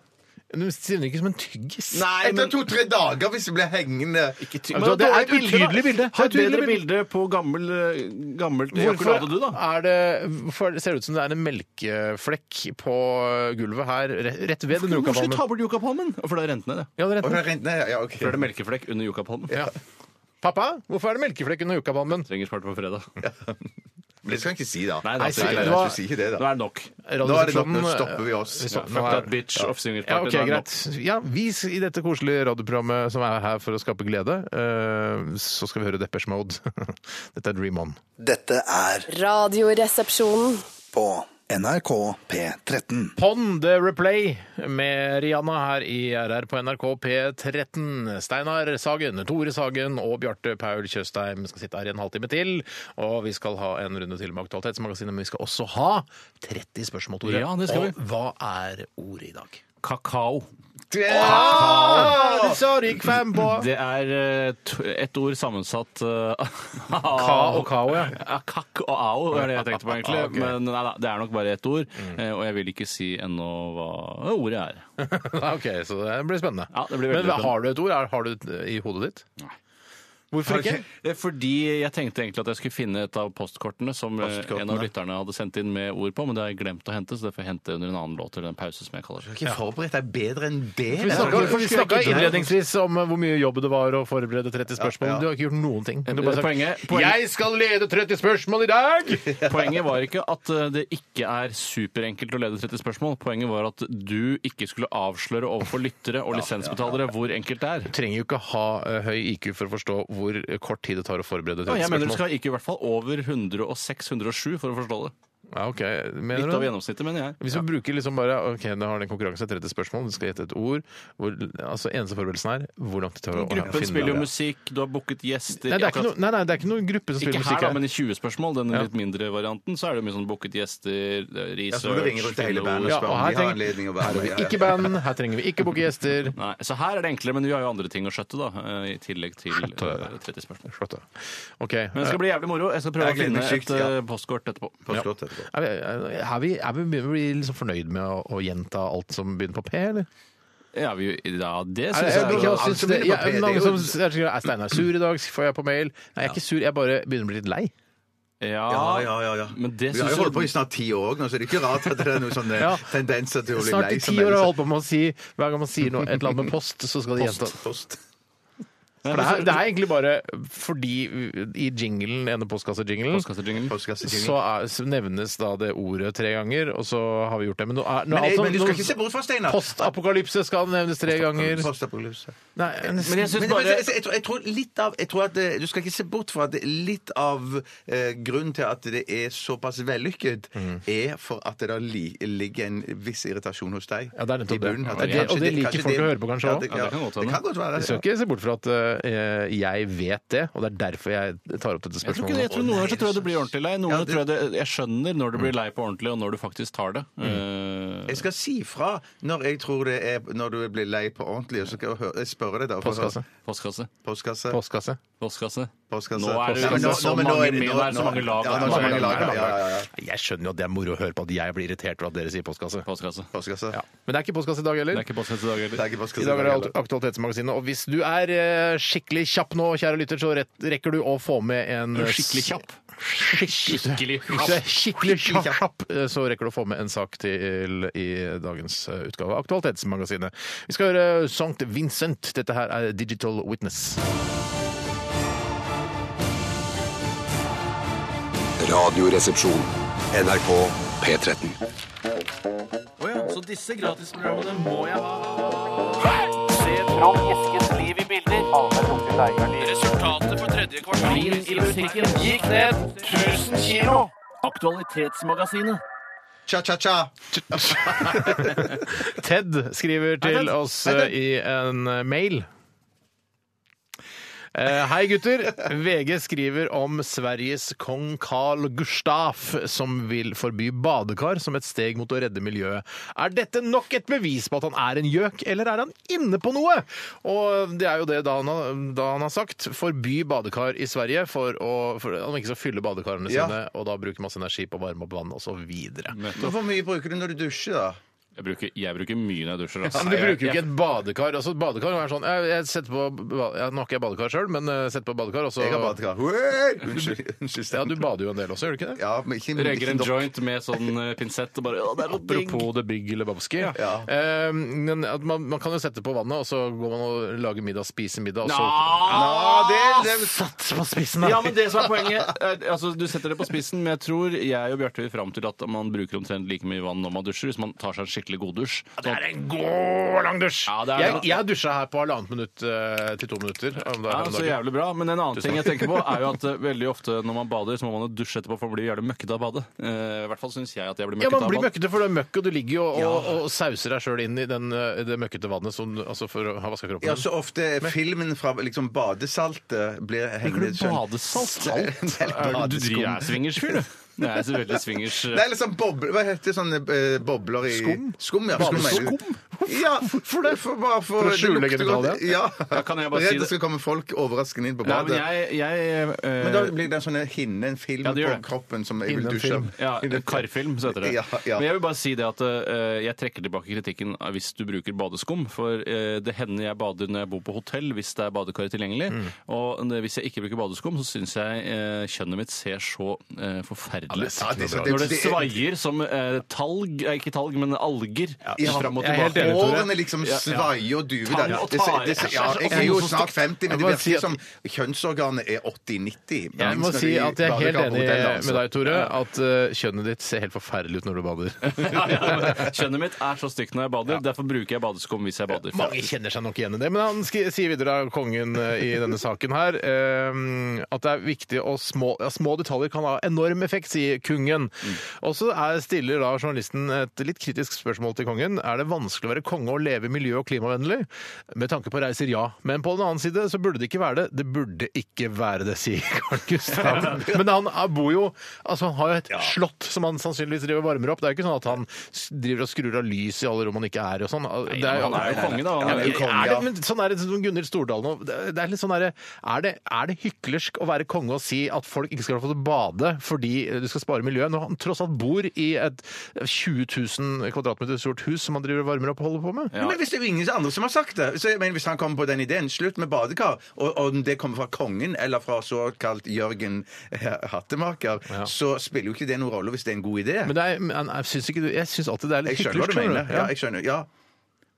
Speaker 7: Du stivner ikke som en tyggis.
Speaker 8: Nei,
Speaker 3: Etter to-tre dager, hvis det blir hengende
Speaker 8: ty-
Speaker 7: Men det er et
Speaker 8: dårlig bilde, da.
Speaker 7: utydelig bilde.
Speaker 8: Ha et
Speaker 7: Det er et
Speaker 8: bedre
Speaker 7: utydelig
Speaker 8: bilde på gammel, eh, gammelt ejakulat du, da.
Speaker 7: er det, hvorfor ser det ut som det er en melkeflekk på gulvet her, re- rett ved
Speaker 8: Hvorfor skal
Speaker 7: den
Speaker 8: du
Speaker 7: yucapalmen?
Speaker 8: ta bort yuccapalmen? For det er rentene, det.
Speaker 7: Ja, det er
Speaker 3: Å,
Speaker 7: rett
Speaker 3: det
Speaker 7: ved.
Speaker 3: er rent ned, ja, ok.
Speaker 8: For det er melkeflekk under yuccapalmen.
Speaker 7: Ja. Pappa, hvorfor er det melkeflekk under yucapalmen?
Speaker 8: Trenger spart på fredag.
Speaker 3: Men det skal han ikke si, da.
Speaker 8: Nei,
Speaker 7: si-
Speaker 8: nei, nei,
Speaker 7: det
Speaker 3: du
Speaker 7: var-
Speaker 3: skal si ikke det,
Speaker 8: Nå
Speaker 3: da.
Speaker 8: er det nok.
Speaker 3: Nå er det nok, nå stopper vi oss.
Speaker 7: Vi stopper.
Speaker 8: Fuck
Speaker 7: Nå er-
Speaker 8: that bitch of singersparty.
Speaker 7: Ja,
Speaker 8: nå
Speaker 7: ok,
Speaker 8: er det nok.
Speaker 7: greit. Ja, vi s- I dette koselige radioprogrammet som er her for å skape glede, eh, så skal vi høre Deppers Mode. Dette er Dream On.
Speaker 9: Dette er
Speaker 5: Radioresepsjonen.
Speaker 9: på NRK P13.
Speaker 7: Pond The Replay med Rihanna her i RR på NRK P13. Steinar Sagen, Tore Sagen og Bjarte Paul Tjøstheim skal sitte her i en halvtime til. Og vi skal ha en runde til med Aktualitetsmagasinet, men vi skal også ha 30 spørsmål, Tore.
Speaker 8: Ja, det skal
Speaker 7: og hva er ordet i dag?
Speaker 8: Kakao.
Speaker 7: Ah, det sa du ikke fem på!
Speaker 8: Det er eh, t- ett ord sammensatt eh,
Speaker 7: Ka og kao, ja.
Speaker 8: Ja, Kakk og ao er det jeg tenkte på, egentlig.
Speaker 7: Ah, ok. Mm.
Speaker 8: Men nei, da, det er nok bare ett ord. eh, Og jeg vil ikke si ennå hva ordet er.
Speaker 7: Ja, ok, så det blir spennende.
Speaker 8: Ja, det blir veldig
Speaker 7: Men
Speaker 8: spennende.
Speaker 7: har du et ord? Er- Har du det i hodet ditt? Nei. Hvorfor ikke?
Speaker 8: Eh, Fordi jeg tenkte egentlig at jeg skulle finne et av postkortene som eh, en av lytterne hadde sendt inn med ord på, men det har jeg glemt å hente, så det får jeg hente under en annen låt eller en pause, som jeg kaller det.
Speaker 3: Ikke forberedt deg bedre enn det.
Speaker 7: Vi snakket- Vi snakka
Speaker 3: Nei.
Speaker 7: innledningsvis om eh, hvor mye jobb det var å forberede 30 spørsmål.
Speaker 3: Ja, ja.
Speaker 7: Du har ikke gjort noen ting. Du har
Speaker 8: Eh,
Speaker 7: bare sagt,
Speaker 8: poenget- poenget-
Speaker 7: Jeg skal lede 30 spørsmål i dag!
Speaker 8: Poenget var ikke at eh, det ikke er superenkelt å lede 30 spørsmål. Poenget var at du ikke skulle avsløre overfor lyttere og lisensbetalere hvor enkelt det er.
Speaker 7: Du trenger jo ikke ha eh, høy IQ for å forstå hvor eh, kort tid det tar å forberede 30
Speaker 8: Ja, jeg mener du
Speaker 7: spørsmål.
Speaker 8: skal ikke i hvert fall over 106-107 for å forstå det.
Speaker 7: Ja, ok. Mener
Speaker 8: Litt
Speaker 7: du
Speaker 8: av
Speaker 7: det?
Speaker 8: gjennomsnittet, mener jeg.
Speaker 7: Hvis vi bruker liksom bare ok, da har den konkurransen 30 spørsmål, du skal gjette et ord hvor, altså Eneste forberedelsen er hvor langt det tar å
Speaker 8: Gruppen spiller jo musikk, du har booket gjester
Speaker 7: Nei, det er ikke noe, nei, nei, det er ikke noen gruppe som
Speaker 8: Ikke
Speaker 7: spiller
Speaker 8: her,
Speaker 7: musikk
Speaker 8: da, men
Speaker 7: her.
Speaker 8: i 20 spørsmål, den
Speaker 7: Ja.
Speaker 8: litt mindre varianten, så er det mye sånn booket gjester, det er
Speaker 3: Ja, så må du ringe rundt til hele
Speaker 8: finne ord.
Speaker 3: bandet
Speaker 7: Ja,
Speaker 3: og spørre
Speaker 7: og
Speaker 3: om
Speaker 7: her
Speaker 3: de har
Speaker 7: trenger-
Speaker 3: anledning å være
Speaker 7: Her
Speaker 3: med.
Speaker 7: er vi ikke band, her trenger vi ikke booke gjester.
Speaker 8: Nei, så her er det enklere, men vi har jo andre ting å skjøtte, da. eh, I tillegg til eh, 30 spørsmål.
Speaker 7: Flott, da. OK.
Speaker 8: Men det skal bli jævlig moro. Jeg skal prøve å
Speaker 3: Jeg gleder
Speaker 8: finne
Speaker 3: meg
Speaker 8: et
Speaker 3: sykt, ja.
Speaker 8: eh, postkort etterpå.
Speaker 3: Forstått etterpå.
Speaker 7: Er vi, er vi, er vi begynner å bli liksom fornøyd med å, å gjenta alt som begynner på P, eller?
Speaker 8: Ja, vi, ja det
Speaker 7: Er,
Speaker 8: syns
Speaker 7: er,
Speaker 8: jeg.
Speaker 7: jeg,
Speaker 8: er bra.
Speaker 3: alt
Speaker 7: syns
Speaker 3: som
Speaker 7: det,
Speaker 3: begynner på
Speaker 7: jeg,
Speaker 3: P, det er
Speaker 7: mange
Speaker 3: jo-
Speaker 7: som sier, er Steinar sur i dag? Får jeg på mail? Nei, jeg er ikke sur, jeg bare begynner å bli litt lei.
Speaker 3: Ja,
Speaker 8: Ja,
Speaker 3: ja, ja, ja.
Speaker 8: Men det
Speaker 3: Vi har
Speaker 8: synes
Speaker 3: jo
Speaker 8: jeg-
Speaker 3: holdt på i snart ti år nå, så det er ikke rart at det er noen sånne
Speaker 7: Ja.
Speaker 3: tendenser til å bli
Speaker 7: Snart
Speaker 3: lei
Speaker 7: i ti
Speaker 3: som
Speaker 7: år har jeg
Speaker 3: mennesker.
Speaker 7: holdt på med å si hver gang man sier noe, et eller annet med post, så skal de gjenta
Speaker 3: Post.
Speaker 7: For det er, det er egentlig bare fordi i jinglen, denne postkassejinglen,
Speaker 8: Postkassejinglen.
Speaker 7: så er, så nevnes da det ordet tre ganger, og så har vi gjort det. Men, nå er, nå,
Speaker 3: Men,
Speaker 7: altså,
Speaker 3: men du skal
Speaker 7: nå-
Speaker 3: ikke se bort fra, Steinar.
Speaker 7: Postapokalypse skal nevnes tre ganger.
Speaker 3: Postapokalypse.
Speaker 7: Nei,
Speaker 8: Men jeg
Speaker 3: Men,
Speaker 8: synes
Speaker 3: men
Speaker 8: bare
Speaker 3: jeg, jeg, tror, jeg tror litt av jeg tror at eh, Du skal ikke se bort fra at det- litt av eh, grunnen til at det er såpass vellykket,
Speaker 8: Mm.
Speaker 3: er for at det da li, ligger en viss irritasjon hos deg.
Speaker 7: Ja, det er nettopp
Speaker 3: i bunnen.
Speaker 7: det.
Speaker 3: At
Speaker 7: Og det- og det liker
Speaker 3: kanskje
Speaker 7: folk å høre på, kanskje,
Speaker 3: ja,
Speaker 7: også.
Speaker 3: det,
Speaker 8: Ja, det
Speaker 3: kan godt være. Det kan godt være.
Speaker 7: Jeg skal ikke se bort fra at eh, jeg vet det, og det er derfor jeg tar opp dette
Speaker 8: Jeg tror, ikke, det.
Speaker 7: spørsmålet.
Speaker 8: jeg tror Noen ganger så tror jeg du blir ordentlig lei. Noen
Speaker 3: Ja,
Speaker 8: ganger
Speaker 3: det-
Speaker 8: tror jeg det, jeg skjønner når du blir lei på ordentlig, og når du faktisk tar det. Eh,
Speaker 3: Jeg skal si fra når jeg tror det er når du blir lei på ordentlig, og så skal jeg høre- jeg spørre deg da. for å høre-
Speaker 7: Postkasse.
Speaker 8: postkasse.
Speaker 3: Postkasse.
Speaker 7: Postkasse.
Speaker 8: Postkasse.
Speaker 3: Postkasse.
Speaker 8: Nå er det
Speaker 3: Postkasse.
Speaker 8: liksom så
Speaker 3: Nei, men nå- nå-
Speaker 8: mange med,
Speaker 3: nå- nå-
Speaker 8: det er så mange lag.
Speaker 3: Ja, nå er det så mange lag. Ja, ja, ja, ja.
Speaker 7: Jeg skjønner jo at det er moro å høre på at jeg blir irritert over at dere sier postkasse.
Speaker 8: Postkasse.
Speaker 3: Postkasse.
Speaker 7: Ja. Men det er ikke postkasse i dag
Speaker 8: Det
Speaker 7: heller.
Speaker 8: er ikke postkasse i dag
Speaker 3: Det er
Speaker 8: heller.
Speaker 3: ikke postkasse.
Speaker 7: I dag er det Aktualitetsmagasinet, og hvis du er eh, skikkelig kjapp nå, kjære lytter, så rett, rekker du å få med en eh,
Speaker 8: Skikkelig kjapp.
Speaker 7: Skikkelig
Speaker 8: kjapp.
Speaker 7: kjapp. Skikkelig kjapp. eh, Så rekker du å få med en sak til i dagens eh, utgave av Aktualitetsmagasinet. Vi skal høre eh, Sankt Vincent. Dette her er Digital Witness.
Speaker 6: Radioresepsjon. NRK P13.
Speaker 8: Så disse gratisprogrammene må jeg ha. Resultatet på tredje kvartal i musikken gikk ned 1000 kilo. Aktualitetsmagasinet.
Speaker 3: Cha-cha-cha.
Speaker 7: Ted skriver
Speaker 3: Hei,
Speaker 7: til
Speaker 3: Ted.
Speaker 7: oss
Speaker 3: Hei,
Speaker 7: eh,
Speaker 3: Ted.
Speaker 7: i en eh, mail. Eh, hei, gutter. VG skriver om Sveriges kong Carl Gustaf, som vil forby badekar som et steg mot å redde miljøet. Er dette nok et bevis på at han er en gjøk, eller er han inne på noe? Og det er jo det da han har, da han har sagt. Forby badekar i Sverige for å for, Om ikke så fylle badekarene
Speaker 3: Ja.
Speaker 7: sine, og da bruke masse energi på å varme opp vann, og så videre.
Speaker 3: Men Hvor mye bruker du når du dusjer, da?
Speaker 8: Jeg bruker, jeg bruker mye når jeg dusjer.
Speaker 7: Ja,
Speaker 8: Altså.
Speaker 7: men du bruker jo
Speaker 8: Jeg-
Speaker 7: ikke et badekar. Altså, badekar er sånn, jeg, jeg setter på, ba- ja, Nå har ikke jeg badekar sjøl, men eh, setter på badekar, og så
Speaker 3: Jeg har badekar. Wow! Unnskyld. Unnskyld,
Speaker 7: Ja,
Speaker 3: Stein.
Speaker 7: du bader jo en del også, gjør du ikke det?
Speaker 3: Ja, men ikke,
Speaker 8: jeg Røyker
Speaker 3: ikke
Speaker 8: en
Speaker 3: nok.
Speaker 8: joint med sånn eh, pinsett og bare «Å, det er noe digg».
Speaker 7: Apropos det bygg lebowski.
Speaker 3: Ja.
Speaker 7: Eh, men at man, man kan jo sette på vannet, og så går man og lager middag, spiser middag, og så
Speaker 3: Ja, det, det,
Speaker 7: Satt på spissen,
Speaker 8: Ja, men det som er poenget er, altså, Du setter det på spissen, men jeg tror jeg og Bjarte vil fram til at man bruker omtrent like mye vann når man dusjer, hvis man tar seg en skikkelig god dusj.
Speaker 7: Det er en god lang dusj!
Speaker 8: Ja, det er
Speaker 7: jeg
Speaker 8: det.
Speaker 7: jeg dusja her på halvannet minutt eh, til to minutter. Om det er
Speaker 8: Ja,
Speaker 7: om
Speaker 8: så
Speaker 7: dagen.
Speaker 8: jævlig bra, Men en annen ting jeg tenker på, er jo at eh, veldig ofte når man bader, så må man jo dusje etterpå, for man blir jævlig møkkete av badet. Eh, I hvert fall syns jeg at jeg blir
Speaker 7: Ja,
Speaker 8: møkkete
Speaker 7: man blir
Speaker 8: av badet.
Speaker 7: møkkete, for det er møkk, og du ligger jo og, og sauser deg sjøl inn i den, eh, det møkkete vannet som, altså for å ha vaska kroppen.
Speaker 3: ja, så ofte filmen fra liksom, badesaltet blir hengende
Speaker 8: Bruker du badesalt?
Speaker 3: Salt?
Speaker 8: Er du- Du driver- er swingers-fyr, du. Nei, jeg er så veldig swingers. eh.
Speaker 3: Nei, eller sånn boble, hva heter sånne eh, bobler i
Speaker 7: Skum?
Speaker 3: Skum, ja. Skum, mener du. Ja, for det for, bare
Speaker 7: For
Speaker 3: for,
Speaker 7: å skjule
Speaker 3: det lukter
Speaker 7: genitalia?
Speaker 3: godt. Ja.
Speaker 8: Ja, kan jeg bare si
Speaker 3: Redd
Speaker 8: det?
Speaker 3: det skal komme folk overraskende inn på
Speaker 8: Nei, men
Speaker 3: badet.
Speaker 8: jeg, jeg eh,
Speaker 3: Men da blir det en sånn hinne, en film
Speaker 8: Ja, det
Speaker 3: på
Speaker 8: gjør det.
Speaker 3: kroppen som jeg vil
Speaker 7: Hinne, en
Speaker 3: dusje av.
Speaker 8: Ja, Karfilm, så heter det.
Speaker 3: Ja, ja.
Speaker 8: Men jeg vil bare si det at eh, jeg trekker tilbake kritikken av hvis du bruker badeskum. For eh, det hender jeg bader når jeg bor på hotell, hvis det er badekar tilgjengelig. Og det- hvis jeg ikke bruker badeskum, så syns jeg eh, kjønnet mitt ser så eh, forferdelig ut.
Speaker 3: Ja, det er så-
Speaker 8: Når det
Speaker 3: det-
Speaker 8: svaier som eh, talg eh, Ikke talg, men alger
Speaker 3: Ja,
Speaker 8: fram og
Speaker 7: jeg er helt
Speaker 8: tilbake.
Speaker 7: enig, Tore.
Speaker 3: Årene liksom svaier og duver
Speaker 8: Tang
Speaker 3: der.
Speaker 8: og
Speaker 3: Det ser- det
Speaker 8: tare.
Speaker 3: ser- ja, jeg er jo snart 50, men det
Speaker 7: må si
Speaker 3: virker
Speaker 7: at-
Speaker 3: som kjønnsorganet er 80-90.
Speaker 7: Jeg må si at jeg er helt enig
Speaker 3: altså?
Speaker 8: altså?
Speaker 7: med deg, Tore, at eh, kjønnet ditt ser helt forferdelig ut når du bader.
Speaker 8: Ja, ja, men Kjønnet mitt er så stygt når jeg bader, derfor bruker jeg badeskum hvis jeg bader.
Speaker 7: Mange kjenner seg nok igjen i det, men han skri- sier videre av kongen eh, i denne saken her eh, at det er viktig å små, ja, små detaljer kan ha enorm effekt, sier kongen.
Speaker 8: Mm.
Speaker 7: Og så er- stiller da journalisten et litt kritisk spørsmål til kongen. Er det vanskelig å være konge og leve miljø- og klimavennlig? Med tanke på reiser, ja. Men på den annen side så burde det ikke være det. Det burde ikke være det, sier Carl Gustav. Men han er- bor jo Altså, han har jo et slott som han sannsynligvis driver og varmer opp. Det er jo ikke sånn at han s- driver og skrur av lys i alle rom han ikke er i og sånn. Det er jo
Speaker 8: Han er jo konge, da.
Speaker 7: ja,
Speaker 8: Han er
Speaker 7: men
Speaker 8: jo konge.
Speaker 7: er det, men sånn er det som Gunnhild Stordalen og det det er, litt sånn der, er, det, er det hyklersk å være konge og si at folk ikke skal få bade fordi du skal spare miljøet, når han tross alt bor i et 20 000 kvadratmeter stort hus som han driver og varmer opp og holder på med?
Speaker 3: Men hvis det er jo ingen andre som har sagt det så jeg mener, Hvis han kommer på den ideen, slutt med badekar, og og om det kommer fra kongen eller fra såkalt Jørgen eh, Hattemaker, så spiller jo ikke det noen rolle hvis det er en god idé.
Speaker 7: Men det er, men jeg syns ikke du- Jeg syns alltid det er litt
Speaker 3: Jeg skjønner hva
Speaker 7: hyklersk.
Speaker 3: du mener.
Speaker 7: skjønner du?
Speaker 3: Ja, jeg skjønner. Ja.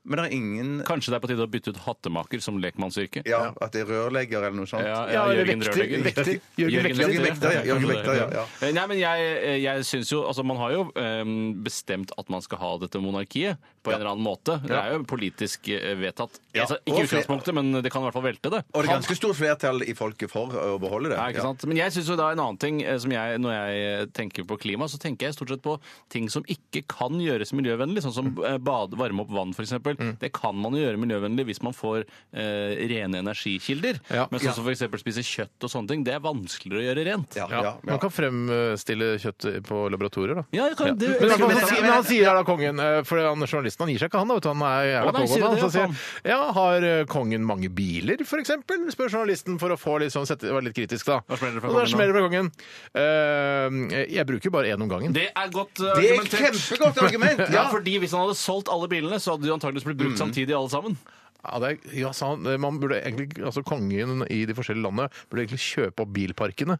Speaker 3: Men det er ingen
Speaker 8: Kanskje det er på tide å bytte ut hattemaker som lekmannsyrke?
Speaker 3: Ja, at det er rørlegger eller noe sånt.
Speaker 8: Ja, ja,
Speaker 7: Ja, eller
Speaker 8: Jørgen
Speaker 7: vekter,
Speaker 8: Rørlegger.
Speaker 7: vekter. Jørgen
Speaker 8: Jørgen
Speaker 7: Vekter.
Speaker 8: Vekter,
Speaker 3: Vekter, ja, Jørgen Vekter, ja, ja.
Speaker 8: Eh, Nei, men jeg, jeg syns jo Altså, man har jo ehm, bestemt at man skal ha dette monarkiet på en eller annen måte. Det er jo politisk eh, vedtatt.
Speaker 3: Ja.
Speaker 8: Altså,
Speaker 3: Og
Speaker 8: ikke i
Speaker 3: fler-
Speaker 8: utgangspunktet, men det kan i hvert fall velte det.
Speaker 3: Og det er ganske stort flertall i folket for å beholde det.
Speaker 8: Ja, ikke sant? Men jeg synes jo det er en annen ting eh, som jeg, når jeg eh, tenker på klima, så tenker jeg stort sett på ting som ikke kan gjøres miljøvennlig, sånn som eh, bad, varme opp vann f.eks.
Speaker 7: Mm.
Speaker 8: eksempel Det kan man jo gjøre miljøvennlig hvis man får eh, rene energikilder.
Speaker 7: Ja.
Speaker 8: Men sånn som f.eks. spise kjøtt og sånne ting, det er vanskeligere å gjøre rent.
Speaker 3: Ja, ja,
Speaker 7: Ja,
Speaker 3: ja.
Speaker 7: Man kan fremstille kjøtt på laboratorier, da.
Speaker 8: Ja, jeg kan, det,
Speaker 7: Men
Speaker 8: jeg skulle
Speaker 7: han, han,
Speaker 8: nesten-
Speaker 7: sier, men han sier her da kongen eh, For han, journalisten han gir seg ikke, han. da, vet du, Han er
Speaker 8: Å,
Speaker 7: jævla
Speaker 8: nei, sier
Speaker 7: pågående.
Speaker 8: du det,
Speaker 7: Han, så sier ja, har eh, kongen mange biler, for eksempel? Spør journalisten for å få litt sånn sette, være litt kritisk, da.
Speaker 8: Da smeller det fra
Speaker 7: Og da
Speaker 8: kongen, da.
Speaker 7: smeller det fra kongen. Eh, jeg bruker bare én om gangen.
Speaker 8: det er godt eh,
Speaker 3: Det er et
Speaker 8: argumentert.
Speaker 3: kjempegodt argument!
Speaker 8: Ja, fordi Hvis han hadde solgt alle bilene, så hadde de antakeligvis blitt
Speaker 7: Mm.
Speaker 8: brukt samtidig, alle sammen.
Speaker 7: Ja, det er, ja, sa han, eh, man burde egentlig, altså Kongen i de forskjellige landene burde egentlig kjøpe opp bilparkene.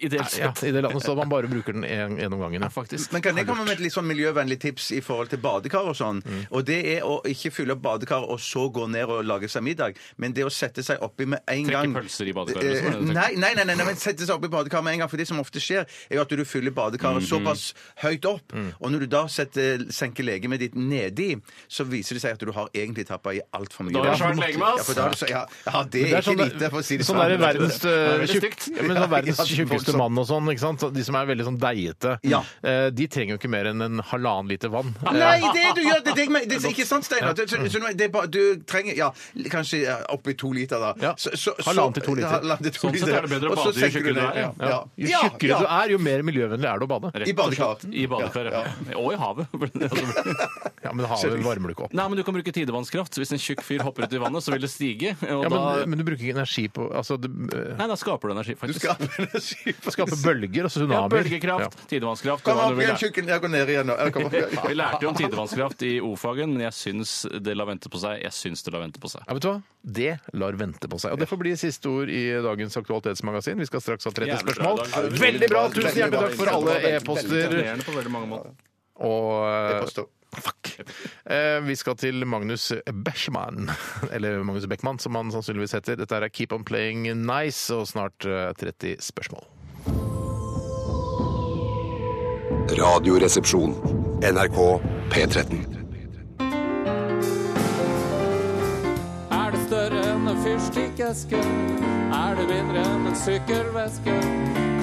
Speaker 8: Ideelt
Speaker 7: Ja,
Speaker 8: sett.
Speaker 7: I det landet så man bare bruker den én om gangen. Ja.
Speaker 8: Faktisk.
Speaker 3: Men kan jeg komme med et litt sånn miljøvennlig tips i forhold til badekar og sånn? Og det er å ikke fylle opp badekar og så gå ned og lage seg middag, men det å sette seg oppi med en
Speaker 8: Trekke
Speaker 3: gang
Speaker 8: pølser i badekaret,
Speaker 3: Eh,
Speaker 8: liksom, er det du tenker?
Speaker 3: Nei, nei, nei, nei, nei, men sette seg oppi badekar med en gang, for det som ofte skjer, er jo at du fyller badekaret såpass høyt opp, og når du da setter, senker legemet ditt nedi, så viser det seg at du har egentlig tappa i altfor mye.
Speaker 8: Da er det svært legeme, ass.
Speaker 3: Ja, for da er det så- ja, ja, det
Speaker 7: Det
Speaker 3: er ikke lite, for å si det
Speaker 7: sånn. er verdens,
Speaker 8: veldig
Speaker 7: eh,
Speaker 8: stygt.
Speaker 7: tjukk- ja, men sånn verdens
Speaker 3: Ja, ja,
Speaker 7: tjukkeste
Speaker 3: voldsomt.
Speaker 7: mann og sånn, ikke sant? Så de som er veldig sånn deigete,
Speaker 3: Ja. Ah,
Speaker 7: eh, de trenger jo ikke mer enn en halvannen liter vann.
Speaker 3: Nei, det du gjør, det er det jeg mener. Det er ikke sant, Steinar. Det- så- så nå- det er bare- Du trenger ja, kanskje ja, oppi to liter, da.
Speaker 7: Ja.
Speaker 3: Så- så- så-
Speaker 7: Halvannen til to liter.
Speaker 3: Halvannen til to
Speaker 8: Sånn sett
Speaker 3: liter.
Speaker 8: er det bedre å
Speaker 3: Og
Speaker 8: bade
Speaker 3: så
Speaker 8: jo
Speaker 3: senker du
Speaker 8: tjukkere
Speaker 3: ned,
Speaker 8: du er, ja.
Speaker 3: Ja.
Speaker 7: Jo
Speaker 3: Ja,
Speaker 7: tjukkere
Speaker 3: ja.
Speaker 7: du er, jo mer miljøvennlig er det å bade.
Speaker 8: Rett
Speaker 3: I
Speaker 8: og slett.
Speaker 3: badekar.
Speaker 8: I badekar, ja. Og i havet.
Speaker 7: Ja, Men havet varmer du ikke opp.
Speaker 8: Nei, men Du kan bruke tidevannskraft. Hvis en tjukk fyr hopper ut i vannet, så vil det stige. Og
Speaker 7: Ja,
Speaker 8: da,
Speaker 7: men, men du bruker ikke energi på altså, du, eh,
Speaker 8: nei, da skaper du energi,
Speaker 3: Du
Speaker 8: faktisk.
Speaker 3: skaper energi.
Speaker 7: Skape bølger, altså
Speaker 8: Ja,
Speaker 7: tsunamier.
Speaker 8: bølgekraft, tidevannskraft.
Speaker 3: Kom
Speaker 8: hva
Speaker 3: opp
Speaker 8: du vil
Speaker 3: igjen,
Speaker 8: lære.
Speaker 3: tjukken. Jeg går ned igjen nå. Jeg kommer opp igjen.
Speaker 8: Vi lærte jo om tidevannskraft i O-fagen, men jeg syns det la vente på seg. Jeg syns det la vente på seg.
Speaker 7: Ja, vet du hva? Det lar vente på seg. Og Det får bli siste ord i dagens Aktualitetsmagasin. Vi skal straks ha 30
Speaker 8: Jævlig bra
Speaker 7: spørsmål.
Speaker 8: i dag.
Speaker 7: Veldig bra! Tusen
Speaker 3: Veldig
Speaker 7: hjertelig
Speaker 3: bra.
Speaker 7: takk for alle
Speaker 3: Veldig bra.
Speaker 7: e-poster.
Speaker 8: Imponerende på veldig mange måter.
Speaker 7: Og eh,
Speaker 3: Påstå.
Speaker 7: Eh, Vi skal til Magnus Bechmann, eller Magnus Beckmann, som han sannsynligvis heter. Dette er Keep on playing nice, og snart eh, 30 spørsmål.
Speaker 6: Radioresepsjon. NRK P13.
Speaker 11: Er det større enn en fyrstikkeske? Er det mindre enn en sykkelveske?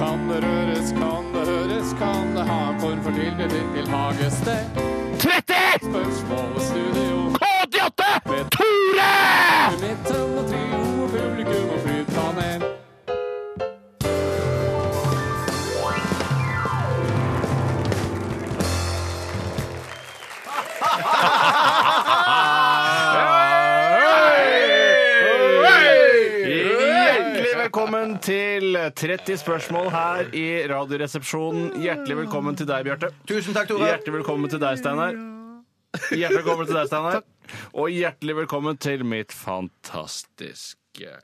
Speaker 11: Kan det røres, kan det høres, kan det ha en form for tilknytning til hagested?
Speaker 7: 30!
Speaker 11: Spørsmål og studio,
Speaker 7: K88! Tore!
Speaker 11: i midten og trio, publikum og flytpanel.
Speaker 8: Hjertelig velkommen til 30 spørsmål her i Radioresepsjonen. Hjertelig velkommen til deg, Bjarte.
Speaker 3: Tusen takk, Tore.
Speaker 8: Hjertelig velkommen til deg, Steinar. Hjertelig velkommen til deg, Steinar. Og hjertelig velkommen til mitt fantastiske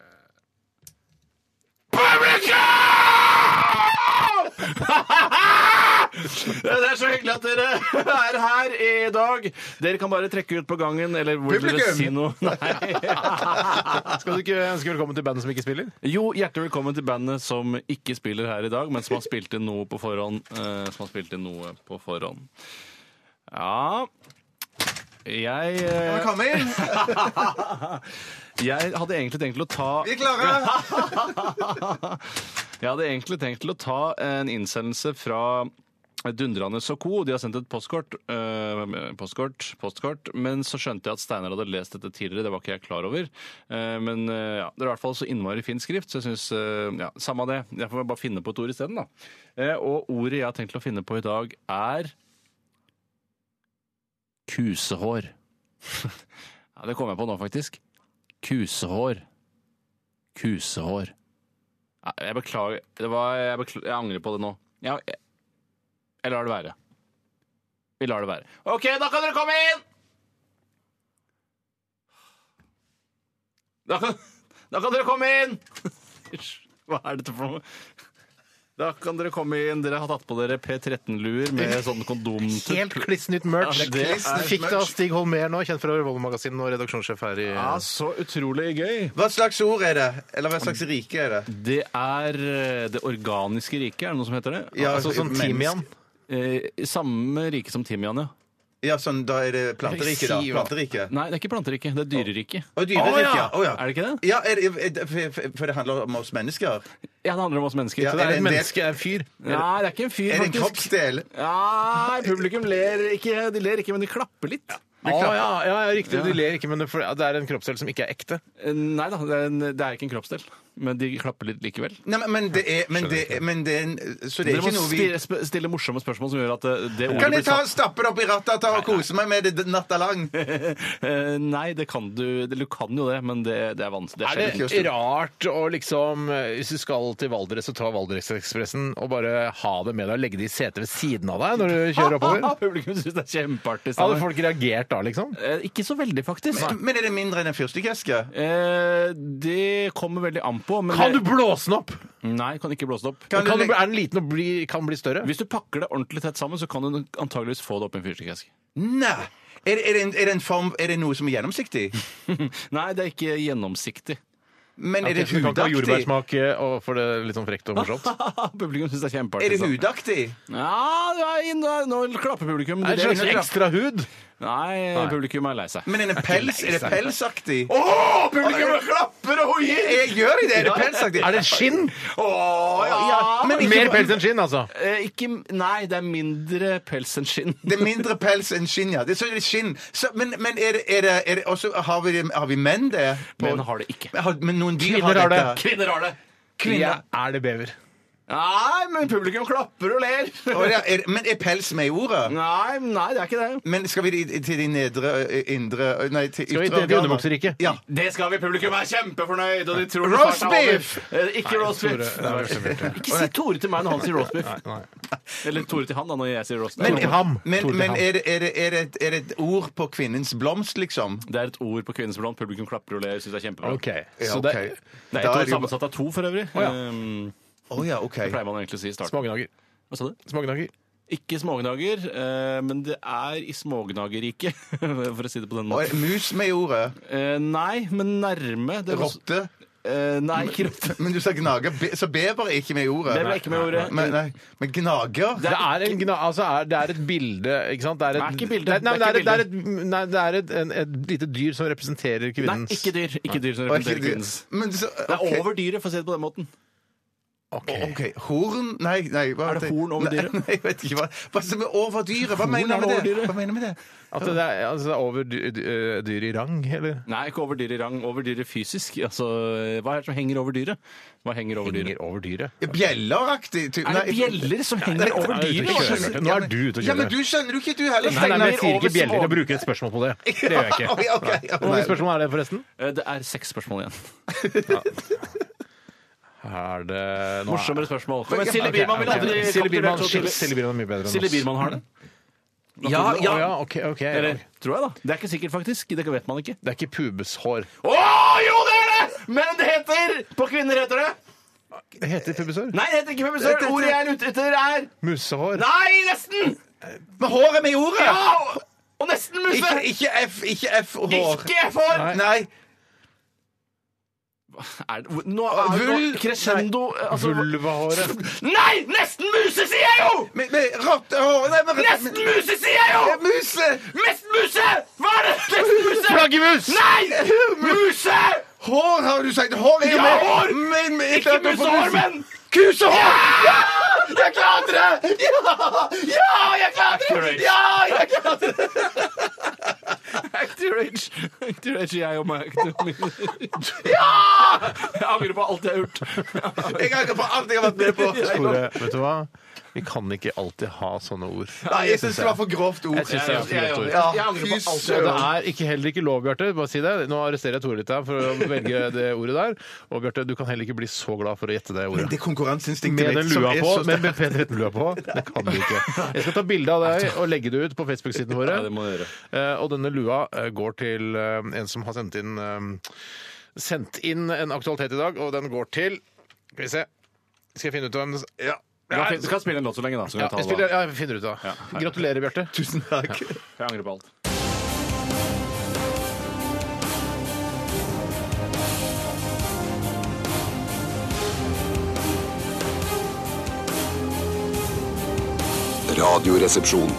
Speaker 8: Det er så hyggelig at dere er her i dag. Dere kan bare trekke ut på gangen, eller hvor dere
Speaker 3: Publikum!
Speaker 8: si noe. Nei.
Speaker 7: Skal du ikke ønske velkommen til bandet som ikke spiller?
Speaker 8: Jo, hjertelig velkommen til bandet som ikke spiller her i dag, men som har spilt inn noe på forhånd. eh, som har spilt inn noe på forhånd. Ja Jeg, eh,
Speaker 3: Kom inn.
Speaker 8: jeg hadde egentlig tenkt til å ta
Speaker 3: Vi er klare.
Speaker 8: Jeg hadde egentlig tenkt til å ta en innsendelse fra Dundrende og Co. De har sendt et postkort, eh, postkort, postkort. Men så skjønte jeg at Steinar hadde lest dette tidligere. Det var ikke jeg klar over. Eh, men eh, ja, det er i hvert fall så innmari fin skrift, så jeg syns ja, Samme av det. Jeg får bare finne på et ord isteden, da. Eh, og ordet jeg har tenkt til å finne på i dag, er kusehår. ja, det kom jeg på nå, faktisk. Kusehår. Kusehår. Nei, Jeg beklager. Det var, jeg, bekl- jeg angrer på det nå. Jeg, jeg, jeg lar det være. Vi lar det være. OK, da kan dere komme inn! Da kan, da kan dere komme inn! Hva er dette for noe? Da kan dere komme inn. Dere har tatt på dere P13-luer med sånn kondomtupp.
Speaker 7: Helt klissnytt merch.
Speaker 8: Ja, det er
Speaker 7: Fikk det av Stig Holmer nå, kjent fra Revolvermagasinet og redaksjonssjef her i
Speaker 8: Ja, så utrolig gøy.
Speaker 3: Hva slags ord er det? Eller hva slags rike er det?
Speaker 8: Det er eh, det organiske riket, er det noe som heter det?
Speaker 3: Ja,
Speaker 8: altså sånn
Speaker 3: menneske-
Speaker 8: timian. Eh, Samme rike som timian, ja.
Speaker 3: Ja, sånn, Da er det planterike, da.
Speaker 7: Si hva.
Speaker 3: Planterike.
Speaker 8: Nei, det er ikke planteriket. Det er dyreriket.
Speaker 3: Og dyreriket.
Speaker 8: Å, ja.
Speaker 3: Å, ja.
Speaker 8: Er det ikke det?
Speaker 3: Ja, er det, er det, for- for- for det handler om oss mennesker?
Speaker 8: Ja, det handler om oss mennesker. så
Speaker 3: Ja,
Speaker 7: Det
Speaker 8: det
Speaker 7: er
Speaker 8: er
Speaker 7: et
Speaker 3: en del-
Speaker 7: menneske, er en fyr.
Speaker 8: Nei, det er ikke en fyr,
Speaker 3: Er det
Speaker 8: faktisk.
Speaker 3: en kroppsdel?
Speaker 8: Nei, publikum ler ikke. De ler ikke, men de klapper litt.
Speaker 7: Å ja, Ah, ja, ja, riktig. De ler ikke, men det for- ja, det er en kroppsdel som ikke er ekte.
Speaker 8: Eh, Nei da, det er, en, det er ikke en kroppsdel. Men de klapper litt likevel.
Speaker 3: Nei, men- men det er, men det er, men det er en, Så det
Speaker 8: Dere
Speaker 3: er
Speaker 8: må
Speaker 3: ikke noe vi
Speaker 8: stille, sp- stille morsomme spørsmål som gjør at eh, det ordet
Speaker 3: Kan
Speaker 8: blir
Speaker 3: jeg ta
Speaker 8: satt
Speaker 3: og stappe det opp i rattet ta og kose meg med det natta lang?
Speaker 8: Eh, Nei, det kan du. Du kan jo det, men det, det er vanskelig. Det er sjelden.
Speaker 7: Er det rart å liksom eh, Hvis du skal til Valdres, så ta Valdresekspressen og bare ha det med deg og legge det i setet ved siden av deg når du kjører oppover?
Speaker 8: Publikum syns det er kjempeartig.
Speaker 7: Hadde
Speaker 8: Steinar.
Speaker 7: folk reagert da, liksom?
Speaker 8: Eh, Ikke så veldig, faktisk.
Speaker 3: Men er det mindre enn en fyrstikkeske?
Speaker 8: Eh, det kommer veldig an på. Men
Speaker 7: Kan du
Speaker 8: det-
Speaker 7: blåse den opp?
Speaker 8: Nei, kan ikke blåse det opp.
Speaker 7: Kan
Speaker 3: du
Speaker 7: du,
Speaker 3: legge-
Speaker 7: er den liten og bli, kan bli større?
Speaker 8: Hvis du pakker det ordentlig tett sammen, så kan du antageligvis få det opp i en fyrstikkeske.
Speaker 3: Nei. Er, det- er, det en, er det en form Er det noe som er gjennomsiktig?
Speaker 8: Nei, det er ikke gjennomsiktig.
Speaker 3: Men er det
Speaker 7: Ok, så du kan ikke ha
Speaker 3: hudaktig?
Speaker 7: jordbærsmak og for det litt sånn frekt og morsomt?
Speaker 8: Ah, publikum syns det er
Speaker 3: Er
Speaker 8: kjempeartig.
Speaker 3: det hudaktig?
Speaker 8: Ja, du er inn der. nå klapper publikum.
Speaker 7: Er det
Speaker 8: Det
Speaker 7: en
Speaker 8: er
Speaker 7: slags
Speaker 8: ikke-
Speaker 7: ekstra hud?
Speaker 8: Nei, publikum er lei seg.
Speaker 3: Men er det pels? Er det pelsaktig?
Speaker 7: Å, publikum klapper og hoier!
Speaker 3: Jeg gjør det! Er det pelsaktig?
Speaker 7: Er det skinn?
Speaker 3: Ja, men ikke
Speaker 7: Mer
Speaker 3: bare-
Speaker 7: pels enn skinn, altså.
Speaker 8: Eh, ikke, nei, det er mindre pels enn skinn.
Speaker 3: Det er mindre pels enn skinn, ja. Det er så det er skinn. Så, men men er det, er det, er det også, har, vi, har vi menn det? På-
Speaker 8: Menn har det ikke.
Speaker 3: Men har- Men noen dyr
Speaker 7: Kvinner har det.
Speaker 3: dette.
Speaker 8: Kvinner har det!
Speaker 7: Ja, er det bever?
Speaker 8: Nei, men publikum klapper og ler.
Speaker 3: Å, ja, er, men er pels med i ordet?
Speaker 8: Nei, nei, det er ikke det.
Speaker 3: Men skal vi i- til de nedre, ø, indre ø, Nei, til
Speaker 7: Skal vi til
Speaker 3: ytre
Speaker 7: de
Speaker 3: organer?
Speaker 7: underbukseriket?
Speaker 3: Ja.
Speaker 8: Det skal vi. Publikum er kjempefornøyd. Og de tror
Speaker 3: Roast
Speaker 8: snart er over.
Speaker 3: beef!
Speaker 8: Eh, Ikke roast
Speaker 7: Tore,
Speaker 8: beef.
Speaker 7: det var så fint, ja.
Speaker 8: Ikke si Tore til meg når han sier roast beef. Eller Tore til han da, når jeg sier roast
Speaker 7: Men-
Speaker 8: beef.
Speaker 7: til ham.
Speaker 3: Men,
Speaker 7: Tor til
Speaker 3: men
Speaker 7: ham.
Speaker 3: er, det, er, det, er, det et, er det et ord på kvinnens blomst, liksom?
Speaker 8: Det er et ord på kvinnens blond. Publikum klapper og ler. Synes det er kjempebra.
Speaker 7: OK.
Speaker 3: Ja,
Speaker 7: Så det
Speaker 3: ok.
Speaker 8: Det er
Speaker 3: Da
Speaker 8: ett
Speaker 3: er
Speaker 8: ord
Speaker 3: det jo-
Speaker 8: sammensatt av to, for øvrig.
Speaker 7: Å, ja.
Speaker 8: Ehm,
Speaker 3: Å ja, OK.
Speaker 8: pleier man egentlig å si i starten.
Speaker 7: Smågnager.
Speaker 8: Hva sa du?
Speaker 7: Smågnager.
Speaker 8: Ikke smågnager, eh, men det er i smågnagerriket, for å si det på den
Speaker 3: Og er
Speaker 8: måten.
Speaker 3: mus med i ordet?
Speaker 8: Eh, nei, men nærme. Det var-
Speaker 3: Rotte?
Speaker 8: Eh, nei, ikke rotte.
Speaker 3: Men du sa gnager, Be- så bever er ikke med i ordet?
Speaker 8: Bever er ikke med i ordet.
Speaker 3: Men, nei. men gnager?
Speaker 7: Det er, en, gna- altså er, det er et bilde, ikke sant? Det er
Speaker 8: Det er
Speaker 7: et,
Speaker 8: ikke bilde.
Speaker 7: Nei, nei,
Speaker 8: Det er
Speaker 7: det er et, nei, det er et, en, et lite dyr som representerer
Speaker 8: Nei,
Speaker 7: kvinnens
Speaker 8: ikke dyr. Ikke dyr som
Speaker 3: Og er ikke
Speaker 8: representerer kvinnens.
Speaker 3: Men så,
Speaker 8: Det er
Speaker 3: ok.
Speaker 8: over dyret, for å si det på den måten.
Speaker 7: Ok.
Speaker 3: OK. Horn Nei, nei hva
Speaker 8: Er det horn over dyret?
Speaker 3: Nei, jeg vet ikke hva, hva som er over dyret. Hva mener
Speaker 8: er
Speaker 3: du med
Speaker 8: over
Speaker 3: det?
Speaker 8: dyret.
Speaker 3: Hva mener du med det?
Speaker 7: At det er, altså, det er over dy- dy- øh, dyr i rang, eller?
Speaker 8: Nei, ikke over dyret i rang. Over dyret fysisk. Altså, hva er det som henger over dyret? Hva henger over dyret?
Speaker 7: Henger over dyret.
Speaker 3: Bjelleraktig type
Speaker 8: Er det bjeller som henger over
Speaker 7: Nei,
Speaker 8: dyret?
Speaker 7: ute og
Speaker 8: Hva
Speaker 7: kjører,
Speaker 8: slags-
Speaker 7: Bjarte. Nå er du ute og
Speaker 3: Ja, men
Speaker 7: kjører.
Speaker 3: du skjønner jo ikke, du heller.
Speaker 7: Nei, nei, men
Speaker 8: Steiner,
Speaker 7: jeg sier
Speaker 8: over
Speaker 7: ikke bjeller
Speaker 8: små-
Speaker 7: og bruker et spørsmål på det. Det gjør jeg ikke.
Speaker 3: Oi, ok, ja,
Speaker 7: Hvor mange
Speaker 3: nei.
Speaker 7: spørsmål er det, forresten?
Speaker 8: Eh, Det er seks spørsmål igjen.
Speaker 7: Er det nå er-
Speaker 8: Morsommere spørsmål. Kom igjen,
Speaker 7: Ok,
Speaker 8: Silje Biermann vil
Speaker 7: ok.
Speaker 8: aldri
Speaker 7: Silje Biermann,
Speaker 8: kapitulere til-
Speaker 7: Silje Biermann er mye bedre enn oss.
Speaker 8: Silje Biermann har det.
Speaker 7: Ja,
Speaker 8: ja.
Speaker 7: Å, ja, ok, ok.
Speaker 8: Eller, tror jeg, da. Det er ikke sikkert, faktisk. Det vet man ikke.
Speaker 7: Det er ikke pubeshår.
Speaker 8: Å, jo, det er det! Men det heter På kvinner heter det
Speaker 7: Det heter pubeshår.
Speaker 8: Nei, det heter ikke femmesør. Ordet jeg er ute etter, er
Speaker 7: Musehår.
Speaker 8: Nei, nesten!
Speaker 3: Men håret med i ordet!
Speaker 8: Ja! Og nesten
Speaker 3: Ikke,
Speaker 8: musse!
Speaker 3: ikke F, ikke F-hår.
Speaker 8: Ikke for
Speaker 3: Nei.
Speaker 8: Er det- Nå er det
Speaker 3: Vull-
Speaker 8: noe crescendo altså,
Speaker 7: Vulvahåret.
Speaker 8: Nei! Nesten muse, sier jeg jo!
Speaker 3: Men, men rottehår Nei, men
Speaker 8: Nesten muse, sier jeg
Speaker 3: Ja,
Speaker 8: jo!
Speaker 3: Muse!
Speaker 8: Nesten muse! Hva er det? Nesten muse!
Speaker 7: Flaggermus!
Speaker 8: Nei! Muse!
Speaker 3: Hår har du sagt. Hår er jo
Speaker 8: Ja,
Speaker 3: med.
Speaker 8: hår!
Speaker 3: Men, men,
Speaker 8: Ikke musehår, men
Speaker 3: Kusehår!
Speaker 8: Ja! Jeg klarte det! Ja! Ja, jeg klarte det! Ja, jeg klarte det! Active rage. Active rage er jeg og meg. Ja! Jeg angrer på alt jeg har gjort.
Speaker 3: Jeg angrer på alt jeg har vært med på.
Speaker 7: Tore, vet du hva? Vi kan ikke alltid ha sånne ord.
Speaker 3: Nei, jeg syns det var for grovt ord.
Speaker 7: Jeg synes det er for grovt ord.
Speaker 3: Ja,
Speaker 8: Jeg angrer på
Speaker 3: fy
Speaker 8: alt.
Speaker 7: Og det
Speaker 3: søren.
Speaker 7: er ikke, heller ikke lov, Bjarte. Bare si det. Nå arresterer jeg Tore litt her for å velge det ordet der. Og Bjarte, du kan heller ikke bli så glad for å gjette det
Speaker 3: Men det
Speaker 7: ordet.
Speaker 3: er konkurranseinstinktet
Speaker 7: Med den
Speaker 3: mitt som
Speaker 7: lua
Speaker 3: er
Speaker 7: på,
Speaker 3: så
Speaker 7: men
Speaker 3: sterkt.
Speaker 7: med P13-lua på. Det kan du ikke. Jeg skal ta bilde av deg og legge det ut på Facebook-sidene våre.
Speaker 8: Ja, det må du gjøre.
Speaker 7: Eh, Og denne lua eh, går til eh, en som har sendt inn eh, Sendt inn en aktualitet i dag, og den går til Skal vi se. Skal jeg finne ut hvem det s-
Speaker 3: Ja.
Speaker 8: Du kan, du kan spille en låt så lenge, da. Så kan
Speaker 7: Ja,
Speaker 8: vi ta
Speaker 7: jeg,
Speaker 8: det
Speaker 7: spiller,
Speaker 8: da.
Speaker 7: ja, jeg finner ut av det. Gratulerer, Bjarte.
Speaker 3: Tusen takk.
Speaker 8: Jeg angrer på alt.
Speaker 6: Radioresepsjon.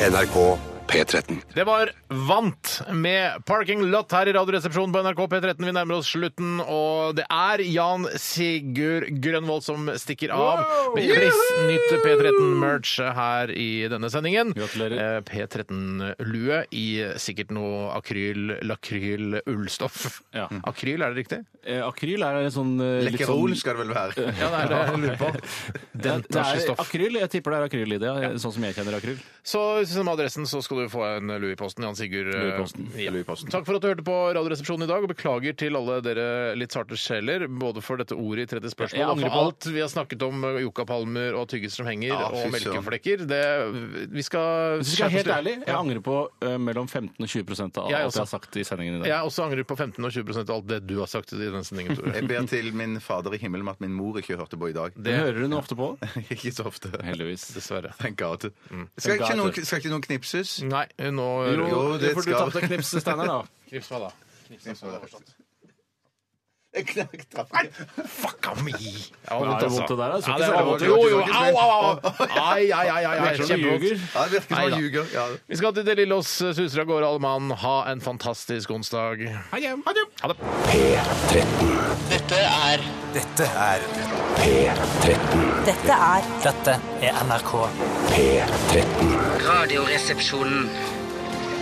Speaker 6: NRK P13.
Speaker 7: Det var Vant med Parking Lot her i Radioresepsjonen på NRK P13. Vi nærmer oss slutten, og det er Jan Sigurd Grønvold som stikker av med Bliss nytt P13-merch her i denne sendingen.
Speaker 8: Gratulerer.
Speaker 7: Eh, P13-lue i sikkert noe akryl, lakryl, ullstoff.
Speaker 8: Ja.
Speaker 7: Akryl, er det riktig?
Speaker 8: Eh, akryl er en sånn eh, litt
Speaker 3: Lekkerol
Speaker 8: sånn-
Speaker 3: skal det vel være.
Speaker 7: Ja, det er det jeg lurer på.
Speaker 8: det, det
Speaker 7: Tar seg
Speaker 8: er
Speaker 7: stoff.
Speaker 8: akryl. Jeg tipper det er akryl i det, sånn som jeg kjenner akryl.
Speaker 7: Så send meg adressen, så skal du få en Louis i posten. Jan Sigurd. eh,
Speaker 8: Louis i posten.
Speaker 7: Ja. Takk for at du hørte på Radioresepsjonen i dag, og beklager til alle dere litt sarte sjeler, både for dette ordet i 30 spørsmål,
Speaker 8: Jeg
Speaker 7: og
Speaker 8: angrer
Speaker 7: for
Speaker 8: på
Speaker 7: alt vi har snakket om eh, yuccapalmer og tyggiser som henger,
Speaker 3: Ja,
Speaker 7: og
Speaker 3: fy søren.
Speaker 7: melkeflekker. Det, vi skal
Speaker 8: Hvis jeg skal være helt
Speaker 7: skjerpe oss
Speaker 8: ærlig,
Speaker 7: litt.
Speaker 8: jeg angrer på eh, mellom 15 og 20 av alt
Speaker 7: Jeg
Speaker 8: jeg
Speaker 7: også.
Speaker 8: har sagt i sendingen i dag.
Speaker 7: Jeg også angrer på 15 og 20 av alt det du har sagt i denne sendingen, Tore.
Speaker 3: Jeg ber til min fader i himmelen om at min mor ikke hørte på i dag.
Speaker 8: Det hører hun ofte på.
Speaker 3: Ikke så ofte.
Speaker 8: Heldigvis.
Speaker 7: Dessverre.
Speaker 3: Thank
Speaker 7: Mm.
Speaker 3: God. Skal ikke noen, skal ikke noen knipses?
Speaker 7: Nei, nå
Speaker 3: Jo, det
Speaker 8: for du
Speaker 3: skal-
Speaker 8: tapte knipset, Steinar, da.
Speaker 7: Knips meg, da.
Speaker 3: Jeg knakk trappen.
Speaker 7: Fucka me! Ja,
Speaker 8: det er vondt det der, altså.
Speaker 7: Ja, det
Speaker 8: Ikke så
Speaker 7: er
Speaker 8: vondt.
Speaker 7: vondt. Jo, jo, au, au, au! Ai, ai, ai, ai, ai.
Speaker 8: Virker som du
Speaker 7: Kjempevondt.
Speaker 8: ljuger.
Speaker 3: Ja, det virker som
Speaker 7: Neida.
Speaker 3: han ljuger. Ja.
Speaker 7: Vi skal til Det lille oss suser av gårde, alle mann. Ha en fantastisk onsdag.
Speaker 8: Ha det. Ha det.
Speaker 7: Ha det.
Speaker 2: Dette er Dette er
Speaker 6: P13.
Speaker 12: Dette er
Speaker 2: Dette er NRK.
Speaker 6: P13.
Speaker 12: Radioresepsjonen.